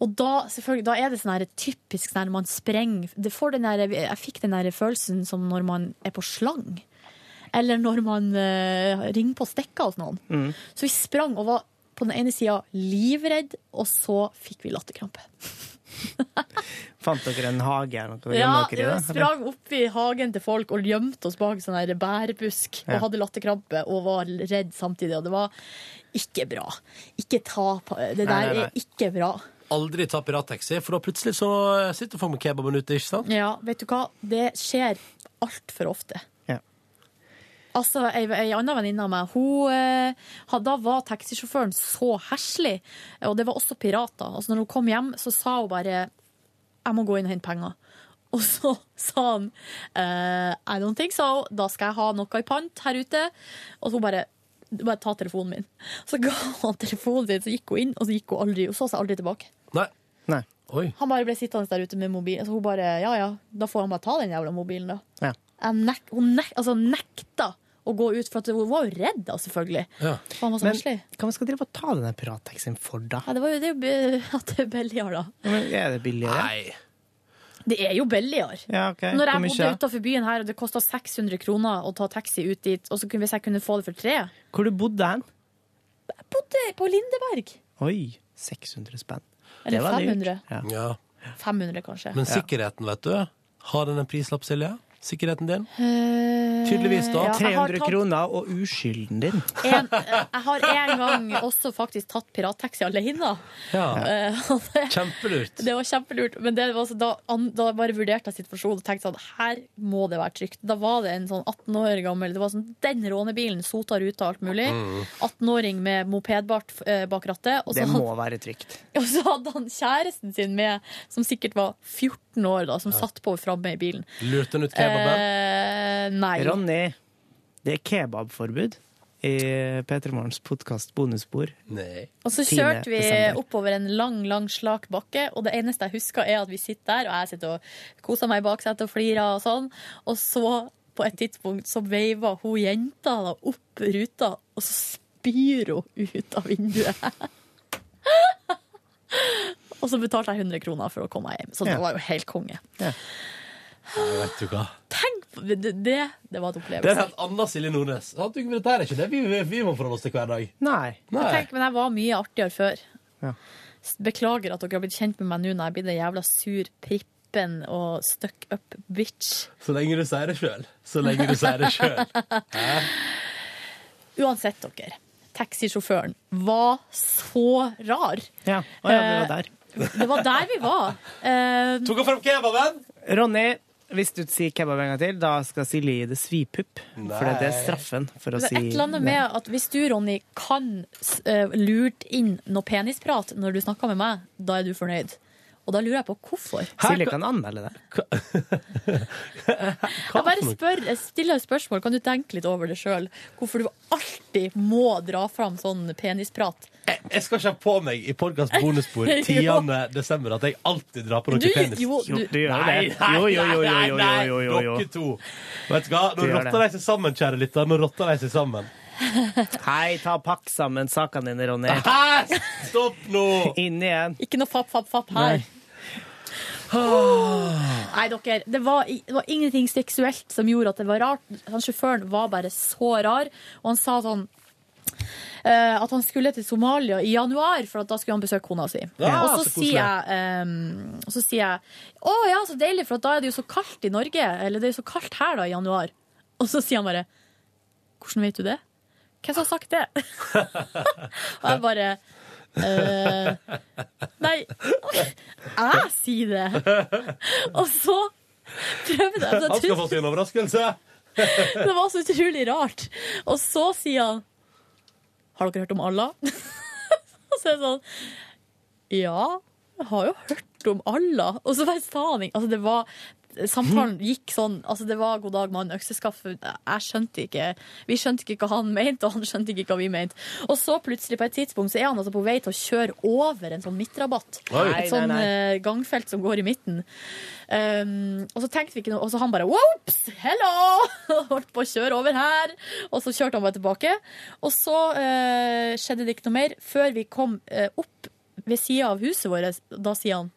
Speaker 3: Og da, selvfølgelig, da er det sånn her typisk sånn her man sprenger det får den her, Jeg fikk den her følelsen som når man er på slang. Eller når man eh, ringer på og stikker hos noen.
Speaker 2: Mm.
Speaker 3: Så vi sprang og var på den ene sida livredd, og så fikk vi latterkrampe.
Speaker 2: Fant dere en hage eller noe?
Speaker 3: Ja,
Speaker 2: gjemme dere i
Speaker 3: vi
Speaker 2: det, eller?
Speaker 3: sprang opp i hagen til folk og gjemte oss bak sånn her bærebusk og
Speaker 2: Ja.
Speaker 3: hadde latterkrampe og var redd samtidig, og det var ikke bra. Ikke ta på
Speaker 15: Nei,
Speaker 3: Det der
Speaker 15: nei, nei.
Speaker 3: er ikke bra.
Speaker 15: Aldri ta pirattaxi, for da plutselig så sitter folk med kebaben ute, ikke sant?
Speaker 3: Ja, vet du hva? Det skjer altfor ofte.
Speaker 2: Ja.
Speaker 3: Altså, ei, ei anna venninne av meg, hun, eh, had- da var taxisjåføren så herselig, og det var også pirater. Altså, når hun kom hjem, så sa hun bare, jeg må gå inn og hente penger. Og så sa han, eh, I don't think so, da skal jeg ha noe i pant her ute. Og så hun bare, «Du bare ta telefonen min. Så ga han telefonen sin, så gikk hun inn, og så gikk hun aldri, hun så seg aldri tilbake.
Speaker 15: Nei.
Speaker 2: Nei.
Speaker 15: Oi.
Speaker 3: Han bare ble sittende der ute med mobilen. Så hun bare, ja ja, da får han bare ta den jævla mobilen, da.
Speaker 2: Ja.
Speaker 3: Jeg nek hun nek altså, nekta å gå ut, for at hun var jo redd, da, selvfølgelig. For han var så
Speaker 2: Men
Speaker 3: heslig.
Speaker 2: hva man skal drive og ta denne pirattaxien for, da?
Speaker 3: Ja, det var jo det er jo bi- at det er billigere, da.
Speaker 2: Men Er det billigere?
Speaker 3: Det er jo billigere.
Speaker 2: Ja, ok.
Speaker 3: Når
Speaker 2: Hvor
Speaker 3: jeg
Speaker 2: mye
Speaker 3: bodde
Speaker 2: da?
Speaker 3: utenfor byen her, og det kosta 600 kroner å ta taxi ut dit, og så kunne, hvis jeg kunne få det for tre
Speaker 2: Hvor du bodde hen?
Speaker 3: Jeg bodde på Lindeberg.
Speaker 2: Oi, 600 spenn.
Speaker 3: Eller
Speaker 2: Det var dyrt.
Speaker 3: 500.
Speaker 2: Ja.
Speaker 15: Ja.
Speaker 3: 500, kanskje.
Speaker 15: Men sikkerheten, vet du. Har den en prislapp, Silje? Sikkerheten din?
Speaker 3: Eh,
Speaker 15: Tydeligvis, da.
Speaker 3: ja, jeg har
Speaker 2: 300
Speaker 3: tatt-
Speaker 2: kroner og uskylden din.
Speaker 3: En, eh, jeg har en gang også faktisk tatt pirattaxi alene.
Speaker 15: Ja.
Speaker 3: Eh, og det-
Speaker 15: Kjempelurt.
Speaker 3: Det var kjempelurt. Men det var, så da, an- da bare vurderte jeg situasjonen og tenkte sånn her må det være trygt. Da var det en sånn 18 år gammel Det var sånn den rånebilen, sota ruta, alt mulig.
Speaker 2: Mm.
Speaker 3: 18-åring med mopedbart eh, bak rattet. Og så,
Speaker 2: Det må
Speaker 3: hadde,
Speaker 2: være trygt.
Speaker 3: og så hadde han kjæresten sin med, som sikkert var 14 år, da, som
Speaker 2: Ja.
Speaker 3: satt på framme i bilen.
Speaker 15: Lurte hun ut
Speaker 3: Eh, nei.
Speaker 2: Ronny, det er kebabforbud i P3 Morgens podkast Bonusbord.
Speaker 3: Og så kjørte vi oppover en lang, lang slak bakke, og det eneste jeg husker er at vi sitter der, og jeg sitter og koser meg i baksetet og flirer og sånn, og så på et tidspunkt så veiva hun jenta da opp ruta, og så spyr hun ut av vinduet. og så betalte jeg 100 kroner for å komme meg hjem, så det
Speaker 15: Ja.
Speaker 3: var jo helt konge.
Speaker 15: Nei, vet du hva.
Speaker 3: Det, det, det var et
Speaker 15: Det er
Speaker 3: opplevelse.
Speaker 15: et annet Silje Nordnes. Sant? Du, men Dette er ikke det vi, vi, vi må forholde oss til hver dag.
Speaker 2: Nei.
Speaker 3: Men Tenk, men jeg var mye artigere før.
Speaker 2: Ja.
Speaker 3: Beklager at dere har blitt kjent med meg nå når jeg blir en jævla sur prippen og stuck up bitch.
Speaker 15: Så lenge du sier det sjøl. Så lenge du sier det sjøl.
Speaker 3: Uansett, dere. Taxisjåføren var så rar.
Speaker 2: Ja. Å ja, det var der.
Speaker 3: Eh, Det var der vi var. Eh,
Speaker 15: Tok han fram kebaben?
Speaker 2: Eh, Ronny, hvis du sier kebab en gang til, da skal Silje gi det svipupp. For det er straffen for å
Speaker 3: Men
Speaker 2: si
Speaker 3: et eller annet med at hvis du, Ronny, kan s- eh, lurt inn noe penisprat når du snakker med meg, da er du fornøyd. Og da lurer jeg på hvorfor.
Speaker 2: Silje kan anmelde det.
Speaker 3: Jeg bare spør, jeg stiller et spørsmål, kan du tenke litt over det sjøl? Hvorfor du alltid må dra fram sånn penisprat?
Speaker 15: Jeg skal ikke ha på meg i podkast bonusbord 10. desember at jeg alltid drar på noe
Speaker 3: Du-
Speaker 15: penis.
Speaker 3: jo, du- Jo, du
Speaker 2: gjør
Speaker 15: Nei,
Speaker 2: det.
Speaker 15: nei,
Speaker 2: Jo, jo, jo, jo,
Speaker 15: nei,
Speaker 2: jo,
Speaker 15: nei,
Speaker 2: jo, jo, jo.
Speaker 15: Dere to. Vet du hva?
Speaker 2: Du
Speaker 15: Nå
Speaker 2: gjør
Speaker 15: rotter de seg sammen, kjære lytter. Nå rotter de seg sammen.
Speaker 2: Hei, ta og pakk sammen sakene dine, Ronny.
Speaker 15: Stopp nå!
Speaker 2: Inn igjen.
Speaker 3: Ikke noe fapp, fapp, fapp her.
Speaker 2: Nei.
Speaker 3: Nei, dere, det var, i- det var ingenting seksuelt som gjorde at det var rart. Han sjåføren var bare så rar, og han sa sånn eh, at han skulle til Somalia i januar, for at da skulle han besøke kona si.
Speaker 14: Ja,
Speaker 3: og, så
Speaker 14: så koselig.
Speaker 3: sier jeg, um, og så sier jeg Å ja, så deilig, for at da er det jo så kaldt i Norge. Eller det er jo så kaldt her da i januar. Og så sier han bare Hvordan vet du det? Hvem som har sagt det? og jeg bare Eh, nei, jeg sier det! Og så prøvde jeg
Speaker 15: Han skal få seg en overraskelse.
Speaker 3: Det var så utrolig rart. Og så sier han Har dere hørt om Allah? Og så er det sånn Ja, jeg har jo hørt om Allah. Og så bare sa han ikke Altså, det var Samtalen gikk sånn. Altså Det var 'god dag, mann, økseskaft'. Jeg skjønte ikke Vi skjønte ikke hva han mente, og han skjønte ikke hva vi mente. Og så plutselig, på et tidspunkt, så er han altså på vei til å kjøre over en sånn midtrabatt.
Speaker 7: Oi. Nei,
Speaker 3: Et sånn
Speaker 7: nei, nei.
Speaker 3: eh, gangfelt som går i midten. Um, og så tenkte vi ikke noe, og så han bare Wops! Hello! Og Holdt på å kjøre over her. Og så kjørte han bare tilbake. Og så eh, skjedde det ikke noe mer før vi kom eh, opp ved sida av huset vårt. Da sier han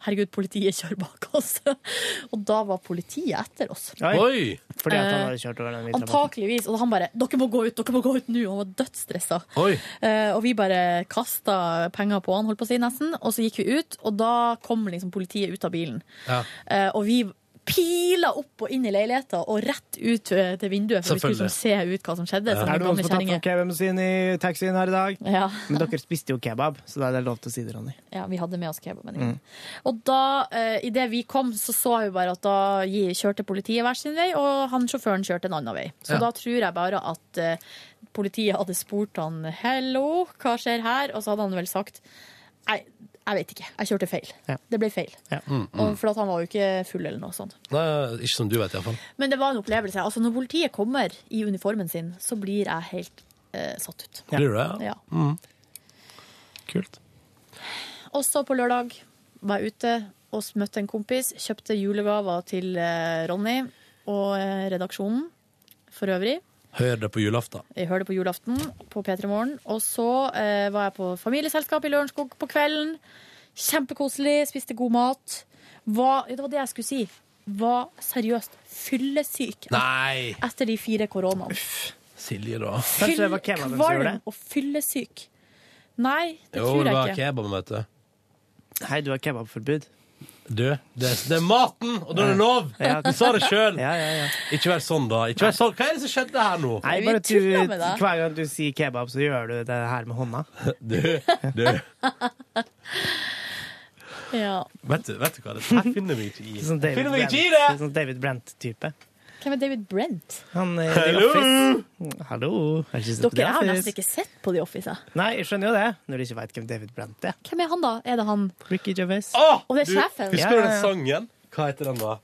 Speaker 3: Herregud, politiet kjører bak oss. Og da var politiet etter oss.
Speaker 2: Fordi at han
Speaker 3: Eh,
Speaker 2: hadde kjørt over den hvite rabatten.
Speaker 3: Antakeligvis. Og han bare 'Dere må gå ut! Dere må gå ut nå!' Han var dødsstressa. Eh, og vi bare kasta penger på han, holdt på å si, nesten. Og så gikk vi ut, og da kom liksom politiet ut av bilen.
Speaker 1: Ja.
Speaker 3: Eh, og vi pila opp og inn i leiligheta og rett ut eh, til vinduet, for vi skulle
Speaker 2: Selvfølgelig.
Speaker 3: liksom se ut hva som skjedde.
Speaker 2: Er
Speaker 3: som
Speaker 2: det noen
Speaker 3: gamle
Speaker 2: som har tatt
Speaker 3: kjerringer.
Speaker 2: for kebaben sin i taxien her i dag?
Speaker 3: Ja.
Speaker 2: Men dere spiste jo kebab, så da er det lov til å si det, Ronny.
Speaker 3: Ja, vi hadde med oss kebaben.
Speaker 2: Mm.
Speaker 3: Og da, eh, idet vi kom, så så jeg jo bare at da gi- kjørte politiet hver sin vei, og han sjåføren kjørte en annen vei. Så
Speaker 7: Ja.
Speaker 3: da tror jeg bare at eh, politiet hadde spurt han 'hello, hva skjer her?' Og så hadde han vel sagt 'nei, jeg vet ikke, jeg kjørte feil'. Det ble feil.
Speaker 1: Mm, mm.
Speaker 3: Og for at han var jo ikke full eller noe sånt.
Speaker 1: Nei, ikke som du vet, iallfall.
Speaker 3: Men det var en opplevelse. Altså, når politiet kommer i uniformen sin, så blir jeg helt eh, satt ut.
Speaker 1: Blir du det?
Speaker 3: Ja.
Speaker 1: Mm.
Speaker 3: Også på lørdag var jeg ute og møtte en kompis. Kjøpte julegaver til eh, Ronny og eh, redaksjonen for øvrig.
Speaker 1: Hør det på julaften.
Speaker 3: Jeg hører det på julaften på P3 Morgen. Og så eh, var jeg på familieselskap i Lørenskog på kvelden. Kjempekoselig, spiste god mat. Var, ja, det var det jeg skulle si. Var seriøst fyllesyk
Speaker 1: Nei!
Speaker 3: etter de fire koronaene.
Speaker 1: Silje, da.
Speaker 2: Kanskje det var kebaben som gjorde det?
Speaker 3: og fyllesyk. Nei, det
Speaker 1: Jo,
Speaker 3: tror
Speaker 1: det
Speaker 3: jeg
Speaker 1: var
Speaker 3: ikke.
Speaker 1: kebaben, vet du.
Speaker 2: Hei, du har kebabforbud.
Speaker 1: Du, det, det er maten, og da er det lov!
Speaker 2: Ja.
Speaker 1: Du sa det sjøl!
Speaker 2: Ja, ja, ja.
Speaker 1: Ikke vær sånn, da. Ikke vær sånn. Hva er det som skjedde her nå?
Speaker 2: Nei, bare at du, hver gang du sier kebab, så gjør du det her med hånda.
Speaker 1: Du, du,
Speaker 3: Ja.
Speaker 1: vet du, vet du hva? Det her finner vi ikke i.
Speaker 2: Sånn David
Speaker 1: Finner vi
Speaker 2: Brent-
Speaker 1: ikke i det!
Speaker 2: Sånn David Brent-type.
Speaker 3: Hvem er David Brent?
Speaker 2: Han er i
Speaker 1: Hallo!
Speaker 2: Office. Hallo! Har ikke sett på The
Speaker 3: Dere jeg har
Speaker 2: Office.
Speaker 3: nesten ikke sett på The Office. jeg.
Speaker 2: Nei, jeg skjønner jo det, når du ikke veit hvem David Brent er.
Speaker 3: Hvem er han, da? Er det han?
Speaker 2: Ricky Gervais.
Speaker 3: Og det er sjefen?
Speaker 1: Husker du den sangen? Hva heter den, da?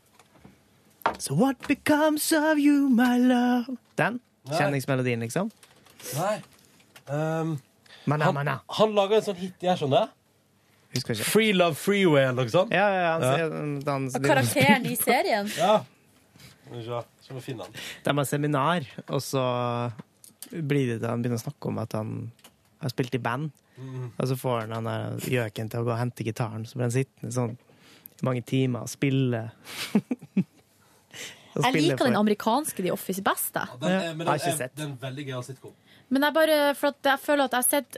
Speaker 2: So what becomes of you, my love? Den
Speaker 1: Nei.
Speaker 2: kjenningsmelodien, liksom.
Speaker 1: Nei. Um,
Speaker 2: Mana,
Speaker 1: han,
Speaker 2: mana.
Speaker 1: han laga en sånn hit jeg skjønner.
Speaker 2: Husker ikke.
Speaker 1: Free Love Freeway eller noe sånt.
Speaker 2: Ja, ja, han,
Speaker 1: Ja.
Speaker 2: han- han-
Speaker 3: Og karakteren i serien?
Speaker 1: Ja. Skal vi se, så må vi finne den.
Speaker 2: De har seminar, og så blir det til han begynner å snakke om at han har spilt i band.
Speaker 1: Mm.
Speaker 2: Og så får han han der gjøken til å gå og hente gitaren, så blir han sittende sånn i mange timer og spille. Og
Speaker 3: Jeg
Speaker 2: spille
Speaker 3: liker
Speaker 2: for-
Speaker 3: den amerikanske The Office best, jeg.
Speaker 1: Den er, men
Speaker 2: Har
Speaker 1: den
Speaker 2: ikke
Speaker 1: er,
Speaker 2: sett.
Speaker 1: det er en veldig gøyal sitcom.
Speaker 3: Men jeg bare For at jeg føler at jeg har sett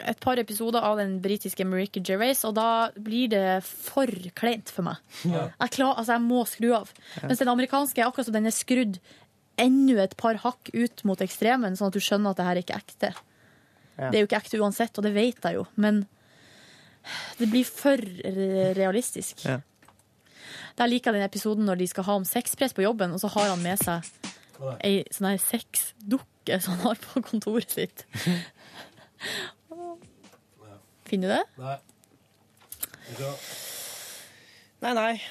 Speaker 3: et par episoder av den britiske Ricky Gervais, og da blir det for kleint for meg.
Speaker 7: Ja.
Speaker 3: Jeg, klar, altså jeg må skru av.
Speaker 7: Ja.
Speaker 3: Mens den amerikanske er akkurat som den er skrudd enda et par hakk ut mot ekstremen, sånn at du skjønner at det her er ikke ekte.
Speaker 7: Ja.
Speaker 3: Det er jo ikke ekte uansett, og det vet jeg jo, men det blir for re- realistisk.
Speaker 2: Ja.
Speaker 3: Jeg liker den episoden når de skal ha om sexpress på jobben, og så har han med seg ei sånn her sexdukke som han har på kontoret sitt. Finner du det?
Speaker 1: Nei.
Speaker 2: Nei, nei.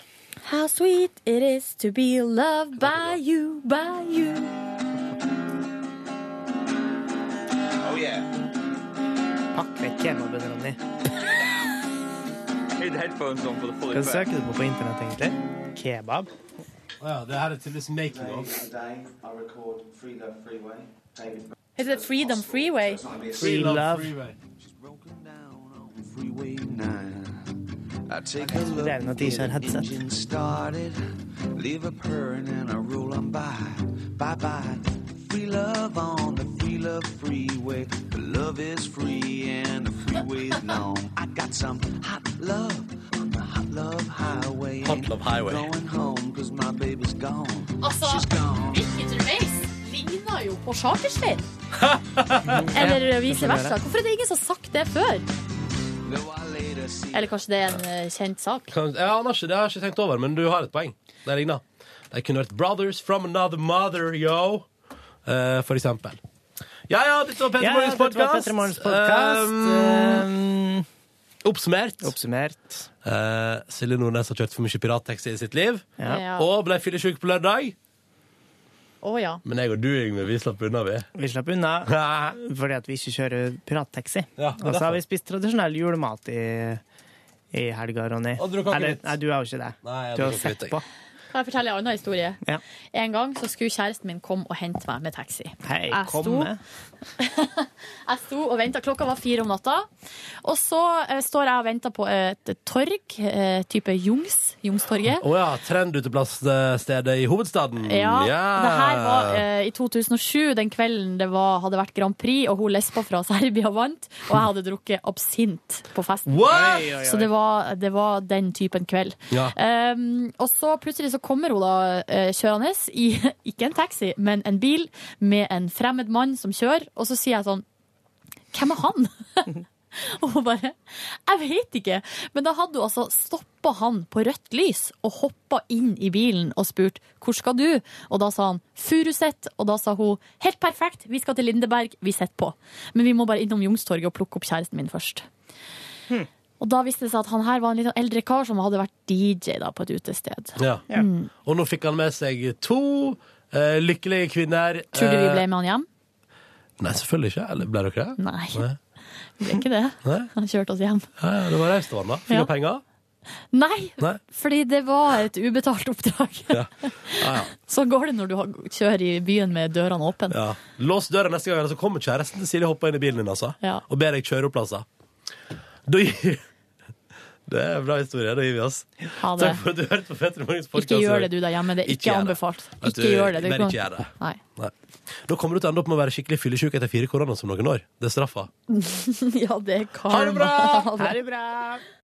Speaker 3: How sweet it is to be loved by you, by you.
Speaker 2: Oh yeah. Pakk vekk kebaben, Ronny. Hva søker du på på internett, egentlig? Kebab?
Speaker 1: Å ja, det her er tydeligvis making of.
Speaker 3: Heter det Freedom Freeway?
Speaker 1: Free Love Freeway.
Speaker 2: Det er en at de ikke har headset.
Speaker 4: started. Leave a purring and a roll on by. Bye bye. Free love on the free love freeway. The love is free and the freeway's long. I got some hot love on the hot love highway. Hot
Speaker 1: love highway.
Speaker 4: Going home cause my baby's gone.
Speaker 3: Altså, Ricky Gervais ligner jo på Chartersveien. Eller vice versa. Hvorfor er det ingen som har sagt det før? Eller kanskje det er en eh, kjent sak?
Speaker 1: Kan, ja, han har ikke, det har jeg ikke tenkt over, men du har et poeng. Det ligner. De kunne vært Brothers from another mother, yo. Eh, for eksempel. Ja, ja, dette var Petter
Speaker 2: Ja, ja,
Speaker 1: Morgens
Speaker 2: dette var
Speaker 1: podcast.
Speaker 2: Petter Morgens podcast.
Speaker 1: Um, oppsummert. Eh, Silje Nordnes har kjørt for mye pirattaxi i sitt liv.
Speaker 3: Ja. Ja.
Speaker 1: Og ble fyllesyk på lørdag.
Speaker 3: Å ja.
Speaker 1: Men jeg og du, Yngve, vi slapp unna, vi.
Speaker 2: Vi slapp unna fordi at vi ikke kjører pirattaxi.
Speaker 1: Ja, det er
Speaker 2: og så har
Speaker 1: derfor.
Speaker 2: vi spist tradisjonell julemat i, i helga, Ronny.
Speaker 3: Og du drukk
Speaker 2: Eller,
Speaker 3: akevitt.
Speaker 2: Nei, du har jo ikke det.
Speaker 1: Nei, jeg
Speaker 2: du har
Speaker 1: drukk
Speaker 2: sett
Speaker 1: akevitt, jeg.
Speaker 2: på.
Speaker 3: Kan jeg fortelle en annen historie?
Speaker 2: Ja.
Speaker 3: En gang så skulle kjæresten min komme og hente meg med taxi.
Speaker 2: Hei,
Speaker 3: jeg,
Speaker 2: kom
Speaker 3: sto,
Speaker 2: med.
Speaker 3: jeg sto og venta. Klokka var fire om natta. Og så eh, står jeg og venter på et torg, eh, type Jungs, Jungstorget.
Speaker 1: Å ja, trenduteplass-stedet i hovedstaden.
Speaker 3: Ja,
Speaker 1: Ja.
Speaker 3: det her var eh, i 2007, den kvelden det var, hadde vært Grand Prix, og hun lesba fra Serbia vant, og jeg hadde drukket absint på festen.
Speaker 1: What? Oi, oi, oi.
Speaker 3: Så det var, det var den typen kveld.
Speaker 1: Ja.
Speaker 3: Um, og så plutselig så kommer hun da eh, kjørende i ikke en taxi, men en bil med en fremmed mann som kjører, og så sier jeg sånn Hvem er han? Og hun bare Jeg vet ikke. Men da hadde hun altså stoppa han på rødt lys og hoppa inn i bilen og spurt hvor skal du? Og da sa han Furuset. Og da sa hun helt perfekt, vi skal til Lindeberg, vi sitter på. Men vi må bare innom Youngstorget og plukke opp kjæresten min først.
Speaker 1: Hm.
Speaker 3: Og da viste det seg at han her var en litt sånn eldre kar som hadde vært DJ da på et utested.
Speaker 1: Ja.
Speaker 3: Mm.
Speaker 1: Og nå fikk han med seg to eh, lykkelige kvinner.
Speaker 3: Tror du vi
Speaker 1: Eh,
Speaker 3: ble med han hjem?
Speaker 1: Nei, selvfølgelig ikke. Eller ble dere det?
Speaker 3: Nei. Vi ble ikke det.
Speaker 1: Nei.
Speaker 3: Han kjørte oss hjem.
Speaker 1: Ja, ja, det var raust av han, da. Fikk
Speaker 3: Ja.
Speaker 1: han penger?
Speaker 3: Nei,
Speaker 1: Nei.
Speaker 3: fordi det var et ubetalt oppdrag.
Speaker 1: Ja, ja.
Speaker 3: Sånn går det når du har- kjører i byen med dørene åpne.
Speaker 1: ja. Lås døra neste gang, eller så kommer kjæresten til Silje og hopper inn i bilen din altså.
Speaker 3: Ja.
Speaker 1: og ber deg kjøre opp plasser. Da gir Det er en bra historie. Da gir vi oss.
Speaker 3: Ha det.
Speaker 1: Takk for at du hørte på Petter Morgens podcast.
Speaker 3: Ikke gjør det du der hjemme, det er ikke,
Speaker 1: Ikke gjør det.
Speaker 3: anbefalt.
Speaker 1: Vet
Speaker 3: Ikke
Speaker 1: du,
Speaker 3: gjør det. Du
Speaker 1: men
Speaker 3: kan-
Speaker 1: ikke gjør det.
Speaker 3: Nei.
Speaker 1: Nei. Da kommer du til å ende opp med å være skikkelig fyllesyk etter fire koronaer som noen år. Det er straffa.
Speaker 3: ja, det er
Speaker 1: Ha
Speaker 3: karma.
Speaker 1: det bra!
Speaker 3: Ha det.